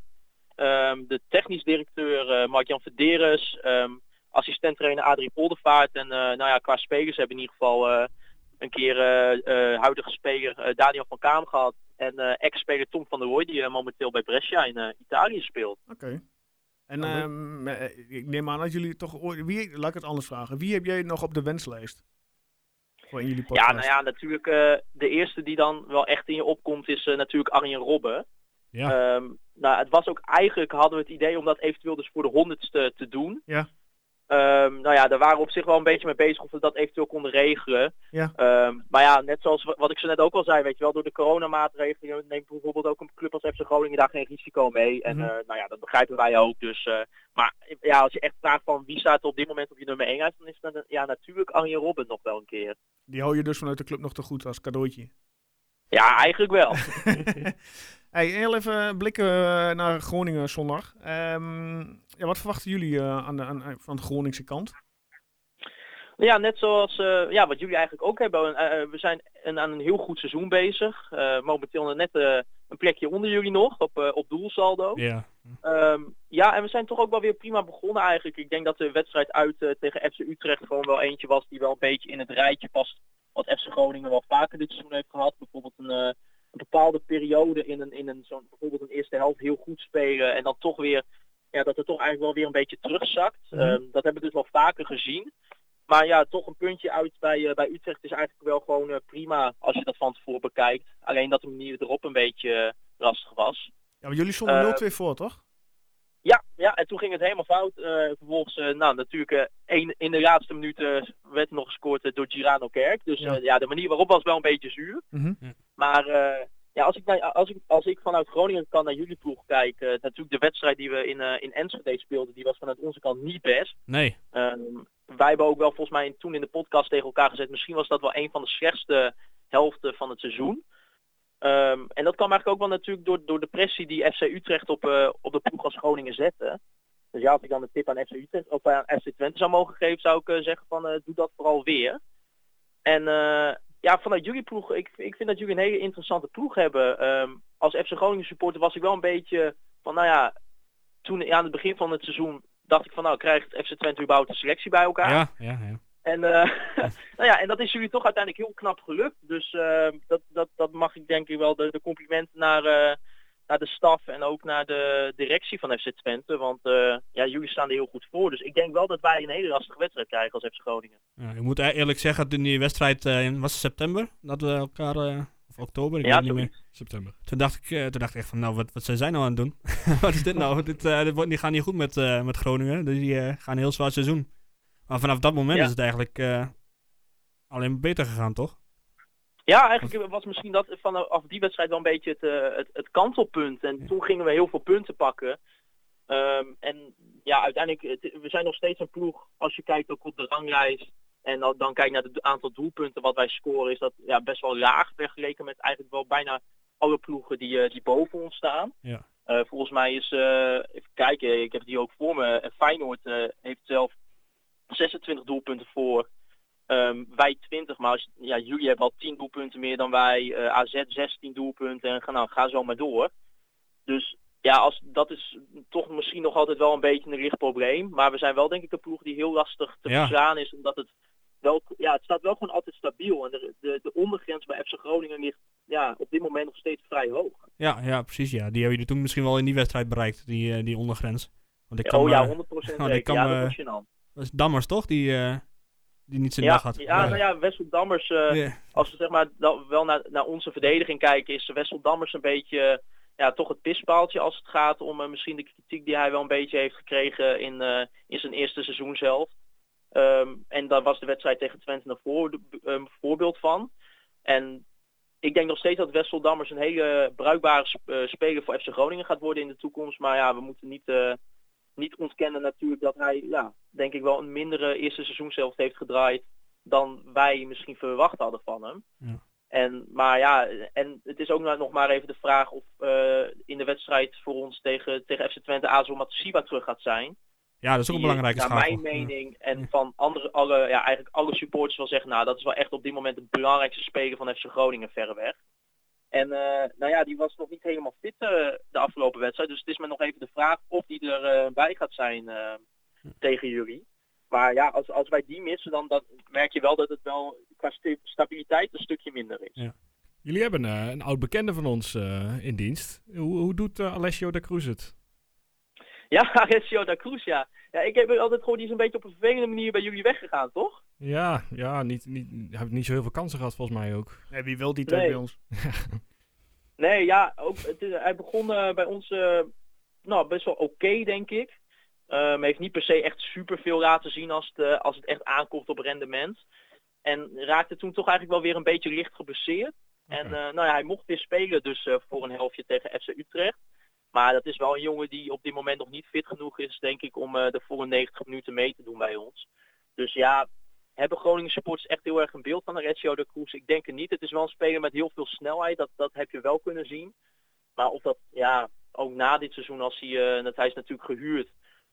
I: Ehm, de technisch directeur eh, Mark-Jan Verderes. ehm assistent-trainer Adrie Poldervaart. En eh, nou ja, qua spelers hebben we in ieder geval eh, een keer eh, eh, huidige speler eh, Daniel van Kaam gehad. En eh, ex-speler Tom van der Rooij die eh, momenteel bij Brescia in eh, Italië speelt.
B: Oké. En ehm, eh, ik neem aan dat jullie toch ooit... Wie, laat ik het anders vragen. Wie heb jij nog op de wenslijst? Voor in jullie podcast?
I: Ja, nou ja, natuurlijk eh, de eerste die dan wel echt in je opkomt is eh, natuurlijk Arjen Robben.
D: Ja.
I: Ehm, nou, het was ook eigenlijk, hadden we het idee om dat eventueel dus voor de honderdste te doen.
B: Ja.
I: Ehm, nou ja, daar waren we op zich wel een beetje mee bezig of we dat eventueel konden regelen.
B: Ja.
I: Ehm, maar ja, net zoals wa- wat ik zo net ook al zei, weet je wel, door de coronamaatregelen neemt bijvoorbeeld ook een club als FC Groningen daar geen risico mee. En
B: Mhm.
I: eh, nou ja, dat begrijpen wij ook. Dus, eh, maar ja, als je echt vraagt van wie staat er op dit moment op je nummer 1 uit, dan is het ja, natuurlijk Arjen Robben nog wel een keer.
B: Die hou je dus vanuit de club nog te goed als cadeautje.
I: Ja, eigenlijk wel.
B: hey, heel even blikken eh, naar Groningen zondag. Ehm, ja, wat verwachten jullie eh, aan de, aan, aan- van de Groningse kant?
I: ja, net zoals eh, ja, wat jullie eigenlijk ook hebben. Eh, eh, we zijn een, aan een heel goed seizoen bezig. Eh, momenteel net eh, een plekje onder jullie nog op, eh, op doelsaldo.
C: Ja.
I: Ehm, ja, en we zijn toch ook wel weer prima begonnen eigenlijk. Ik denk dat de wedstrijd uit eh, tegen FC Utrecht gewoon wel eentje was die wel een beetje in het rijtje past. Wat FC Groningen wel vaker dit seizoen heeft gehad. Bijvoorbeeld een, eh, een bepaalde periode in een, in een zo'n bijvoorbeeld een eerste helft heel goed spelen. En dan toch weer, ja, dat het toch eigenlijk wel weer een beetje terugzakt. Ehm, dat hebben we dus wel vaker gezien. Maar ja, toch een puntje uit bij, eh, bij Utrecht is eigenlijk wel gewoon eh, prima als je dat van tevoren bekijkt. Alleen dat de manier erop een beetje eh, lastig was.
B: Ja, want jullie stonden
I: Eh,
B: 0-2 voor, toch?
I: Ja, ja, en toen ging het helemaal fout. vervolgens, nou natuurlijk, één, in de laatste minuten werd nog gescoord eh, door Girano Kerk. Dus ja. ja. de manier waarop was wel een beetje zuur. Mm -hmm. ja. Maar ja, als ik, naar, als, ik, als ik vanuit Groningen kan naar jullie ploeg kijk, uh, natuurlijk de wedstrijd die we in, uh, in Enschede speelden, die was vanuit onze kant niet best.
C: Nee.
I: Um, wij hebben ook wel volgens mij toen in de podcast tegen elkaar gezet, misschien was dat wel een van de slechtste helften van het seizoen. Um, en dat kwam eigenlijk ook wel natuurlijk door, door de pressie die FC Utrecht op, uh, op de ploeg als Groningen zette. Dus ja, als ik dan de tip aan FC Utrecht of aan FC Twente zou mogen geven, zou ik eh, zeggen van doe dat vooral weer. En eh, ja, vanuit jullie ploeg, ik, ik vind dat jullie een hele interessante ploeg hebben. Um, als FC Groningen supporter was ik wel een beetje van, nou ja, toen ja, aan het begin van het seizoen dacht ik van, nou krijgt FC Twente überhaupt een selectie bij elkaar?
C: Ja, ja, ja.
I: En, uh, nou ja, en dat is jullie toch uiteindelijk heel knap gelukt. Dus uh, dat, dat, dat mag ik denk ik wel de, de complimenten naar, uh, naar de staf en ook naar de directie van FC Twente. Want eh, ja, jullie staan er heel goed voor. Dus ik denk wel dat wij een hele lastige wedstrijd krijgen als FC Groningen.
C: Ja, ik moet e- eerlijk zeggen, in die wedstrijd uh, in, was het september dat we elkaar, uh, of oktober, ik ja, weet niet meer.
D: September.
C: Toen dacht ik, uh, toen dacht ik echt van, nou, wat, wat zijn zij nou aan het doen? wat is dit nou? dit, dit wordt, die gaan niet goed met, met Groningen. Dus die gaan een heel zwaar seizoen. Maar vanaf dat moment ja. is het eigenlijk eh, alleen beter gegaan, toch?
I: Ja, eigenlijk was misschien dat vanaf die wedstrijd wel een beetje het, het, het kantelpunt. En ja. toen gingen we heel veel punten pakken. Um, en ja, uiteindelijk, we zijn nog steeds een ploeg, als je kijkt ook op de ranglijst, en dan, dan kijk naar het aantal doelpunten wat wij scoren, is dat ja, best wel laag vergeleken met eigenlijk wel bijna alle ploegen die, uh, die boven ons staan.
C: Ja.
I: Uh, volgens mij is, uh, even kijken, ik heb die ook voor me, Eh, Feyenoord heeft zelf 26 doelpunten voor, um, wij 20, maar als, ja, jullie hebben al 10 doelpunten meer dan wij, Eh, AZ 16 doelpunten en ga, nou, ga zo maar door. Dus ja, als, dat is toch misschien nog altijd wel een beetje een licht probleem. Maar we zijn wel denk ik een ploeg die heel lastig te verslaan ja. is. Omdat het wel, ja, het staat wel gewoon altijd stabiel. En de, de, de, ondergrens bij FC Groningen ligt ja, op dit moment nog steeds vrij hoog.
C: Ja, ja precies. Ja. Die hebben jullie toen misschien wel in die wedstrijd bereikt, die, uh, die ondergrens.
I: Want ik kan, oh ja, 100% uh, nou,
C: die
I: kan, ja, dat,
C: uh, dat was Dammers toch, die, eh, die niet zijn
I: ja,
C: dag had?
I: Ja, nou ja, Wessel Dammers, yeah. als we zeg maar wel naar, naar onze verdediging kijken, is Wessel Dammers een beetje ja, toch het pispaaltje als het gaat om uh, misschien de kritiek die hij wel een beetje heeft gekregen in, uh, in zijn eerste seizoen zelf. Um, en daar was de wedstrijd tegen Twente een voor, um, voorbeeld van. En ik denk nog steeds dat Wessel Dammers een hele bruikbare sp uh, speler voor FC Groningen gaat worden in de toekomst. Maar ja, we moeten niet, eh, niet ontkennen natuurlijk dat hij, ja, denk ik wel een mindere eerste seizoen zelf heeft gedraaid dan wij misschien verwacht hadden van hem.
C: Ja.
I: En, maar ja, en het is ook nou nog maar even de vraag of uh, in de wedstrijd voor ons tegen, tegen FC Twente Azul Matsushima terug gaat zijn.
C: Ja, dat is ook een belangrijke
I: vraag.
C: Naar
I: mijn mening en ja. van andere, alle, ja, eigenlijk alle supporters wel zeggen, nou dat is wel echt op dit moment de belangrijkste speler van FC Groningen verreweg. En uh, nou ja, die was nog niet helemaal fit uh, de afgelopen wedstrijd. Dus het is me nog even de vraag of die erbij bij gaat zijn ja. tegen jullie. Maar ja, als, als wij die missen, dan, dan merk je wel dat het wel qua st stabiliteit een stukje minder is. Ja.
D: Jullie hebben uh, een oud bekende van ons uh, in dienst. Hoe, hoe doet uh, Alessio da Cruz het?
I: Ja, Alessio da Cruz, ja. ja. Ik heb altijd gewoon die is een beetje op een vervelende manier bij jullie weggegaan, toch?
D: Ja, ja, niet, niet, heb niet zo heel veel kansen gehad volgens mij ook.
B: Nee, wie wil die tijd nee. bij ons?
I: nee, ja, ook, het is, hij begon eh, bij ons nou, best wel oké, okay, denk ik. Um, heeft niet per se echt superveel laten zien als het, uh, als het echt aankomt op rendement. En raakte toen toch eigenlijk wel weer een beetje licht geblesseerd. Okay. En uh, nou ja, hij mocht weer spelen dus uh, voor een helftje tegen FC Utrecht. Maar dat is wel een jongen die op dit moment nog niet fit genoeg is, denk ik, om eh, de volle 90 minuten mee te doen bij ons. Dus ja, hebben Groningen supporters echt heel erg een beeld van de Reggio de Cruz? Ik denk het niet. Het is wel een speler met heel veel snelheid, dat, dat heb je wel kunnen zien. Maar of dat, ja, ook na dit seizoen, als hij, eh, dat hij is natuurlijk gehuurd,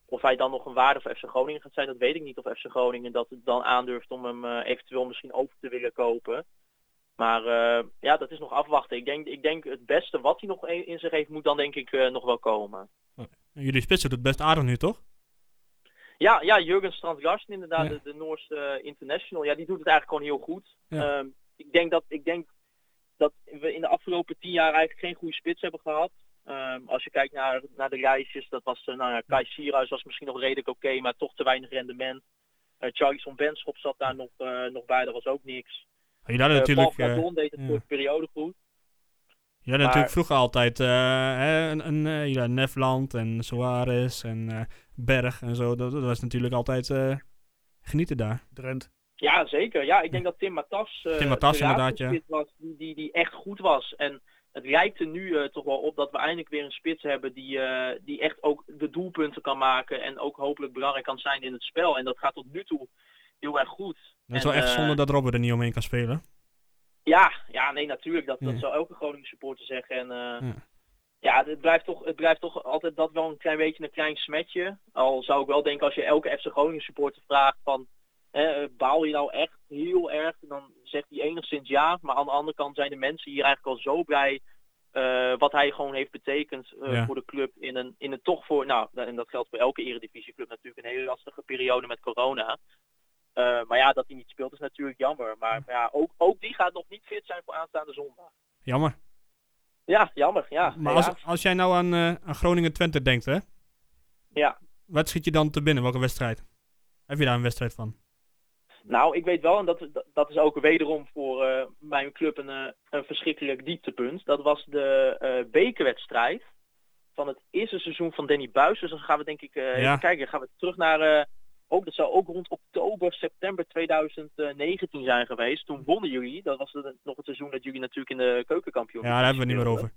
I: of hij dan nog een waarde voor FC Groningen gaat zijn, dat weet ik niet. Of FC Groningen dat het dan aandurft om hem uh, eventueel misschien over te willen kopen. Maar uh, ja, dat is nog afwachten. Ik denk, ik denk het beste wat hij nog e-, in, in zich heeft, moet dan denk ik uh, nog wel komen.
C: Jullie spitsen doet best aardig nu, toch?
I: Ja, ja Jurgen Strandgarsten inderdaad, ja. de, de Noorse eh, international. Ja, die doet het eigenlijk gewoon heel goed. Ja. Um, ik, denk dat, ik denk dat we in de afgelopen tien jaar eigenlijk geen goede spits hebben gehad. Um, als je kijkt naar, naar de lijstjes, dat was uh, nou, ja, Kai Sierhuis was misschien nog redelijk oké, okay, maar toch te weinig rendement. Uh, Charlison Benschop zat daar nog, uh, nog bij, dat was ook niks.
C: Ja, dat natuurlijk, eh,
I: Paul Cardon deed het voor de periode goed.
C: Jullie Ja,
I: Maar-
C: natuurlijk vroeger altijd eh, hè, een, een, eh, ja, Nefland en Soares en eh, Berg en zo. Dat, dat was natuurlijk altijd eh, genieten daar.
B: Drent.
I: Ja, zeker. Ja, ik denk dat Tim Matas eh,
C: Tim Matas
I: de laatste
C: inderdaad, ja.
I: spits was die, die, die echt goed was. En het lijkt er nu eh, toch wel op dat we eindelijk weer een spits hebben die, eh, die echt ook de doelpunten kan maken. En ook hopelijk belangrijk kan zijn in het spel. En dat gaat tot nu toe heel erg goed.
C: Dat is
I: En,
C: wel echt
I: eh,
C: zonde dat Robert er niet omheen kan spelen.
I: Ja, ja, nee, natuurlijk. Dat,
C: Ja.
I: dat zou elke Groningen supporter zeggen. En, eh,
C: Ja.
I: ja. het blijft, toch, het blijft toch altijd dat wel een klein beetje een klein smetje. Al zou ik wel denken als je elke FC Groningen supporter vraagt van... Hè, eh, baal je nou echt heel erg? Dan zegt hij enigszins ja. Maar aan de andere kant zijn de mensen hier eigenlijk al zo blij... eh, wat hij gewoon heeft betekend eh,
C: Ja.
I: voor de club in een, in een toch voor... Nou, en dat geldt voor elke eredivisieclub natuurlijk. Een hele lastige periode met corona. Eh, maar ja, dat hij niet speelt is natuurlijk jammer. Maar ja, ook, ook die gaat nog niet fit zijn voor aanstaande zondag.
C: Jammer.
I: Ja, jammer. Ja,
C: Maar
I: ja.
C: als, als jij nou aan, eh, aan Groningen-Twente denkt, hè?
I: Ja.
C: Wat schiet je dan te binnen? Welke wedstrijd? Heb je daar een wedstrijd van?
I: Nou, ik weet wel, en dat, dat- dat is ook wederom voor eh, mijn club een, eh, een verschrikkelijk dieptepunt. Dat was de eh, bekerwedstrijd van het eerste seizoen van Danny Buis. Dus dan gaan we denk ik eh,
C: Ja.
I: even kijken. Dan gaan we terug naar, eh, ook, dat zou ook rond oktober, september 2019 zijn geweest. Toen wonnen jullie. Dat was het- nog het seizoen dat jullie natuurlijk in de keukenkampioen
C: Ja, daar hebben we het niet meer over.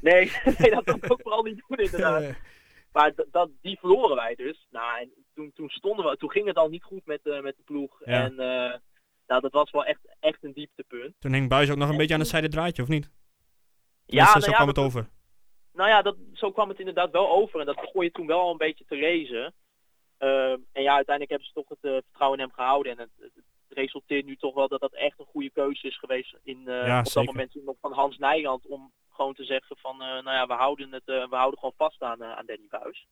I: Nee, nee dat kan ik ook vooral niet doen inderdaad. Maar d- dat, die verloren wij dus. Nou, en toen, toen stonden we, toen ging het al niet goed met, eh, met de ploeg.
C: Ja.
I: En eh, nou, dat was wel echt, echt een dieptepunt.
C: Toen hing Buis ook nog een beetje aan het zijde draadje, of niet?
I: Ja,
C: Tenminste,
I: nou
C: zo
I: ja,
C: kwam
I: dat-
C: het over.
I: nou ja, dat, zo kwam het inderdaad wel over. En dat begon je toen wel al een beetje te lezen. Ehm, en ja, uiteindelijk hebben ze toch het eh, vertrouwen in hem gehouden. En het, het resulteert nu toch wel dat dat echt een goede keuze is geweest in, eh,
C: Ja,
I: op dat
C: zeker.
I: moment toen nog van Hans Nijland. Om gewoon te zeggen van, eh, nou ja, we houden, het, eh, we houden gewoon vast aan, eh, aan Danny Buis.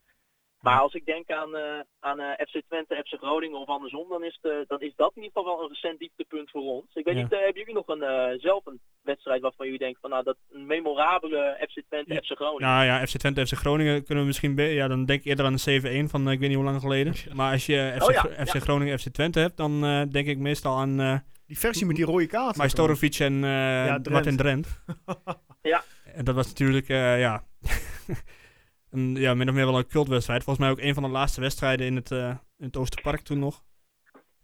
I: Maar
C: Ja.
I: als ik denk aan, eh, aan eh, FC Twente, FC Groningen of andersom, dan is, de, dan is dat in ieder geval wel een recent dieptepunt voor ons. Ik weet
C: Ja.
I: niet, eh, hebben jullie nog een, eh, zelf een wedstrijd waarvan jullie denken van nou, dat een memorabele FC Twente,
C: Ja.
I: FC Groningen?
C: Nou ja, FC Twente, FC Groningen kunnen we misschien... be- Ja, dan denk ik eerder aan een 7-1 van eh, ik weet niet hoe lang geleden. Maar als je FC,
I: Oh ja,
C: FC
I: ja.
C: Groningen, FC Twente hebt, dan eh, denk ik meestal aan eh
B: Die versie met die rode kaart.
C: Majstorovic en eh,
B: Drent.
C: Martin Drent.
I: Ja.
C: En dat was natuurlijk, eh, ja... een, ja, min of meer wel een cultwedstrijd. Volgens mij ook een van de laatste wedstrijden in het, eh, in het Oosterpark toen nog.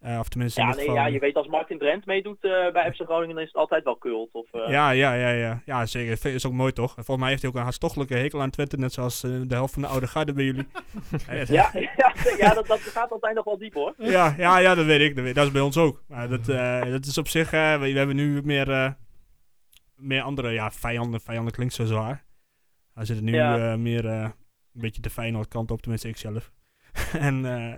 C: Eh, of tenminste
I: Ja,
C: in dit
I: nee,
C: geval...
I: ja, je weet als Martin Drent meedoet eh, bij FC Groningen, dan is het altijd wel kult. Of, eh,
C: Ja, ja, ja, ja. Ja, zeker. Vind- Is ook mooi, toch? Volgens mij heeft hij ook een hartstochtelijke hekel aan Twente, net zoals eh, de helft van de oude garde bij jullie.
I: ja, ja, ja, dat, dat gaat altijd nog wel diep hoor.
C: ja, ja, ja, dat weet ik. Dat, weet- dat is bij ons ook. Maar dat, eh, dat is op zich... eh, we, we hebben nu meer, eh, meer andere... Ja, vijanden. Vijanden klinkt zo zwaar. Hij zit nu
I: Ja.
C: eh, meer eh, een beetje de Feyenoord kant op. Tenminste, ik zelf. en eh,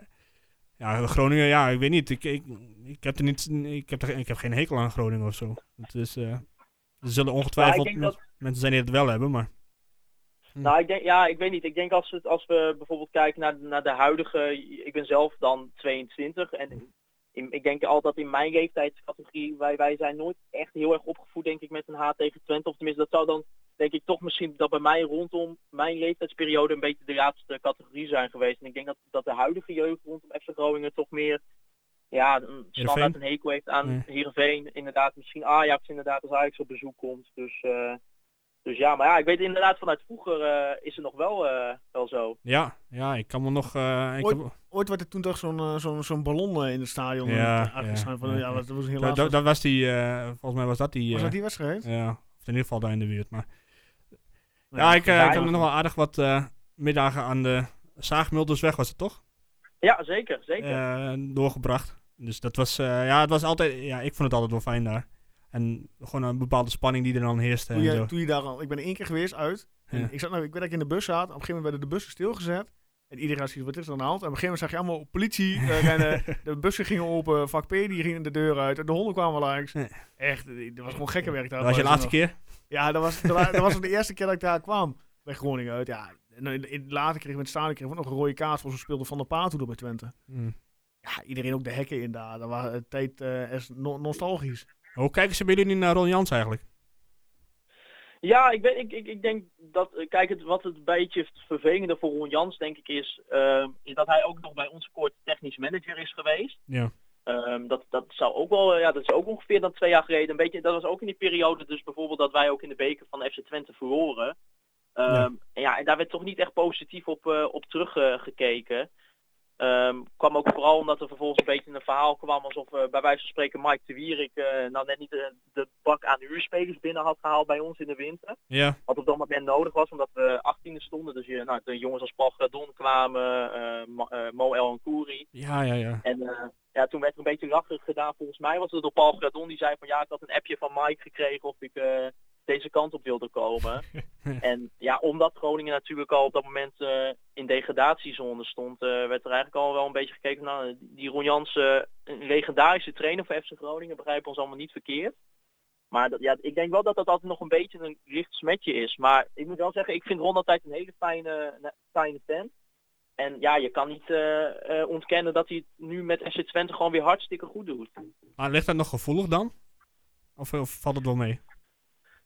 C: ja, Groningen, ja, ik weet niet. Ik, ik, ik heb er niet... Ik heb, er, ik heb geen hekel aan Groningen of zo. Het is... eh, er zullen ongetwijfeld
I: denk
C: men-
I: dat-
C: mensen zijn die het wel hebben, maar...
I: Nou, ik denk, ja, ik weet niet. Ik denk als we, het- als we bijvoorbeeld kijken naar, naar de huidige, ik ben zelf dan 22
C: Mhm.
I: en in- ik denk altijd in mijn leeftijdscategorie, wij, wij zijn nooit echt heel erg opgevoed denk ik met een H tegen Twente. Of tenminste, dat zou dan denk ik toch misschien dat bij mij rondom mijn leeftijdsperiode een beetje de laatste categorie zijn geweest. En ik denk dat, dat de huidige jeugd rondom FC Groningen toch meer ja, een standaard een hekel heeft aan
C: Nee.
I: Heerenveen. Inderdaad, misschien Ajax inderdaad als Ajax op bezoek komt. Dus, eh, dus ja, maar ja, ik weet inderdaad vanuit vroeger eh, is het nog wel, eh, wel zo.
C: Ja, ja, ik kan me nog. eh, ik
B: Ooit-
C: heb-
B: Ooit werd er toen toch zo'n eh, zo'n zo'n ballon eh, in het stadion.
C: Ja,
B: eh, uitgeschreven van,
C: ja,
B: ja,
C: ja.
B: dat was heel
C: da-
B: laat.
C: da- dat was die. eh, volgens mij was dat die.
B: Was
C: eh,
B: dat die wedstrijd?
C: Ja, of in ieder geval daar in de buurt. Maar.
B: Nee,
C: ja, ik, eh,
I: ja,
C: ik heb
I: ja.
C: me nog wel aardig wat eh, middagen aan de Zaagmuldersweg, was het toch?
I: Ja, zeker, zeker.
C: Eh, doorgebracht. Dus dat was. eh, ja, het was altijd. Ja, ik vond het altijd wel fijn daar. En gewoon een bepaalde spanning die er dan heerste.
B: Toen
C: En zo.
B: je, toen je daar al, ik ben er één keer geweest uit. En
C: Ja.
B: ik, zat, nou, ik weet dat ik in de bus zat. Op een gegeven moment werden de bussen stilgezet. En iedereen had zoiets, wat is er aan de hand? En op een gegeven moment zag je allemaal politie eh, rennen. De bussen gingen open, vak P die gingen de deur uit. En de honden kwamen langs.
C: Ja.
B: Echt, eh, dat was gewoon gekke werk daar.
C: Dat was je
B: Toen nog-
C: laatste keer?
B: Ja, dat was, dat, wa- dat was ook de eerste keer dat ik daar kwam. Bij Groningen uit, ja. En in- in- later kreeg ik met Stadion kreeg ik ook nog een rode kaart voor ze speelde Van der Paat toen bij Twente.
C: Hm.
B: Ja, iedereen ook de hekken in daar. Dat was een tijd eh, is no- nostalgisch.
C: Hoe kijken ze bij jullie naar Ron Jans eigenlijk?
I: Ja, ik, ben, ik, ik, ik denk dat, eh, kijk, het, wat het een beetje het vervelende ehm, voor Ron Jans denk ik is, eh, is dat hij ook nog bij ons kort technisch manager is geweest.
C: Ja.
I: Ehm, dat, dat zou ook wel, eh, ja, dat is ook ongeveer dan twee jaar geleden. Een beetje, dat was ook in die periode dus bijvoorbeeld dat wij ook in de beker van FC Twente verloren. Ehm,
C: Ja.
I: En ja, en daar werd toch niet echt positief op, eh, op teruggekeken. kwam ook vooral omdat er vervolgens een beetje een verhaal kwam alsof eh, bij wijze van spreken Mike de Wierik eh, nou net niet eh, de bak aan huurspelers binnen had gehaald bij ons in de winter
C: Ja,
I: wat op dat moment nodig was, omdat we 18e stonden. Dus je, nou, de jongens als Pafradon kwamen, eh Ma- eh, Mo El en Kouri.
C: ja, ja. ja.
I: En eh, ja, toen werd er een beetje lacherig gedaan. Volgens mij was het door Paul Gradon die zei van ja, ik had een appje van Mike gekregen of ik eh, deze kant op wilde komen. en ja, omdat Groningen natuurlijk al op dat moment eh, in degradatiezone stond, eh, werd er eigenlijk al wel een beetje gekeken naar die Ron Jansen, eh, een legendarische trainer van FC Groningen, begrijp ons allemaal niet verkeerd. Maar dat, ja, ik denk wel dat dat altijd nog een beetje een licht smetje is. Maar ik moet wel zeggen, ik vind Ron altijd een hele fijne, eh, fijne fan. En ja, je kan niet eh, eh, ontkennen dat hij het nu met FC Twente gewoon weer hartstikke goed doet.
C: Maar ligt dat nog gevoelig dan? Of, eh, of valt het wel mee?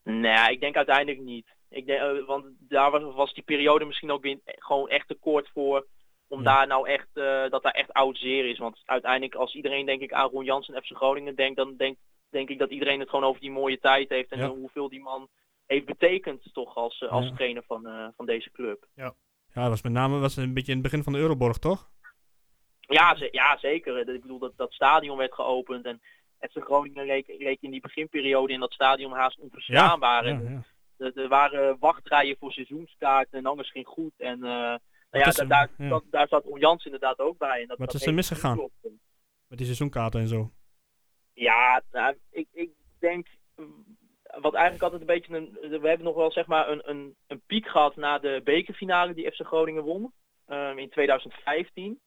I: Nee, ik denk uiteindelijk niet. Ik denk, eh, want daar was, was die periode misschien ook weer gewoon echt te kort voor. Om
C: Ja.
I: daar nou echt, eh, dat daar echt oud zeer is. Want uiteindelijk als iedereen denk ik aan Ron Jansen en FC Groningen denkt, dan denk, denk ik dat iedereen het gewoon over die mooie tijd heeft. En
C: Ja.
I: hoeveel die man heeft betekend toch als, eh, als
C: Ja.
I: trainer van, eh, van deze club.
C: Ja, dat was met name was een beetje in het begin van de Euroborg, toch?
I: Ja, ze- ja zeker. Eh, dat- Ik bedoel, dat, dat stadion werd geopend en FC Groningen leek, leek in die beginperiode in dat stadion haast onverstaanbaar.
C: ja,
I: En
C: ja.
I: Er, er waren wachtrijen voor seizoenskaarten en alles ging goed. En eh,
C: Dat
I: nou ja,
C: is
I: da-
C: hem,
I: daar,
C: ja.
I: dat- daar zat Ron Jans inderdaad ook bij. En dat,
C: Wat
I: dat
C: is er
I: heeft
C: misgegaan?
I: niet klopt.
C: Met die seizoenkaarten en zo.
I: Ja, nou, ik, ik denk mm, wat eigenlijk altijd een beetje een. We hebben nog wel zeg maar een, een, een piek gehad na de bekerfinale die FC Groningen won ehm, in 2015.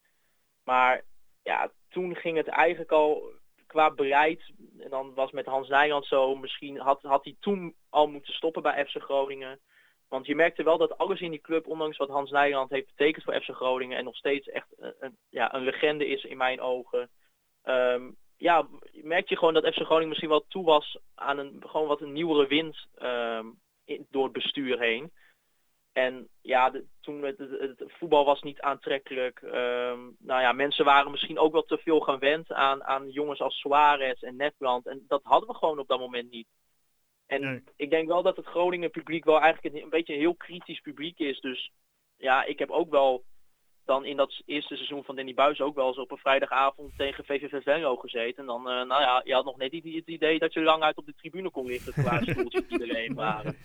I: Maar ja, toen ging het eigenlijk al qua beleid. En dan was met Hans Nijland zo, misschien had, had hij toen al moeten stoppen bij FC Groningen. Want je merkte wel dat alles in die club, ondanks wat Hans Nijland heeft betekend voor FC Groningen en nog steeds echt een, een- ja, een legende is in mijn ogen. Ehm, ja, merk je gewoon dat FC Groningen misschien wel toe was aan een gewoon wat een nieuwere wind ehm, in- door het bestuur heen. En ja, de- toen het, het, het voetbal was niet aantrekkelijk. Ehm, nou ja, mensen waren misschien ook wel te veel gewend aan, aan jongens als Suarez en Netbrand. En dat hadden we gewoon op dat moment niet. En
B: Nee.
I: ik denk wel dat het Groningen publiek wel eigenlijk een, een beetje een heel kritisch publiek is. Dus ja, ik heb ook wel dan in dat eerste seizoen van Danny Buis ook wel eens op een vrijdagavond tegen VVV Venlo gezeten. En dan, eh, nou ja, je had nog net niet het idee dat je lang uit op de tribune kon liggen qua stoeltjes die er leeg waren.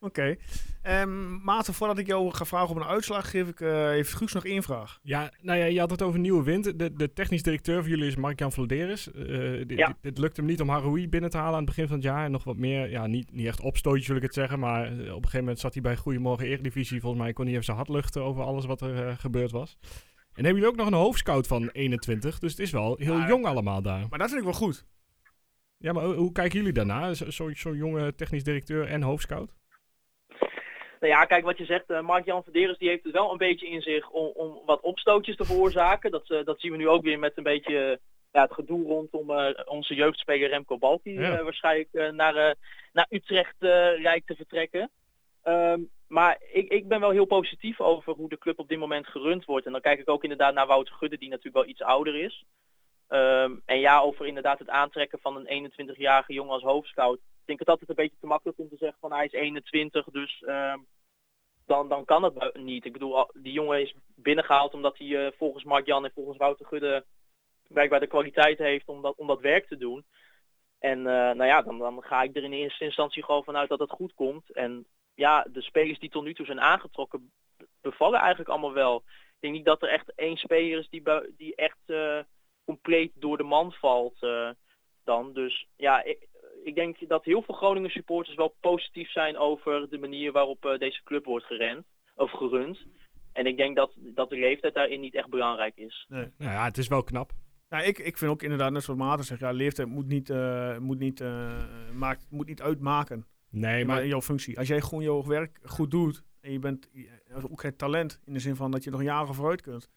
B: Oké. Ehm Maarten, voordat ik jou ga vragen om een uitslag, geef ik, eh heeft Guus nog één vraag.
D: Ja, nou ja, je had het over nieuwe wind. De, de technisch directeur van jullie is Mark-Jan Vladeris. Eh, di-
I: Ja.
D: di- Dit lukt hem niet om Haroui binnen te halen aan het begin van het jaar. En nog wat meer, ja, niet, niet echt opstootjes wil ik het zeggen. Maar eh, op een gegeven moment zat hij bij Goedemorgen Eredivisie. Volgens mij kon hij even zijn hart luchten over alles wat er eh, gebeurd was. En hebben jullie ook nog een hoofdscout van 21. Dus het is wel heel
B: Ja.
D: jong allemaal daar.
B: Maar dat vind ik wel goed.
D: Ja, maar hoe- hoe kijken jullie daarna? Zo- Zo'n zo'n jonge technisch directeur en hoofdscout?
I: Nou ja, kijk wat je zegt, eh, Mark-Jan Verderes die heeft het wel een beetje in zich om, om wat opstootjes te veroorzaken. Dat, eh, dat zien we nu ook weer met een beetje eh, ja, het gedoe rondom eh, onze jeugdspeler Remco Balk, die
D: Ja.
I: eh, waarschijnlijk eh, naar, eh, naar Utrecht eh lijkt te vertrekken. Ehm, maar ik, ik ben wel heel positief over hoe de club op dit moment gerund wordt. En dan kijk ik ook inderdaad naar Wouter Gudde, die natuurlijk wel iets ouder is. Ehm, en ja, over inderdaad het aantrekken van een 21-jarige jongen als hoofdscout. Ik denk het altijd een beetje te makkelijk om te zeggen van hij is 21, dus ehm, dan, dan kan het bu- niet. Ik bedoel, al- die jongen is binnengehaald omdat hij eh, volgens Mark Jan en volgens Wouter Gudde blijkbaar de kwaliteit heeft om dat, om dat werk te doen. En eh, nou ja, dan, dan ga ik er in eerste instantie gewoon vanuit dat het goed komt. En ja, de spelers die tot nu toe zijn aangetrokken be- bevallen eigenlijk allemaal wel. Ik denk niet dat er echt één speler is die, bui- die echt eh, compleet door de man valt eh, dan. Dus ja, ik, ik denk dat heel veel Groningen supporters wel positief zijn over de manier waarop eh, deze club wordt gerend of gerund. En ik denk dat, dat de leeftijd daarin niet echt belangrijk is.
D: Nou ja, het is wel knap.
B: Nou, ik, ik vind ook inderdaad, net zoals Maarten zegt, ja, leeftijd moet niet, eh, moet niet, eh, maakt, moet niet uitmaken
D: Nee,
B: in
D: maar
B: jouw functie. Als jij gewoon jouw werk goed doet en je bent je hebt ook het talent in de zin van dat je nog jaren vooruit kunt,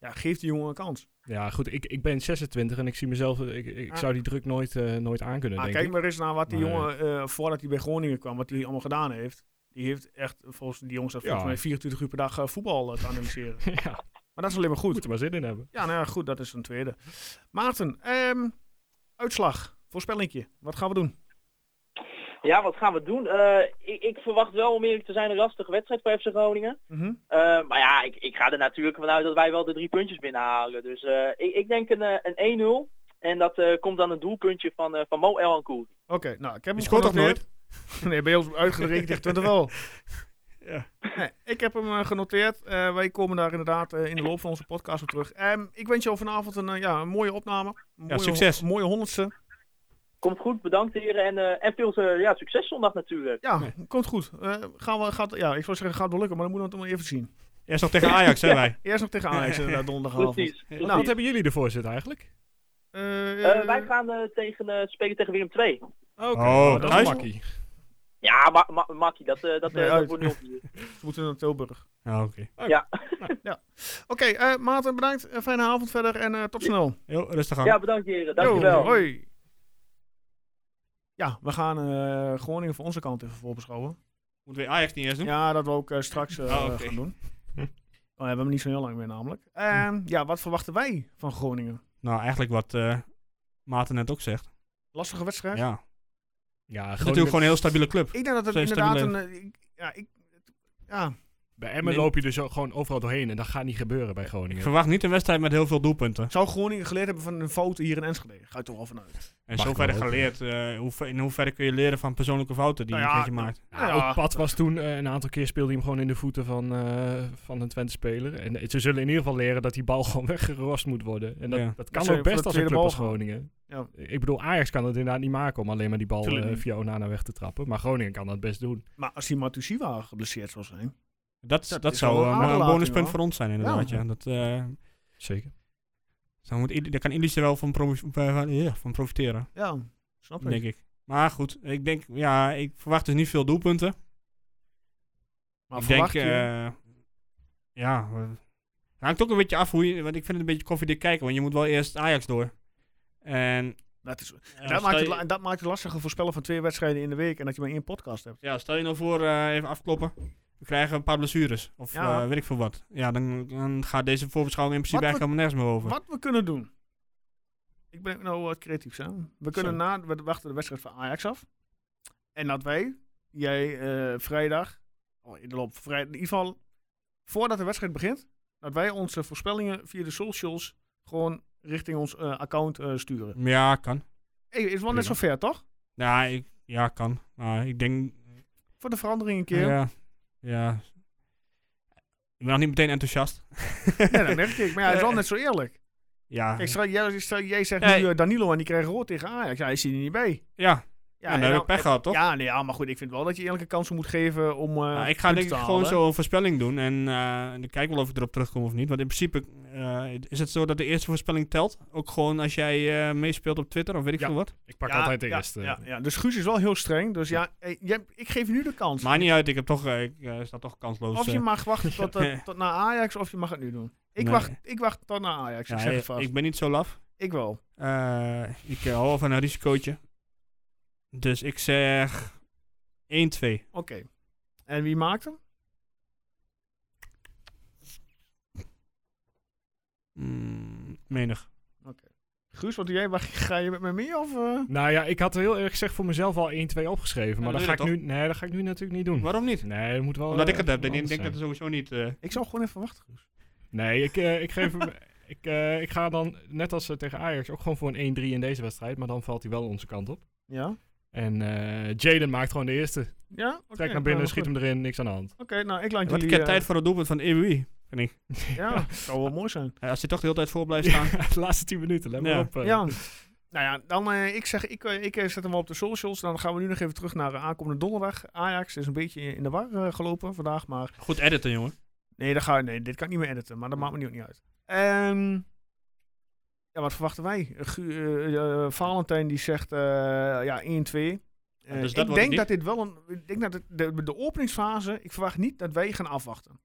B: ja, geef die jongen een kans.
D: Ja, goed, ik, ik ben 26 en ik zie mezelf, ik, ik
B: Ah.
D: zou die druk nooit, eh nooit aankunnen,
B: Maar
D: denk
B: kijk
D: ik.
B: maar eens naar wat die
D: Maar,
B: jongen, eh, voordat hij bij Groningen kwam, wat hij allemaal gedaan heeft. Die heeft echt, volgens die jongens, dat
D: Ja.
B: volgens mij 24 uur per dag eh, voetbal eh, te analyseren.
D: ja.
B: Maar dat is alleen maar goed.
D: Moet er maar zin in hebben.
B: Ja, nou ja, goed, dat is een tweede. Maarten, ehm, uitslag, voorspellingje. Wat gaan we doen?
I: Ja, wat gaan we doen? Eh, ik, ik verwacht wel, om eerlijk te zijn, een lastige wedstrijd voor FC Groningen.
B: Mhm.
I: Eh, maar ja, ik, ik ga er natuurlijk vanuit dat wij wel de drie puntjes binnenhalen. Dus eh, ik, ik denk een, eh, een 1-0. En dat eh, komt dan een doelpuntje van, eh, van Mo El
B: Oké, nou, ik heb hem
C: Die scoort toch
B: genoteerd. Nee, bij ons uitgerekend tegen Twente wel.
C: Ja.
B: Nee, ik heb hem eh, genoteerd. Eh, wij komen daar inderdaad eh, in de loop van onze podcast op terug. Ehm, ik wens jou vanavond een, eh, ja, een mooie opname. Een mooie,
C: succes.
B: een mooie honderdste.
I: Komt goed, bedankt heren. En, eh, en veel eh, ja, succes zondag natuurlijk.
B: Ja, komt goed. Eh, gaan we, gaat, ja, ik zou zeggen, gaat wel lukken, maar dan moeten we het nog even zien.
C: Eerst nog tegen Ajax, hè wij.
B: Eerst nog tegen Ajax inderdaad donderdagavond.
I: Precies. precies.
B: Nou,
D: Wat hebben jullie ervoor zitten eigenlijk?
B: Eh,
I: Eh, wij gaan eh, tegen, eh, spelen tegen Willem 2.
D: Oké,
C: Oh,
D: nou, dat is
C: thuis?
D: makkie.
I: Ja, ma ma makkie, dat, eh, dat, eh,
B: Nee, uit.
I: dat wordt nog hier.
B: we moeten naar Tilburg.
C: Ah, Oké.
B: Oké, eh, Maarten, bedankt. Eh, fijne avond verder en eh, tot snel.
C: Heel rustig aan.
I: Ja, bedankt heren.
B: Yo,
I: Dankjewel.
B: hoi. Ja, we gaan eh Groningen van onze kant even voorbeschouwen.
C: Moeten we Ajax niet eerst doen?
B: Ja, dat we ook eh, straks eh,
C: Ah, oké.
B: gaan doen. Oh, ja, we hebben hem niet zo heel lang meer namelijk. Ehm,
C: Hm.
B: Ja, wat verwachten wij van Groningen?
C: Nou, eigenlijk wat eh Maarten net ook zegt.
B: Lastige wedstrijd?
C: Ja. Het
D: Ja,
C: is natuurlijk gewoon een heel stabiele club.
B: Ik denk dat het
C: Zijn
B: inderdaad een...
C: stabiele-
B: eh, ik- ja, ik, het- ja,
D: Bij Emmen
C: Nee.
D: loop je dus ook gewoon overal doorheen en dat gaat niet gebeuren bij
C: Ik
D: Groningen.
C: verwacht niet een wedstrijd met heel veel doelpunten.
B: zou Groningen geleerd hebben van een fout hier in Enschede? Ga je toch wel vanuit.
C: En
D: Mag ik
C: zoverre
D: wel hopen.
C: geleerd, eh, hoe ver- in hoeverre kun je leren van persoonlijke fouten die
B: Nou
C: je
B: ja,
C: een keertje maakt.
D: Ja,
B: Ja.
D: Ook Pat was toen eh, een aantal keer speelde hij hem gewoon in de voeten van, eh, van een Twente-speler. En eh, ze zullen in ieder geval leren dat die bal gewoon weggerost moet worden. En dat,
C: Ja.
D: dat
B: Dat
D: kan
B: ze
D: ook
B: voor de
D: best als een
B: tweede
D: club
B: bal
D: als
B: gaan.
D: Groningen.
B: Ja.
D: Ik bedoel, Ajax kan het inderdaad niet maken om alleen maar die bal
B: Tuurlijk
D: eh,
B: niet.
D: via Onana weg te trappen. Maar Groningen kan dat best doen.
B: Maar als die Matusiwa geblesseerd zou zijn...
C: Dat,
B: Dat
C: dat,
B: is wel
C: zou
B: een
C: eh, maar een
B: aderlating,
C: bonuspunt
B: hoor.
C: voor ons zijn inderdaad.
B: Ja.
C: Ja. Dat, eh
D: Zeker.
C: daar, moet, ieder- daar kan Illich er wel van, promo- eh, van- ja, van profiteren,
B: Ja, snap ik.
C: denk ik. Maar goed, ik denk, ja, ik verwacht dus niet veel doelpunten.
B: Maar
C: ik denk,
B: verwacht je...
C: eh, ja, eh, hangt ook een beetje af hoe je, want ik vind het een beetje koffiedik kijken, want je moet wel eerst Ajax door. En,
B: dat, is,
C: ja,
B: dat,
C: stel
B: maakt het,
C: je-
B: la- dat maakt het lastiger voorspellen van twee wedstrijden in de week en dat je maar één podcast hebt.
C: Ja, stel je nou voor, eh, even afkloppen. We krijgen een paar blessures. Of
B: Ja.
C: eh, weet ik veel wat. Ja, dan, dan gaat deze voorbeschouwing in principe
B: Wat
C: eigenlijk helemaal nergens meer over.
B: Wat we kunnen doen. Ik ben nou wat creatief, hè. We kunnen na, we wachten de wedstrijd van Ajax af. En dat wij, jij eh, vrijdag, oh, in de loop van vrijdag, in ieder geval voordat de wedstrijd begint, dat wij onze voorspellingen via de socials gewoon richting ons eh, account eh, sturen.
C: Ja, kan.
B: Hey, is wel net
C: Mm. Prima.
B: zover, toch?
C: Ja, ik, ja kan. Maar ik denk...
B: Voor de verandering een keer.
C: Ja, ja. Ik ben nog niet meteen enthousiast.
B: Nee, dat merk ik. Maar ja, het is wel net zo eerlijk.
C: Ja,
B: Kijk, stel, jij, stel, jij zegt
C: Nee.
B: nu eh, Danilo en die krijgen rood tegen Ajax. Ja, hij zit er niet bij.
C: ja.
B: en
C: ja,
B: nou,
C: dan heb ik pech gehad, toch?
B: Ja, nee, ja, maar goed, ik vind wel dat je eerlijke kansen moet geven om. eh,
C: Nou, ik ga
B: punten
C: denk
B: te
C: ik gewoon
B: halen.
C: zo een voorspelling doen. En eh, en dan kijk ik wel of ik erop terugkom of niet. Want in principe eh, is het zo dat de eerste voorspelling telt. Ook gewoon als jij eh, meespeelt op Twitter of weet ik
D: Ja.
C: veel wat.
D: Ik pak
B: Ja,
D: altijd de
B: ja,
D: eerste.
B: Ja, ja, dus Guus is wel heel streng. Dus ja, eh, jij- ik geef je nu de kans.
C: Maakt niet uit, ik, heb toch, eh, ik eh, sta toch kansloos.
B: of je
C: eh.
B: mag wachten tot, eh,
C: Ja.
B: tot naar Ajax, of je mag het nu doen. Ik,
C: Nee.
B: wacht, ik wacht tot naar Ajax, ik
C: Ja,
B: zeg
C: ik-
B: het vast.
C: ik
B: Ik,
C: ben niet zo laf.
B: wel.
C: Eh, ik eh, hou wel van een risicootje. Dus ik zeg 1-2.
B: Oké. En wie maakt hem?
C: Mm, menig.
B: Guus, wat doe jij? Wacht, ga je met me mee? Of, eh?
D: Nou ja, ik had heel eerlijk gezegd voor mezelf al 1-2 opgeschreven.
C: Ja,
D: maar
C: dan
D: dat ga,
C: doe
D: ik
C: je
D: nu, nee, dat ga ik nu natuurlijk niet doen.
C: Waarom niet?
D: Nee, dat moet wel...
C: Omdat
D: eh,
C: ik het heb. Ik denk
D: Hm. anders
C: dat
D: zijn.
C: het sowieso niet... eh,
B: Ik zou gewoon even wachten, Guus.
D: Nee, ik, eh, ik geef hem. Ik, eh, ik ga dan, net als eh, tegen Ajax, ook gewoon voor een 1-3 in deze wedstrijd. Maar dan valt hij wel onze kant op.
B: Ja?
D: En eh, Jaden maakt gewoon de eerste. Trek
B: Ja? Oké.
D: naar binnen,
B: nou,
D: schiet
B: goed.
D: hem erin, niks aan de hand.
B: Oké, nou, ik laat
C: want
B: jullie...
C: ik heb
B: eh,
C: tijd voor het doelpunt van EWI. Vind ik.
B: Ja, zou wel mooi zijn.
C: Eh, als hij toch de hele tijd voor blijft staan.
D: de laatste 10 minuten, let maar
C: Ja.
D: op. eh.
B: Ja. Nou ja, dan eh, ik zeg, ik, eh, ik eh, zet hem wel op de socials. Dan gaan we nu nog even terug naar eh, aankomende donderdag. Ajax is een beetje in de war eh, gelopen vandaag, maar
C: Goed editen, jongen.
B: nee, dat ga, nee, dit kan ik niet meer editen, maar dat maakt me nu ook niet uit. Ehm, ja, wat verwachten wij? Eh, Gu- eh, eh, Valentijn die zegt eh, ja 1-2. Eh,
C: dus dat
B: ik
C: wordt het
B: denk
C: niet.
B: dat dit wel een. Ik denk dat het- de, de openingsfase. Ik verwacht niet dat wij gaan afwachten.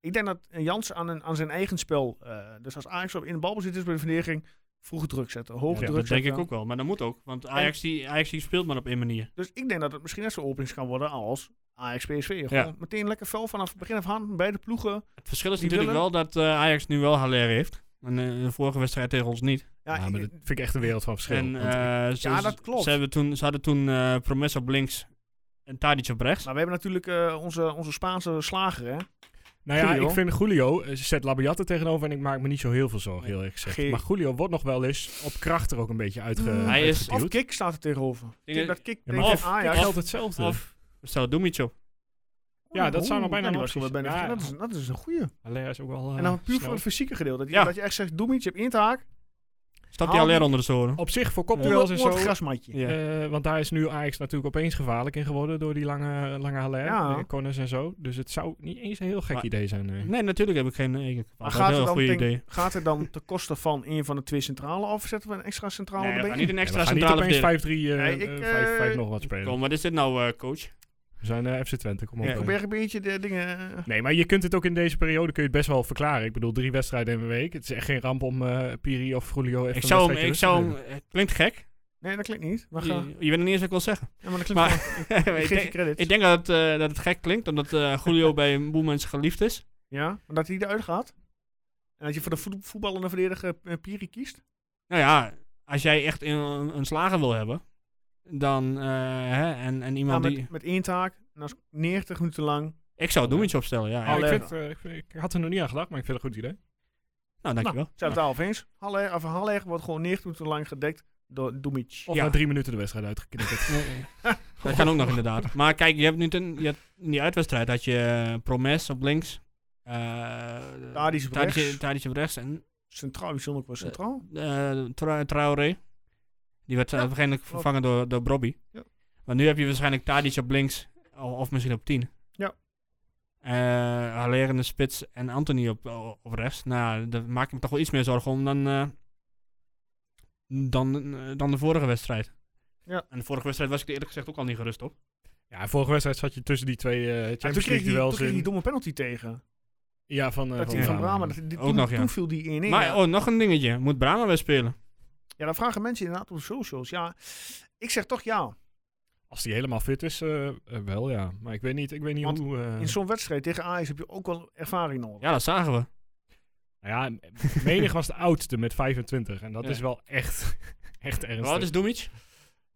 B: Ik denk dat eh, Jans aan, een, aan zijn eigen spel. eh, dus als Ajax op in de balbezit is bij de verdediging. vroege druk zetten, hoge druk
C: Ja, dat
B: zetten.
C: denk ik ook wel. Maar dat moet ook. Want Ajax, die, Ajax die speelt maar op één manier.
B: Dus ik denk dat het misschien net zo'n openings kan worden als Ajax PSV.
C: Ja.
B: Gewoon Meteen lekker fel vanaf begin af aan. Beide ploegen.
C: Het verschil is
B: Die
C: natuurlijk wel
B: willen-
C: dat eh, Ajax nu wel Haller heeft. En eh, de vorige wedstrijd tegen ons niet.
B: Ja,
D: Ja, maar
B: ik-
D: dat vind ik echt een wereld van verschil.
C: En,
D: Want
C: eh, ze,
B: ja, dat klopt.
C: Ze, hebben toen, ze hadden toen eh Promes op links en Tadic op rechts.
B: Maar we hebben natuurlijk eh, onze, onze Spaanse slager, hè?
D: Nou ja,
B: Julio.
D: ik vind Julio, eh, ze zet Labiat er tegenover en ik maak me niet zo heel veel zorgen, heel eerlijk gezegd.
B: Geen-
D: Maar Julio wordt nog wel eens op kracht er ook een beetje uitge...
C: Hij is-
D: uitgeduwd.
B: Of Kik staat er tegenover. Ik denk dat Kik
D: Ja,
B: tegen
D: maar Mm. of-
B: Ajax...
D: geldt hetzelfde.
C: Of stel Dumic op.
D: ja, dat zou nog
B: Oeh,
D: bijna
B: ja, die
D: een
B: was
D: optie
B: wel bijna-
D: zijn. Ja,
B: dat, is, dat is een goeie.
D: Haller is ook wel... eh,
B: en dan puur
D: snel.
B: voor het fysieke gedeelte. Dat je,
C: Ja.
B: dat je echt zegt, Doemietje, je hebt één taak.
C: Stap die
B: Haal
C: Haller
B: die- Oh,
C: onder de zoren.
D: Op zich voor
B: Onder,
D: kopduels
B: onder
D: en
B: het
D: zo...
B: grasmatje.
C: Ja.
D: eh, want daar is nu Ajax natuurlijk opeens gevaarlijk in geworden door die lange, lange Haller,
B: Ja.
D: eh, Corners en zo. Dus het zou niet eens een heel gek
C: Maar-
D: idee zijn. eh. nee.
C: Nee, natuurlijk heb ik geen... Ik ik
B: Maar
C: vond dat
B: gaat
C: een
B: het,
C: heel
B: dan
C: goed
B: ten,
C: idee.
B: gaat het dan ten koste van een van de twee centrale of zetten we een extra centrale
C: Nee, we
B: erbij?
C: gaan niet een
D: Ja, we
C: extra
D: gaan
C: centrale
D: niet
C: verdediger.
D: opeens 5-3,
B: Nee,
D: eh, eh,
B: ik,
D: vijf-
B: eh,
D: vijf nog wat spelen.
C: Kom, wat is dit nou, eh, coach?
D: We zijn eh, FC Twente, kom op.
C: Ja.
D: eh.
B: Probeer een beetje de dingen... eh,
D: Nee, maar je kunt het ook in deze periode kun je het best wel verklaren. Ik bedoel, drie wedstrijden in een week. Het is echt geen ramp om eh, Piri of Julio even
C: Ik
D: een
C: zou hem...
D: wedstrijdje
C: Ik
D: rust te
C: zou hem
D: geven.
C: het klinkt gek.
B: Nee, dat klinkt niet. We
C: Je,
B: gaan...
C: je weet nog niet eens wat ik wil zeggen.
B: Ja, maar dat klinkt
C: Maar-
B: wel- Ik
C: Ik
B: geef je
C: denk-
B: credits.
C: ik denk dat het, eh, dat het gek klinkt, omdat eh, Julio bij een boel mensen geliefd is.
B: Ja, maar dat hij eruit gaat. En dat je voor de voet- voetballende verdediger eh, Piri kiest.
C: Nou ja, als jij echt een, een slager wil hebben, dan eh, hè, en, en
B: Ja,
C: iemand die.
B: Nou, met, met één taak. En dat is 90 minuten lang.
C: Ik zou Doemits opstellen, ja.
D: Ja, ik,
B: Haller.
D: vind, het, eh, ik, vind- ik had er nog niet aan gedacht, maar ik vind het een goed idee.
C: Nou, dankjewel.
B: Zijn we het daarover eens? Haller, of Haller wordt gewoon 90 minuten lang gedekt door Dumic.
D: Of
C: Ja.
D: na drie minuten de wedstrijd uitgeknipt.
C: Dat kan ook nog inderdaad. Maar kijk, je hebt nu ten, je hebt in die uitwedstrijd had je eh, Promes op links. eh
B: Tadic op rechts.
C: Tadic op rechts en
B: Centraal, wie stond ook wel centraal?
C: eh, Tra- Traoré. Die werd eh, waarschijnlijk vervangen door, door Brobby.
B: Ja.
C: Maar nu heb je waarschijnlijk Tadic op links, o- of, misschien op 10.
B: Ja.
C: Eh, Haller in de spits en Anthony op, o- op rechts. Nou, daar maak ik me toch wel iets meer zorgen om dan, eh, dan, eh, dan de vorige wedstrijd.
B: Ja.
C: En de vorige wedstrijd was ik er eerlijk gezegd ook al niet gerust op.
D: ja, vorige wedstrijd zat je tussen die twee eh
B: Ja,
D: Champions
B: toen kreeg
D: League
B: hij toen
D: duels
B: kreeg die
D: in.
B: domme penalty tegen.
D: Ja, van, eh,
B: Dat
D: van
B: hij van
C: ja.
B: Brahma. Dat, die,
C: Ook
B: toen,
C: nog, ja.
B: toen viel die 1-1.
C: maar
B: Ja.
C: oh, nog een dingetje. Moet Brahma weer spelen?
B: ja, dan vragen mensen inderdaad op de socials. Ja, ik zeg toch ja.
D: Als die helemaal fit is, eh, eh, wel ja. Maar ik weet niet, ik weet niet
B: Want
D: hoe... eh,
B: In zo'n wedstrijd tegen Ajax heb je ook wel ervaring nodig.
C: Ja, dat zagen we.
D: nou ja, menig was de oudste met 25. En dat
C: Ja.
D: is wel echt, echt ernstig.
C: Wat is Doemic?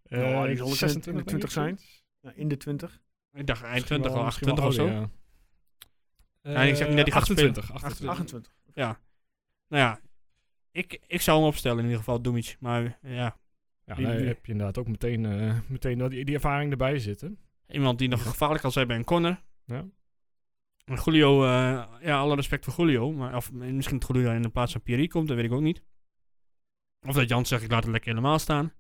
D: Eh,
B: Nou, die zal ook in de
D: 26 denk ik,
B: 20 zijn.
D: zoiets.
B: Ja, in de 20.
C: Ik dacht eind
D: Misschien
C: 20
D: wel-
C: of
D: misschien wel
C: 28 of zo.
D: ouder, Ja.
C: Ja, ik zeg niet dat die gaat spelen.
D: 28, 28.
B: 28.
C: Nou ja, ik, ik zou hem opstellen in ieder geval, Doemic. Maar ja,
D: Ja,
C: Die-
D: daar
C: die-
D: heb je inderdaad ook meteen, eh, meteen wel die, die ervaring erbij zitten.
C: iemand die nog gevaarlijk kan zijn bij een corner.
D: Ja.
C: En Julio, eh, ja, alle respect voor Julio. Maar, of misschien dat Julio in de plaats van Pierre komt, dat weet ik ook niet. Of dat Jan zegt, ik laat het lekker helemaal staan.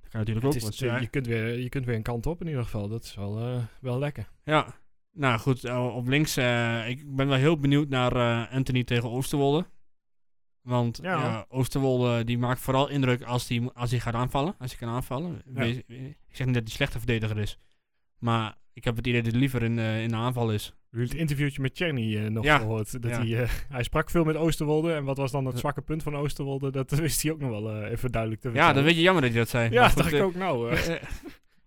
C: Dat kan natuurlijk ook.
D: Het is,
C: want,
D: je,
C: ja,
D: kunt weer, je kunt weer een kant op in ieder geval. Dat is wel, eh, wel lekker.
C: ja. nou goed, eh, op links. eh, ik ben wel heel benieuwd naar eh, Anthony tegen Oosterwolde. Want
B: Ja.
C: ja. Oosterwolde die maakt vooral indruk als hij als die gaat aanvallen. Als hij kan aanvallen. Wees- eh, ik zeg niet dat hij een slechte verdediger is. Maar ik heb het idee dat hij liever in, eh, in de aanval is.
D: U hebt het interviewtje met Czerny eh, nog
C: Ja,
D: gehoord. Dat
C: ja.
D: hij, eh, hij sprak veel met Oosterwolde. En wat was dan het
C: Ja.
D: zwakke punt van Oosterwolde? Dat wist hij ook nog wel eh, even duidelijk te
C: Ja,
D: vertellen.
C: dat weet je jammer dat hij dat zei. Maar
D: Ja, dat
C: goed,
D: dacht ik
C: eh,
D: ook nou. eh.
C: eh,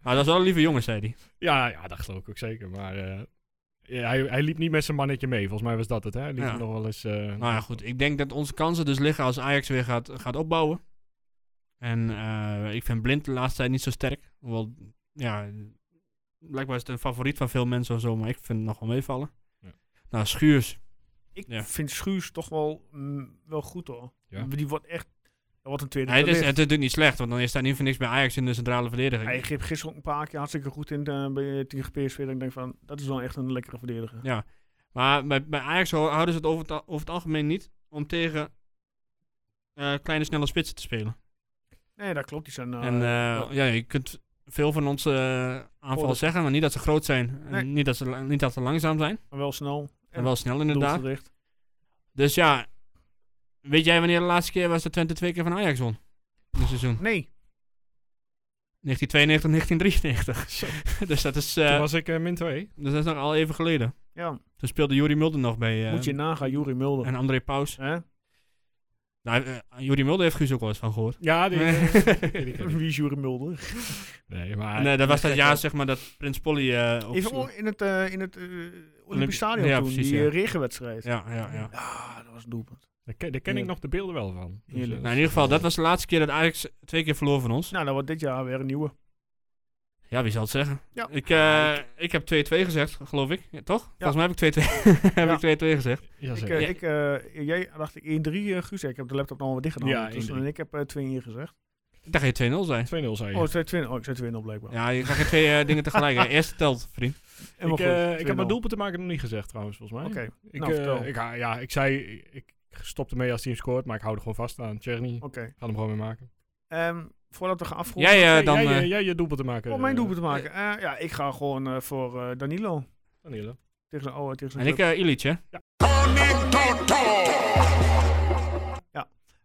C: maar dat is wel een lieve jongen, zei hij.
D: ja, ja, dat geloof ik ook zeker. Maar eh, ja, hij, hij liep niet met zijn mannetje mee. Volgens mij was dat het. Hè? Hij liep
C: Ja.
D: nog wel eens... eh,
C: Nou ja, goed. Ik denk dat onze kansen dus liggen als Ajax weer gaat, gaat opbouwen. En eh, ik vind Blind de laatste tijd niet zo sterk. Hoewel, ja, blijkbaar is het een favoriet van veel mensen of zo, maar ik vind het nog wel meevallen.
D: Ja.
C: Nou, Schuurs.
B: Ik
C: Ja.
B: vind Schuurs toch wel, mm, wel goed hoor.
D: Ja.
B: Die wordt echt... Dat wordt een tweede
C: Hij is,
B: talent.
C: het is natuurlijk niet slecht, want dan is daar niet voor niks bij Ajax in de centrale verdediging.
B: Hij geeft gisteren ook een paar keer hartstikke goed in eh, bij, tegen PSV. Dat ik denk van, dat is wel echt een lekkere verdediger.
C: Ja. Maar bij, bij Ajax hou- houden ze het over, het al- over het algemeen niet om tegen eh, kleine snelle spitsen te spelen.
B: Nee, dat klopt. Die zijn... eh,
C: en eh, ja, je kunt veel van onze eh, aanvallen
B: dat-
C: zeggen, maar niet dat ze groot zijn. en
B: Nee.
C: Niet, dat ze, la- niet dat ze langzaam zijn.
B: maar wel snel.
C: En wel snel inderdaad.
B: Doelgericht.
C: Dus ja, weet jij wanneer de laatste keer was dat Twente twee keer van Ajax won? In het seizoen.
B: Nee.
C: 1992, 1993.
D: Zo.
C: dus, dat is, eh,
D: Toen was ik eh, min 2.
C: dus dat is nog al even geleden.
B: Ja.
C: Toen speelde Juri Mulder nog bij eh,
B: nou- Moet je nagaan, Jurie Mulder.
C: en André Paus.
B: Hè?
C: Nou, eh, Juri Mulder heeft Guus ook wel eens van gehoord.
D: Ja, die,
C: Nee.
D: eh, die ken ik.
B: Wie is Jurie Mulder?
D: Nee, maar...
C: En, eh, dat was dat jaar, zeg maar, dat Prins Polly... eh, op
B: Even
C: zoek-
B: o- in het, eh, in het eh,
C: Olympi-
B: Olympisch Stadion
C: Ja,
B: toen,
C: precies,
B: die
C: ja.
B: eh, regenwedstrijd. Ja.
C: Ja, ja, ja.
B: dat was een doelpunt.
D: Daar ken, daar ken ik
B: Ja.
D: nog de beelden wel van. Dus, eh,
B: Heerlijk.
D: dat
C: Nou,
D: is
C: in ieder geval,
D: wel-
C: dat was de laatste keer dat Ajax twee keer verloor van ons.
B: Nou, dan wordt dit jaar weer een nieuwe.
C: Ja, wie zal het zeggen?
B: Ja.
C: Ik, eh, ik heb 2-2 gezegd, geloof ik. Ja, toch? Volgens mij heb ik 2-2
B: Ja.
C: heb ik 2-2 gezegd.
B: Ik,
D: Jazeker.
B: eh, ik, eh, jij dacht ik 1-3, eh, Guus. Ik heb de laptop nog wel dicht gedaan.
D: Ja,
B: ondertussen.
D: 1-3.
B: en ik heb eh, 2-1 gezegd.
C: Ik dacht dat je 2-0 zei.
D: 2-0 zei je.
B: Oh, 2-2. Oh, ik zei 2-0 blijkbaar.
C: Ja, je krijgt twee eh, dingen tegelijk. hè. Eerst telt, vriend.
B: Helemaal
D: ik,
B: goed,
D: eh, ik heb
B: 2-0.
D: mijn doelpunt te maken nog niet gezegd trouwens, volgens mij.
B: Oké,
D: Ik,
B: nou,
D: eh,
B: vertel.
D: ik, ha- ja, ik zei, ik, ik stopte mee als hij hem scoort, maar ik hou er gewoon vast aan. Cherny, ik
B: oké.
D: ga hem gewoon weer maken.
B: Ehm, voordat we gaan afronden.
C: Jij eh,
D: Hey,
C: dan...
D: jij,
C: eh,
D: eh, jij je doelpunt te maken.
B: Om Oh, mijn
D: eh,
B: doelpunt te maken. Eh, ja, ik ga gewoon eh, voor eh, Danilo.
D: Danilo.
B: Tegen zijn oude, tegen zijn
C: en ik
B: club.
C: eh Illich, hè?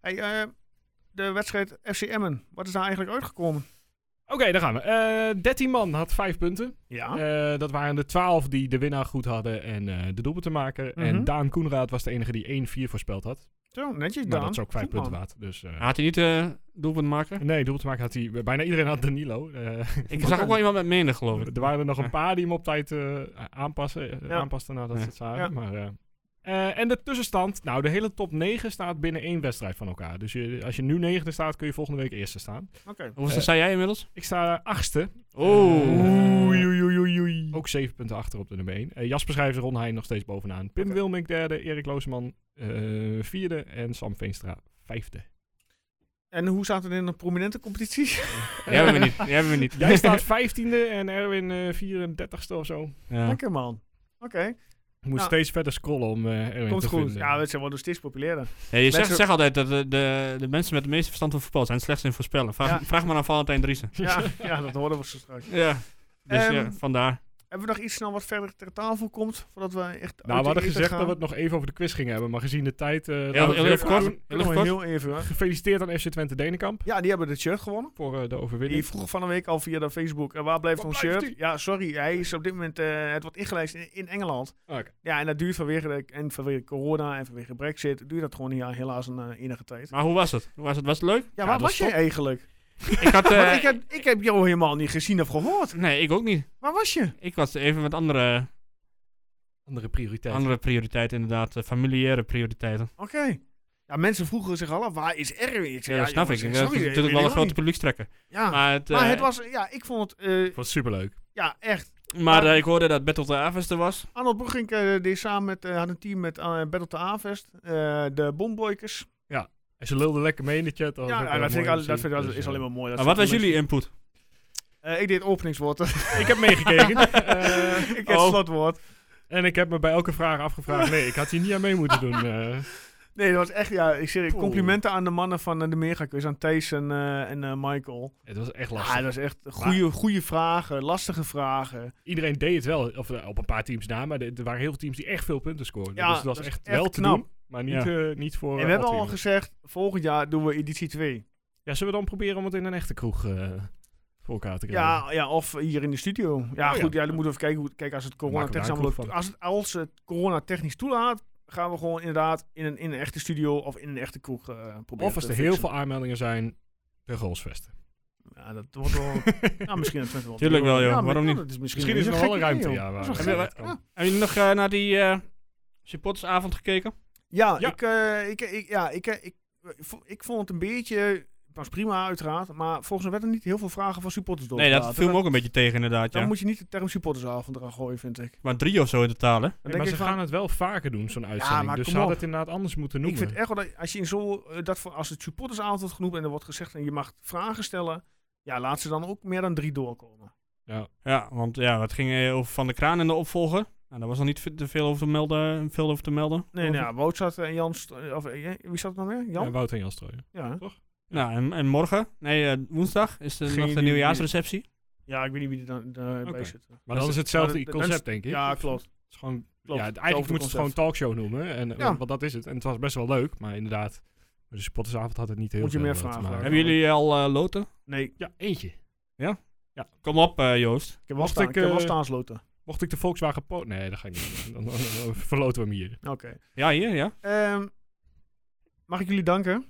B: Hey, eh, de wedstrijd FC Emmen. Wat is daar eigenlijk uitgekomen?
D: Oké, daar gaan we. Eh 13 man had 5 punten.
B: Ja.
D: Eh, dat waren de 12 die de winnaar goed hadden en eh, de doelpunt te maken.
B: Mhm.
D: En Daan Koenraad was de enige die 1-4 voorspeld had.
B: Zo, netjes
D: Maar
B: dan.
D: Nou, dat is ook 5 punten
B: waard.
D: waard. Dus, eh,
C: Had hij niet eh doelpunt maken?
D: Nee, doelpunt te maken had hij... Bijna iedereen had Danilo. Eh,
C: Ik zag ook wel iemand met meende, geloof ik.
D: Er waren er nog een paar die hem op tijd eh, aanpassen, eh,
B: Ja.
D: aanpasten nadat
C: Ja.
D: ze het zagen.
B: Ja.
D: Maar, eh, eh, en de tussenstand. Nou, de hele top 9 staat binnen één wedstrijd van elkaar. Dus je, als je nu negende staat, kun je volgende week eerste staan.
B: Oké.
C: Hoeveel zei jij inmiddels?
D: Ik sta achtste. Eh.
C: Oh.
D: Oei, Ook zeven punten achter op de nummer 1. Jasper Schrijvers, Ron Heijn nog steeds bovenaan. Pim Wilmink derde, Erik Looseman eh, vierde en Sam Veenstra vijfde.
B: En hoe staat het in de prominente competitie?
C: Die hebben we niet. Die hebben we niet.
D: Jij staat vijftiende en Erwin eh 34ste of zo.
C: Ja.
B: Lekker man. Oké,
D: Ik moet
B: Nou,
D: steeds verder scrollen om eh Erwin
B: komt
D: te
B: goed.
D: vinden.
B: Ja, we zijn wel dus steeds populairder.
C: Ja, je zegt,
B: Mensen-
C: zegt altijd dat de, de, de mensen met de meeste verstand van voetbal zijn het slechts in voorspellen. Vraag,
B: Ja.
C: vraag maar aan Valentijn Driessen.
B: Ja, ja dat horen we zo straks.
C: Ja. Dus ja,
B: Ehm,
C: vandaar.
B: Hebben we nog iets snel wat verder ter tafel komt? Voordat we echt uit de
D: Nou, we hadden
B: eten
D: gezegd
B: gaan?
D: dat we het nog even over de quiz gingen hebben, maar gezien de tijd... eh, laten
C: Heel,
D: we
C: heel even
D: het even
C: kort.
D: doen.
C: Heel
B: Nog
C: even
B: maar
C: kort.
B: heel even. hoor.
D: Gefeliciteerd aan FC Twente Denenkamp
B: Ja, die hebben de shirt gewonnen.
D: voor eh, de overwinning.
B: Die vroeg van een week al via de Facebook. En waar blijft
D: Waar
B: ons
D: blijft
B: shirt? Ja, sorry. Hij is op dit moment. eh, het wordt ingelijst in, in Engeland.
D: Ah, Oké.
B: Ja, en dat duurt vanwege, de, en vanwege corona en vanwege Brexit. Duurt dat gewoon ja, helaas een eh, enige tijd.
C: Maar hoe was het? Hoe was het? Was het leuk?
B: Ja, waar
D: dat
B: was
D: is
B: jij eigenlijk?
C: Ik had... eh,
B: Want ik, heb, ik heb jou helemaal niet gezien of gehoord.
C: Nee, ik ook niet.
B: Waar was je?
C: Ik was even met andere,
D: Andere prioriteit.
C: andere prioriteiten inderdaad. eh, familiaire prioriteiten.
B: Oké. Ja, mensen vroegen zich al af, waar is Erwin? Ik
C: Ja,
B: zei,
C: dat snap
B: jongens, eh,
C: ik.
B: sorry,
C: Dat is
B: weet ik
C: natuurlijk wel een
B: nog
C: grote
B: niet.
C: publiekstrekker.
B: Ja, maar,
C: Maar, het, eh,
B: het was... Ja, ik vond het... eh,
D: was superleuk.
B: ja, echt.
C: maar eh, ik hoorde dat Battle of the Aves er was.
B: Arnold Broegink eh, deed samen met... eh, had een team met eh, Battle to Avest. eh, de Bomboykers.
D: En ze lulden lekker mee in de chat. was
B: Ja,
D: ook
B: nou,
D: heel
B: dat, vind ik, al-
D: mooi Dus, om
B: dat
D: te
B: vind ik al-
D: zien.
B: is alleen maar mooi. dat
C: Maar wat was
B: soort
C: jullie input?
B: mensen- Eh, ik deed het openingswoord.
D: Ik heb meegekeken. eh,
B: ik heb het
D: oh.
B: slotwoord.
D: En ik heb me bij elke vraag afgevraagd, nee, ik had hier niet aan mee moeten doen. eh.
B: Nee, dat was echt... Ja, ik zeg
D: Poeh.
B: complimenten aan de mannen van eh, de Megaquiz. Aan Thijs en, eh, en eh, Michael.
D: het was echt lastig.
B: Ja, Ah, dat is echt goede, goede vragen. Lastige vragen.
D: Iedereen deed het wel, of eh, op een paar teams na, maar er er waren heel veel teams die echt veel punten scoorden.
B: Ja,
D: dus het was
B: dat is
D: echt,
B: echt
D: wel
B: knap.
D: te doen, maar niet, eh, niet voor...
B: En
D: eh,
B: we hebben
D: alle
B: al
D: teams.
B: gezegd, volgend jaar doen we editie 2.
D: Ja, zullen we dan proberen om het in een echte kroeg eh, voor elkaar te krijgen?
B: Ja, ja, of hier in de studio. Ja,
D: Oh ja.
B: goed, ja. dan moeten we even kijken. Hoe, kijk, als het corona
D: maken we
B: technisch,
D: daar een
B: allemaal-
D: kroeg van.
B: als het, als het corona technisch toelaat, gaan we gewoon inderdaad in een, in een echte studio of in een echte kroeg eh, proberen.
D: Of als
B: te
D: er heel
B: fixen.
D: veel aanmeldingen zijn, de goalsvesten.
B: Ja, dat wordt wel. nou, misschien dat Twente wel.
C: Tuurlijk wel, joh.
B: Ja, maar-
C: Waarom
B: ja,
C: niet?
B: dat is misschien,
D: Misschien is er
B: dat
D: nog
B: een
D: wel een
B: gek idee,
D: ruimte, ja.
B: joh.
D: Waar
B: Dat is
D: en
B: wel
D: dat
B: gek.
D: kan.
C: Hebben jullie nog eh, naar die eh supportersavond gekeken?
B: Ja,
D: Ja.
B: Ik, eh, ik, ik, ja ik, eh, ik, ik, vo- ik vond het een beetje. Het was prima, uiteraard. Maar volgens mij werden er niet heel veel vragen van supporters door.
C: Nee, dat viel me ook een beetje tegen inderdaad,
B: Dan
C: ja.
B: moet je niet de term supportersavond eraan gooien, vind ik.
C: Maar drie of zo in totaal, hè?
B: Dan
D: Nee,
B: denk
D: maar
B: ik
D: ze
B: van,
D: gaan het wel vaker doen, zo'n uitzending.
B: maar
D: dus ze
B: kom
D: hadden
B: op.
D: het inderdaad anders moeten
B: Ik
D: noemen.
B: vind echt wel dat als je in zo eh, dat voor, als het supportersavond wordt genoemd en er wordt gezegd en je mag vragen stellen, ja, laat ze dan ook meer dan drie doorkomen.
C: Ja, want ja, het ging eh, over Van de Kraan en de opvolger. Nou, daar was nog niet ve- te veel over te melden. Veel over te melden
B: Nee,
C: Over-
B: nou, ja, Wout zat en Jan, st- eh, of eh, wie zat er nog meer?
D: Ja,
B: Jan?
D: Wout en Jan Strooijen.
B: Ja, hè?
C: Nou, en, en morgen, nee, eh, woensdag is er
B: Geen
C: nog de
B: idee.
C: nieuwjaarsreceptie.
B: ja ik weet niet wie er dan eh,
D: Oké.
B: bij zit.
D: Maar dan
B: Dat
D: is
B: is-
D: hetzelfde
B: maar dat-
D: concept,
B: dat
D: denk ik.
B: Ja,
D: Het
B: klopt.
D: is gewoon,
B: klopt.
D: ja, eigenlijk moeten ze het gewoon talkshow noemen, en,
B: Ja.
D: want dat is het. En het was best wel leuk, maar inderdaad, de supportersavond had het niet heel
B: Moet je
D: veel
B: meer
D: eh, te
B: vragen
D: maken.
B: houden.
C: Hebben jullie al eh, loten?
B: Nee, ik
D: Ja, eentje.
C: Kom op, eh, Joost.
B: heb wel,
D: Mocht
B: staan,
D: ik,
B: ik, heb wel
D: eh,
B: staan sloten.
D: Mocht ik de Volkswagen Po... Nee, dat ga ik niet doen. Dan, dan- dan verloten we hem hier.
B: Oké.
C: Ja, hier, ja.
B: Ehm, Mag ik jullie danken?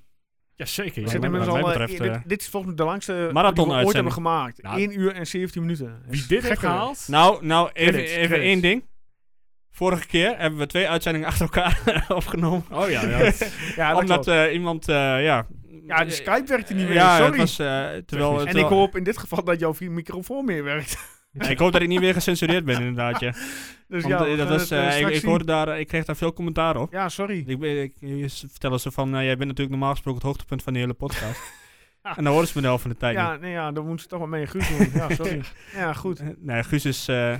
D: Jazeker.
B: We
D: Ja,
B: zitten
D: wat
B: inmiddels
D: mij
B: al... eh,
D: betreft,
B: dit,
D: eh,
B: dit is volgens mij de langste
C: Marathon
B: die we ooit hebben
C: uitzending.
B: gemaakt.
D: Nou,
B: 1 uur en 17 minuten.
D: Wie dit heeft
B: Gekke-
D: gehaald?
C: Nou, nou even,
B: Credits,
C: even
B: credits.
C: één ding. Vorige keer hebben we twee uitzendingen achter elkaar opgenomen.
D: Oh ja, ja.
B: Ja, dat
C: omdat
B: klopt.
C: eh, iemand, eh, ja...
B: ja, de Skype werkte niet meer,
C: Ja, het
B: sorry.
C: was, eh, terwijl,
B: en ik
C: terwijl-
B: hoop in dit geval dat jouw microfoon meer werkt.
C: ik hoop dat ik niet weer gecensureerd ben, inderdaad. Ja.
B: Dus
C: Want,
B: ja, we
C: eh, dat
B: gaan
C: was,
B: het, eh,
C: eh, ik,
B: straks
C: ik
B: zien.
C: hoorde daar, ik kreeg daar veel commentaar op.
B: Ja, sorry.
C: Ik, ben- ik, je s- vertellen ze van, nou, jij bent natuurlijk normaal gesproken het hoogtepunt van de hele podcast. en dan horen ze me de helft van de tijd
B: Ja, nee, ja, dan moeten ze toch wel mee een Guus doen. Ja, sorry. Ja, goed.
C: niet. Eh, Nee, Guus, is, eh,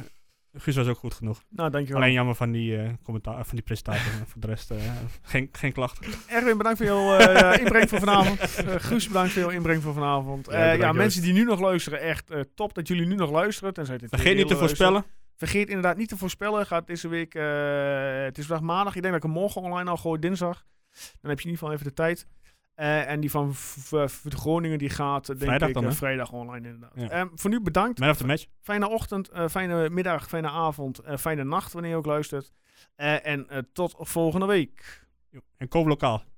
C: Guus was ook goed genoeg.
B: Nou, dankjewel.
C: Alleen jammer van die, eh, commentaar, van die presentatie. maar voor de rest, eh, geen, geen klachten.
B: Erwin, bedankt voor jouw eh, inbreng voor vanavond. Eh Guus, bedankt voor jouw inbreng voor vanavond. Eh,
D: Ja, bedankt,
B: ja,
D: Joost.
B: mensen die nu nog luisteren, echt eh, top dat jullie nu nog luisteren. Tenzij dit
C: Vergeet niet te
B: tweede deel
C: voorspellen.
B: luistert. Vergeet inderdaad niet te voorspellen. Gaat deze week, eh, het is vandaag maandag. Ik denk dat ik hem morgen online al gooi, dinsdag. Dan heb je in ieder geval even de tijd. Eh, en die van v- v- v- de Groningen, die gaat eh, denk
C: Vrijdag
B: ik
C: dan,
B: eh,
C: hè?
B: vrijdag online inderdaad.
C: Ja.
B: Ehm, voor nu bedankt.
C: Man of the match.
B: Fijne ochtend, eh, fijne middag, fijne avond, eh, fijne nacht wanneer je ook luistert. Eh, en eh, tot volgende week.
C: En koop lokaal.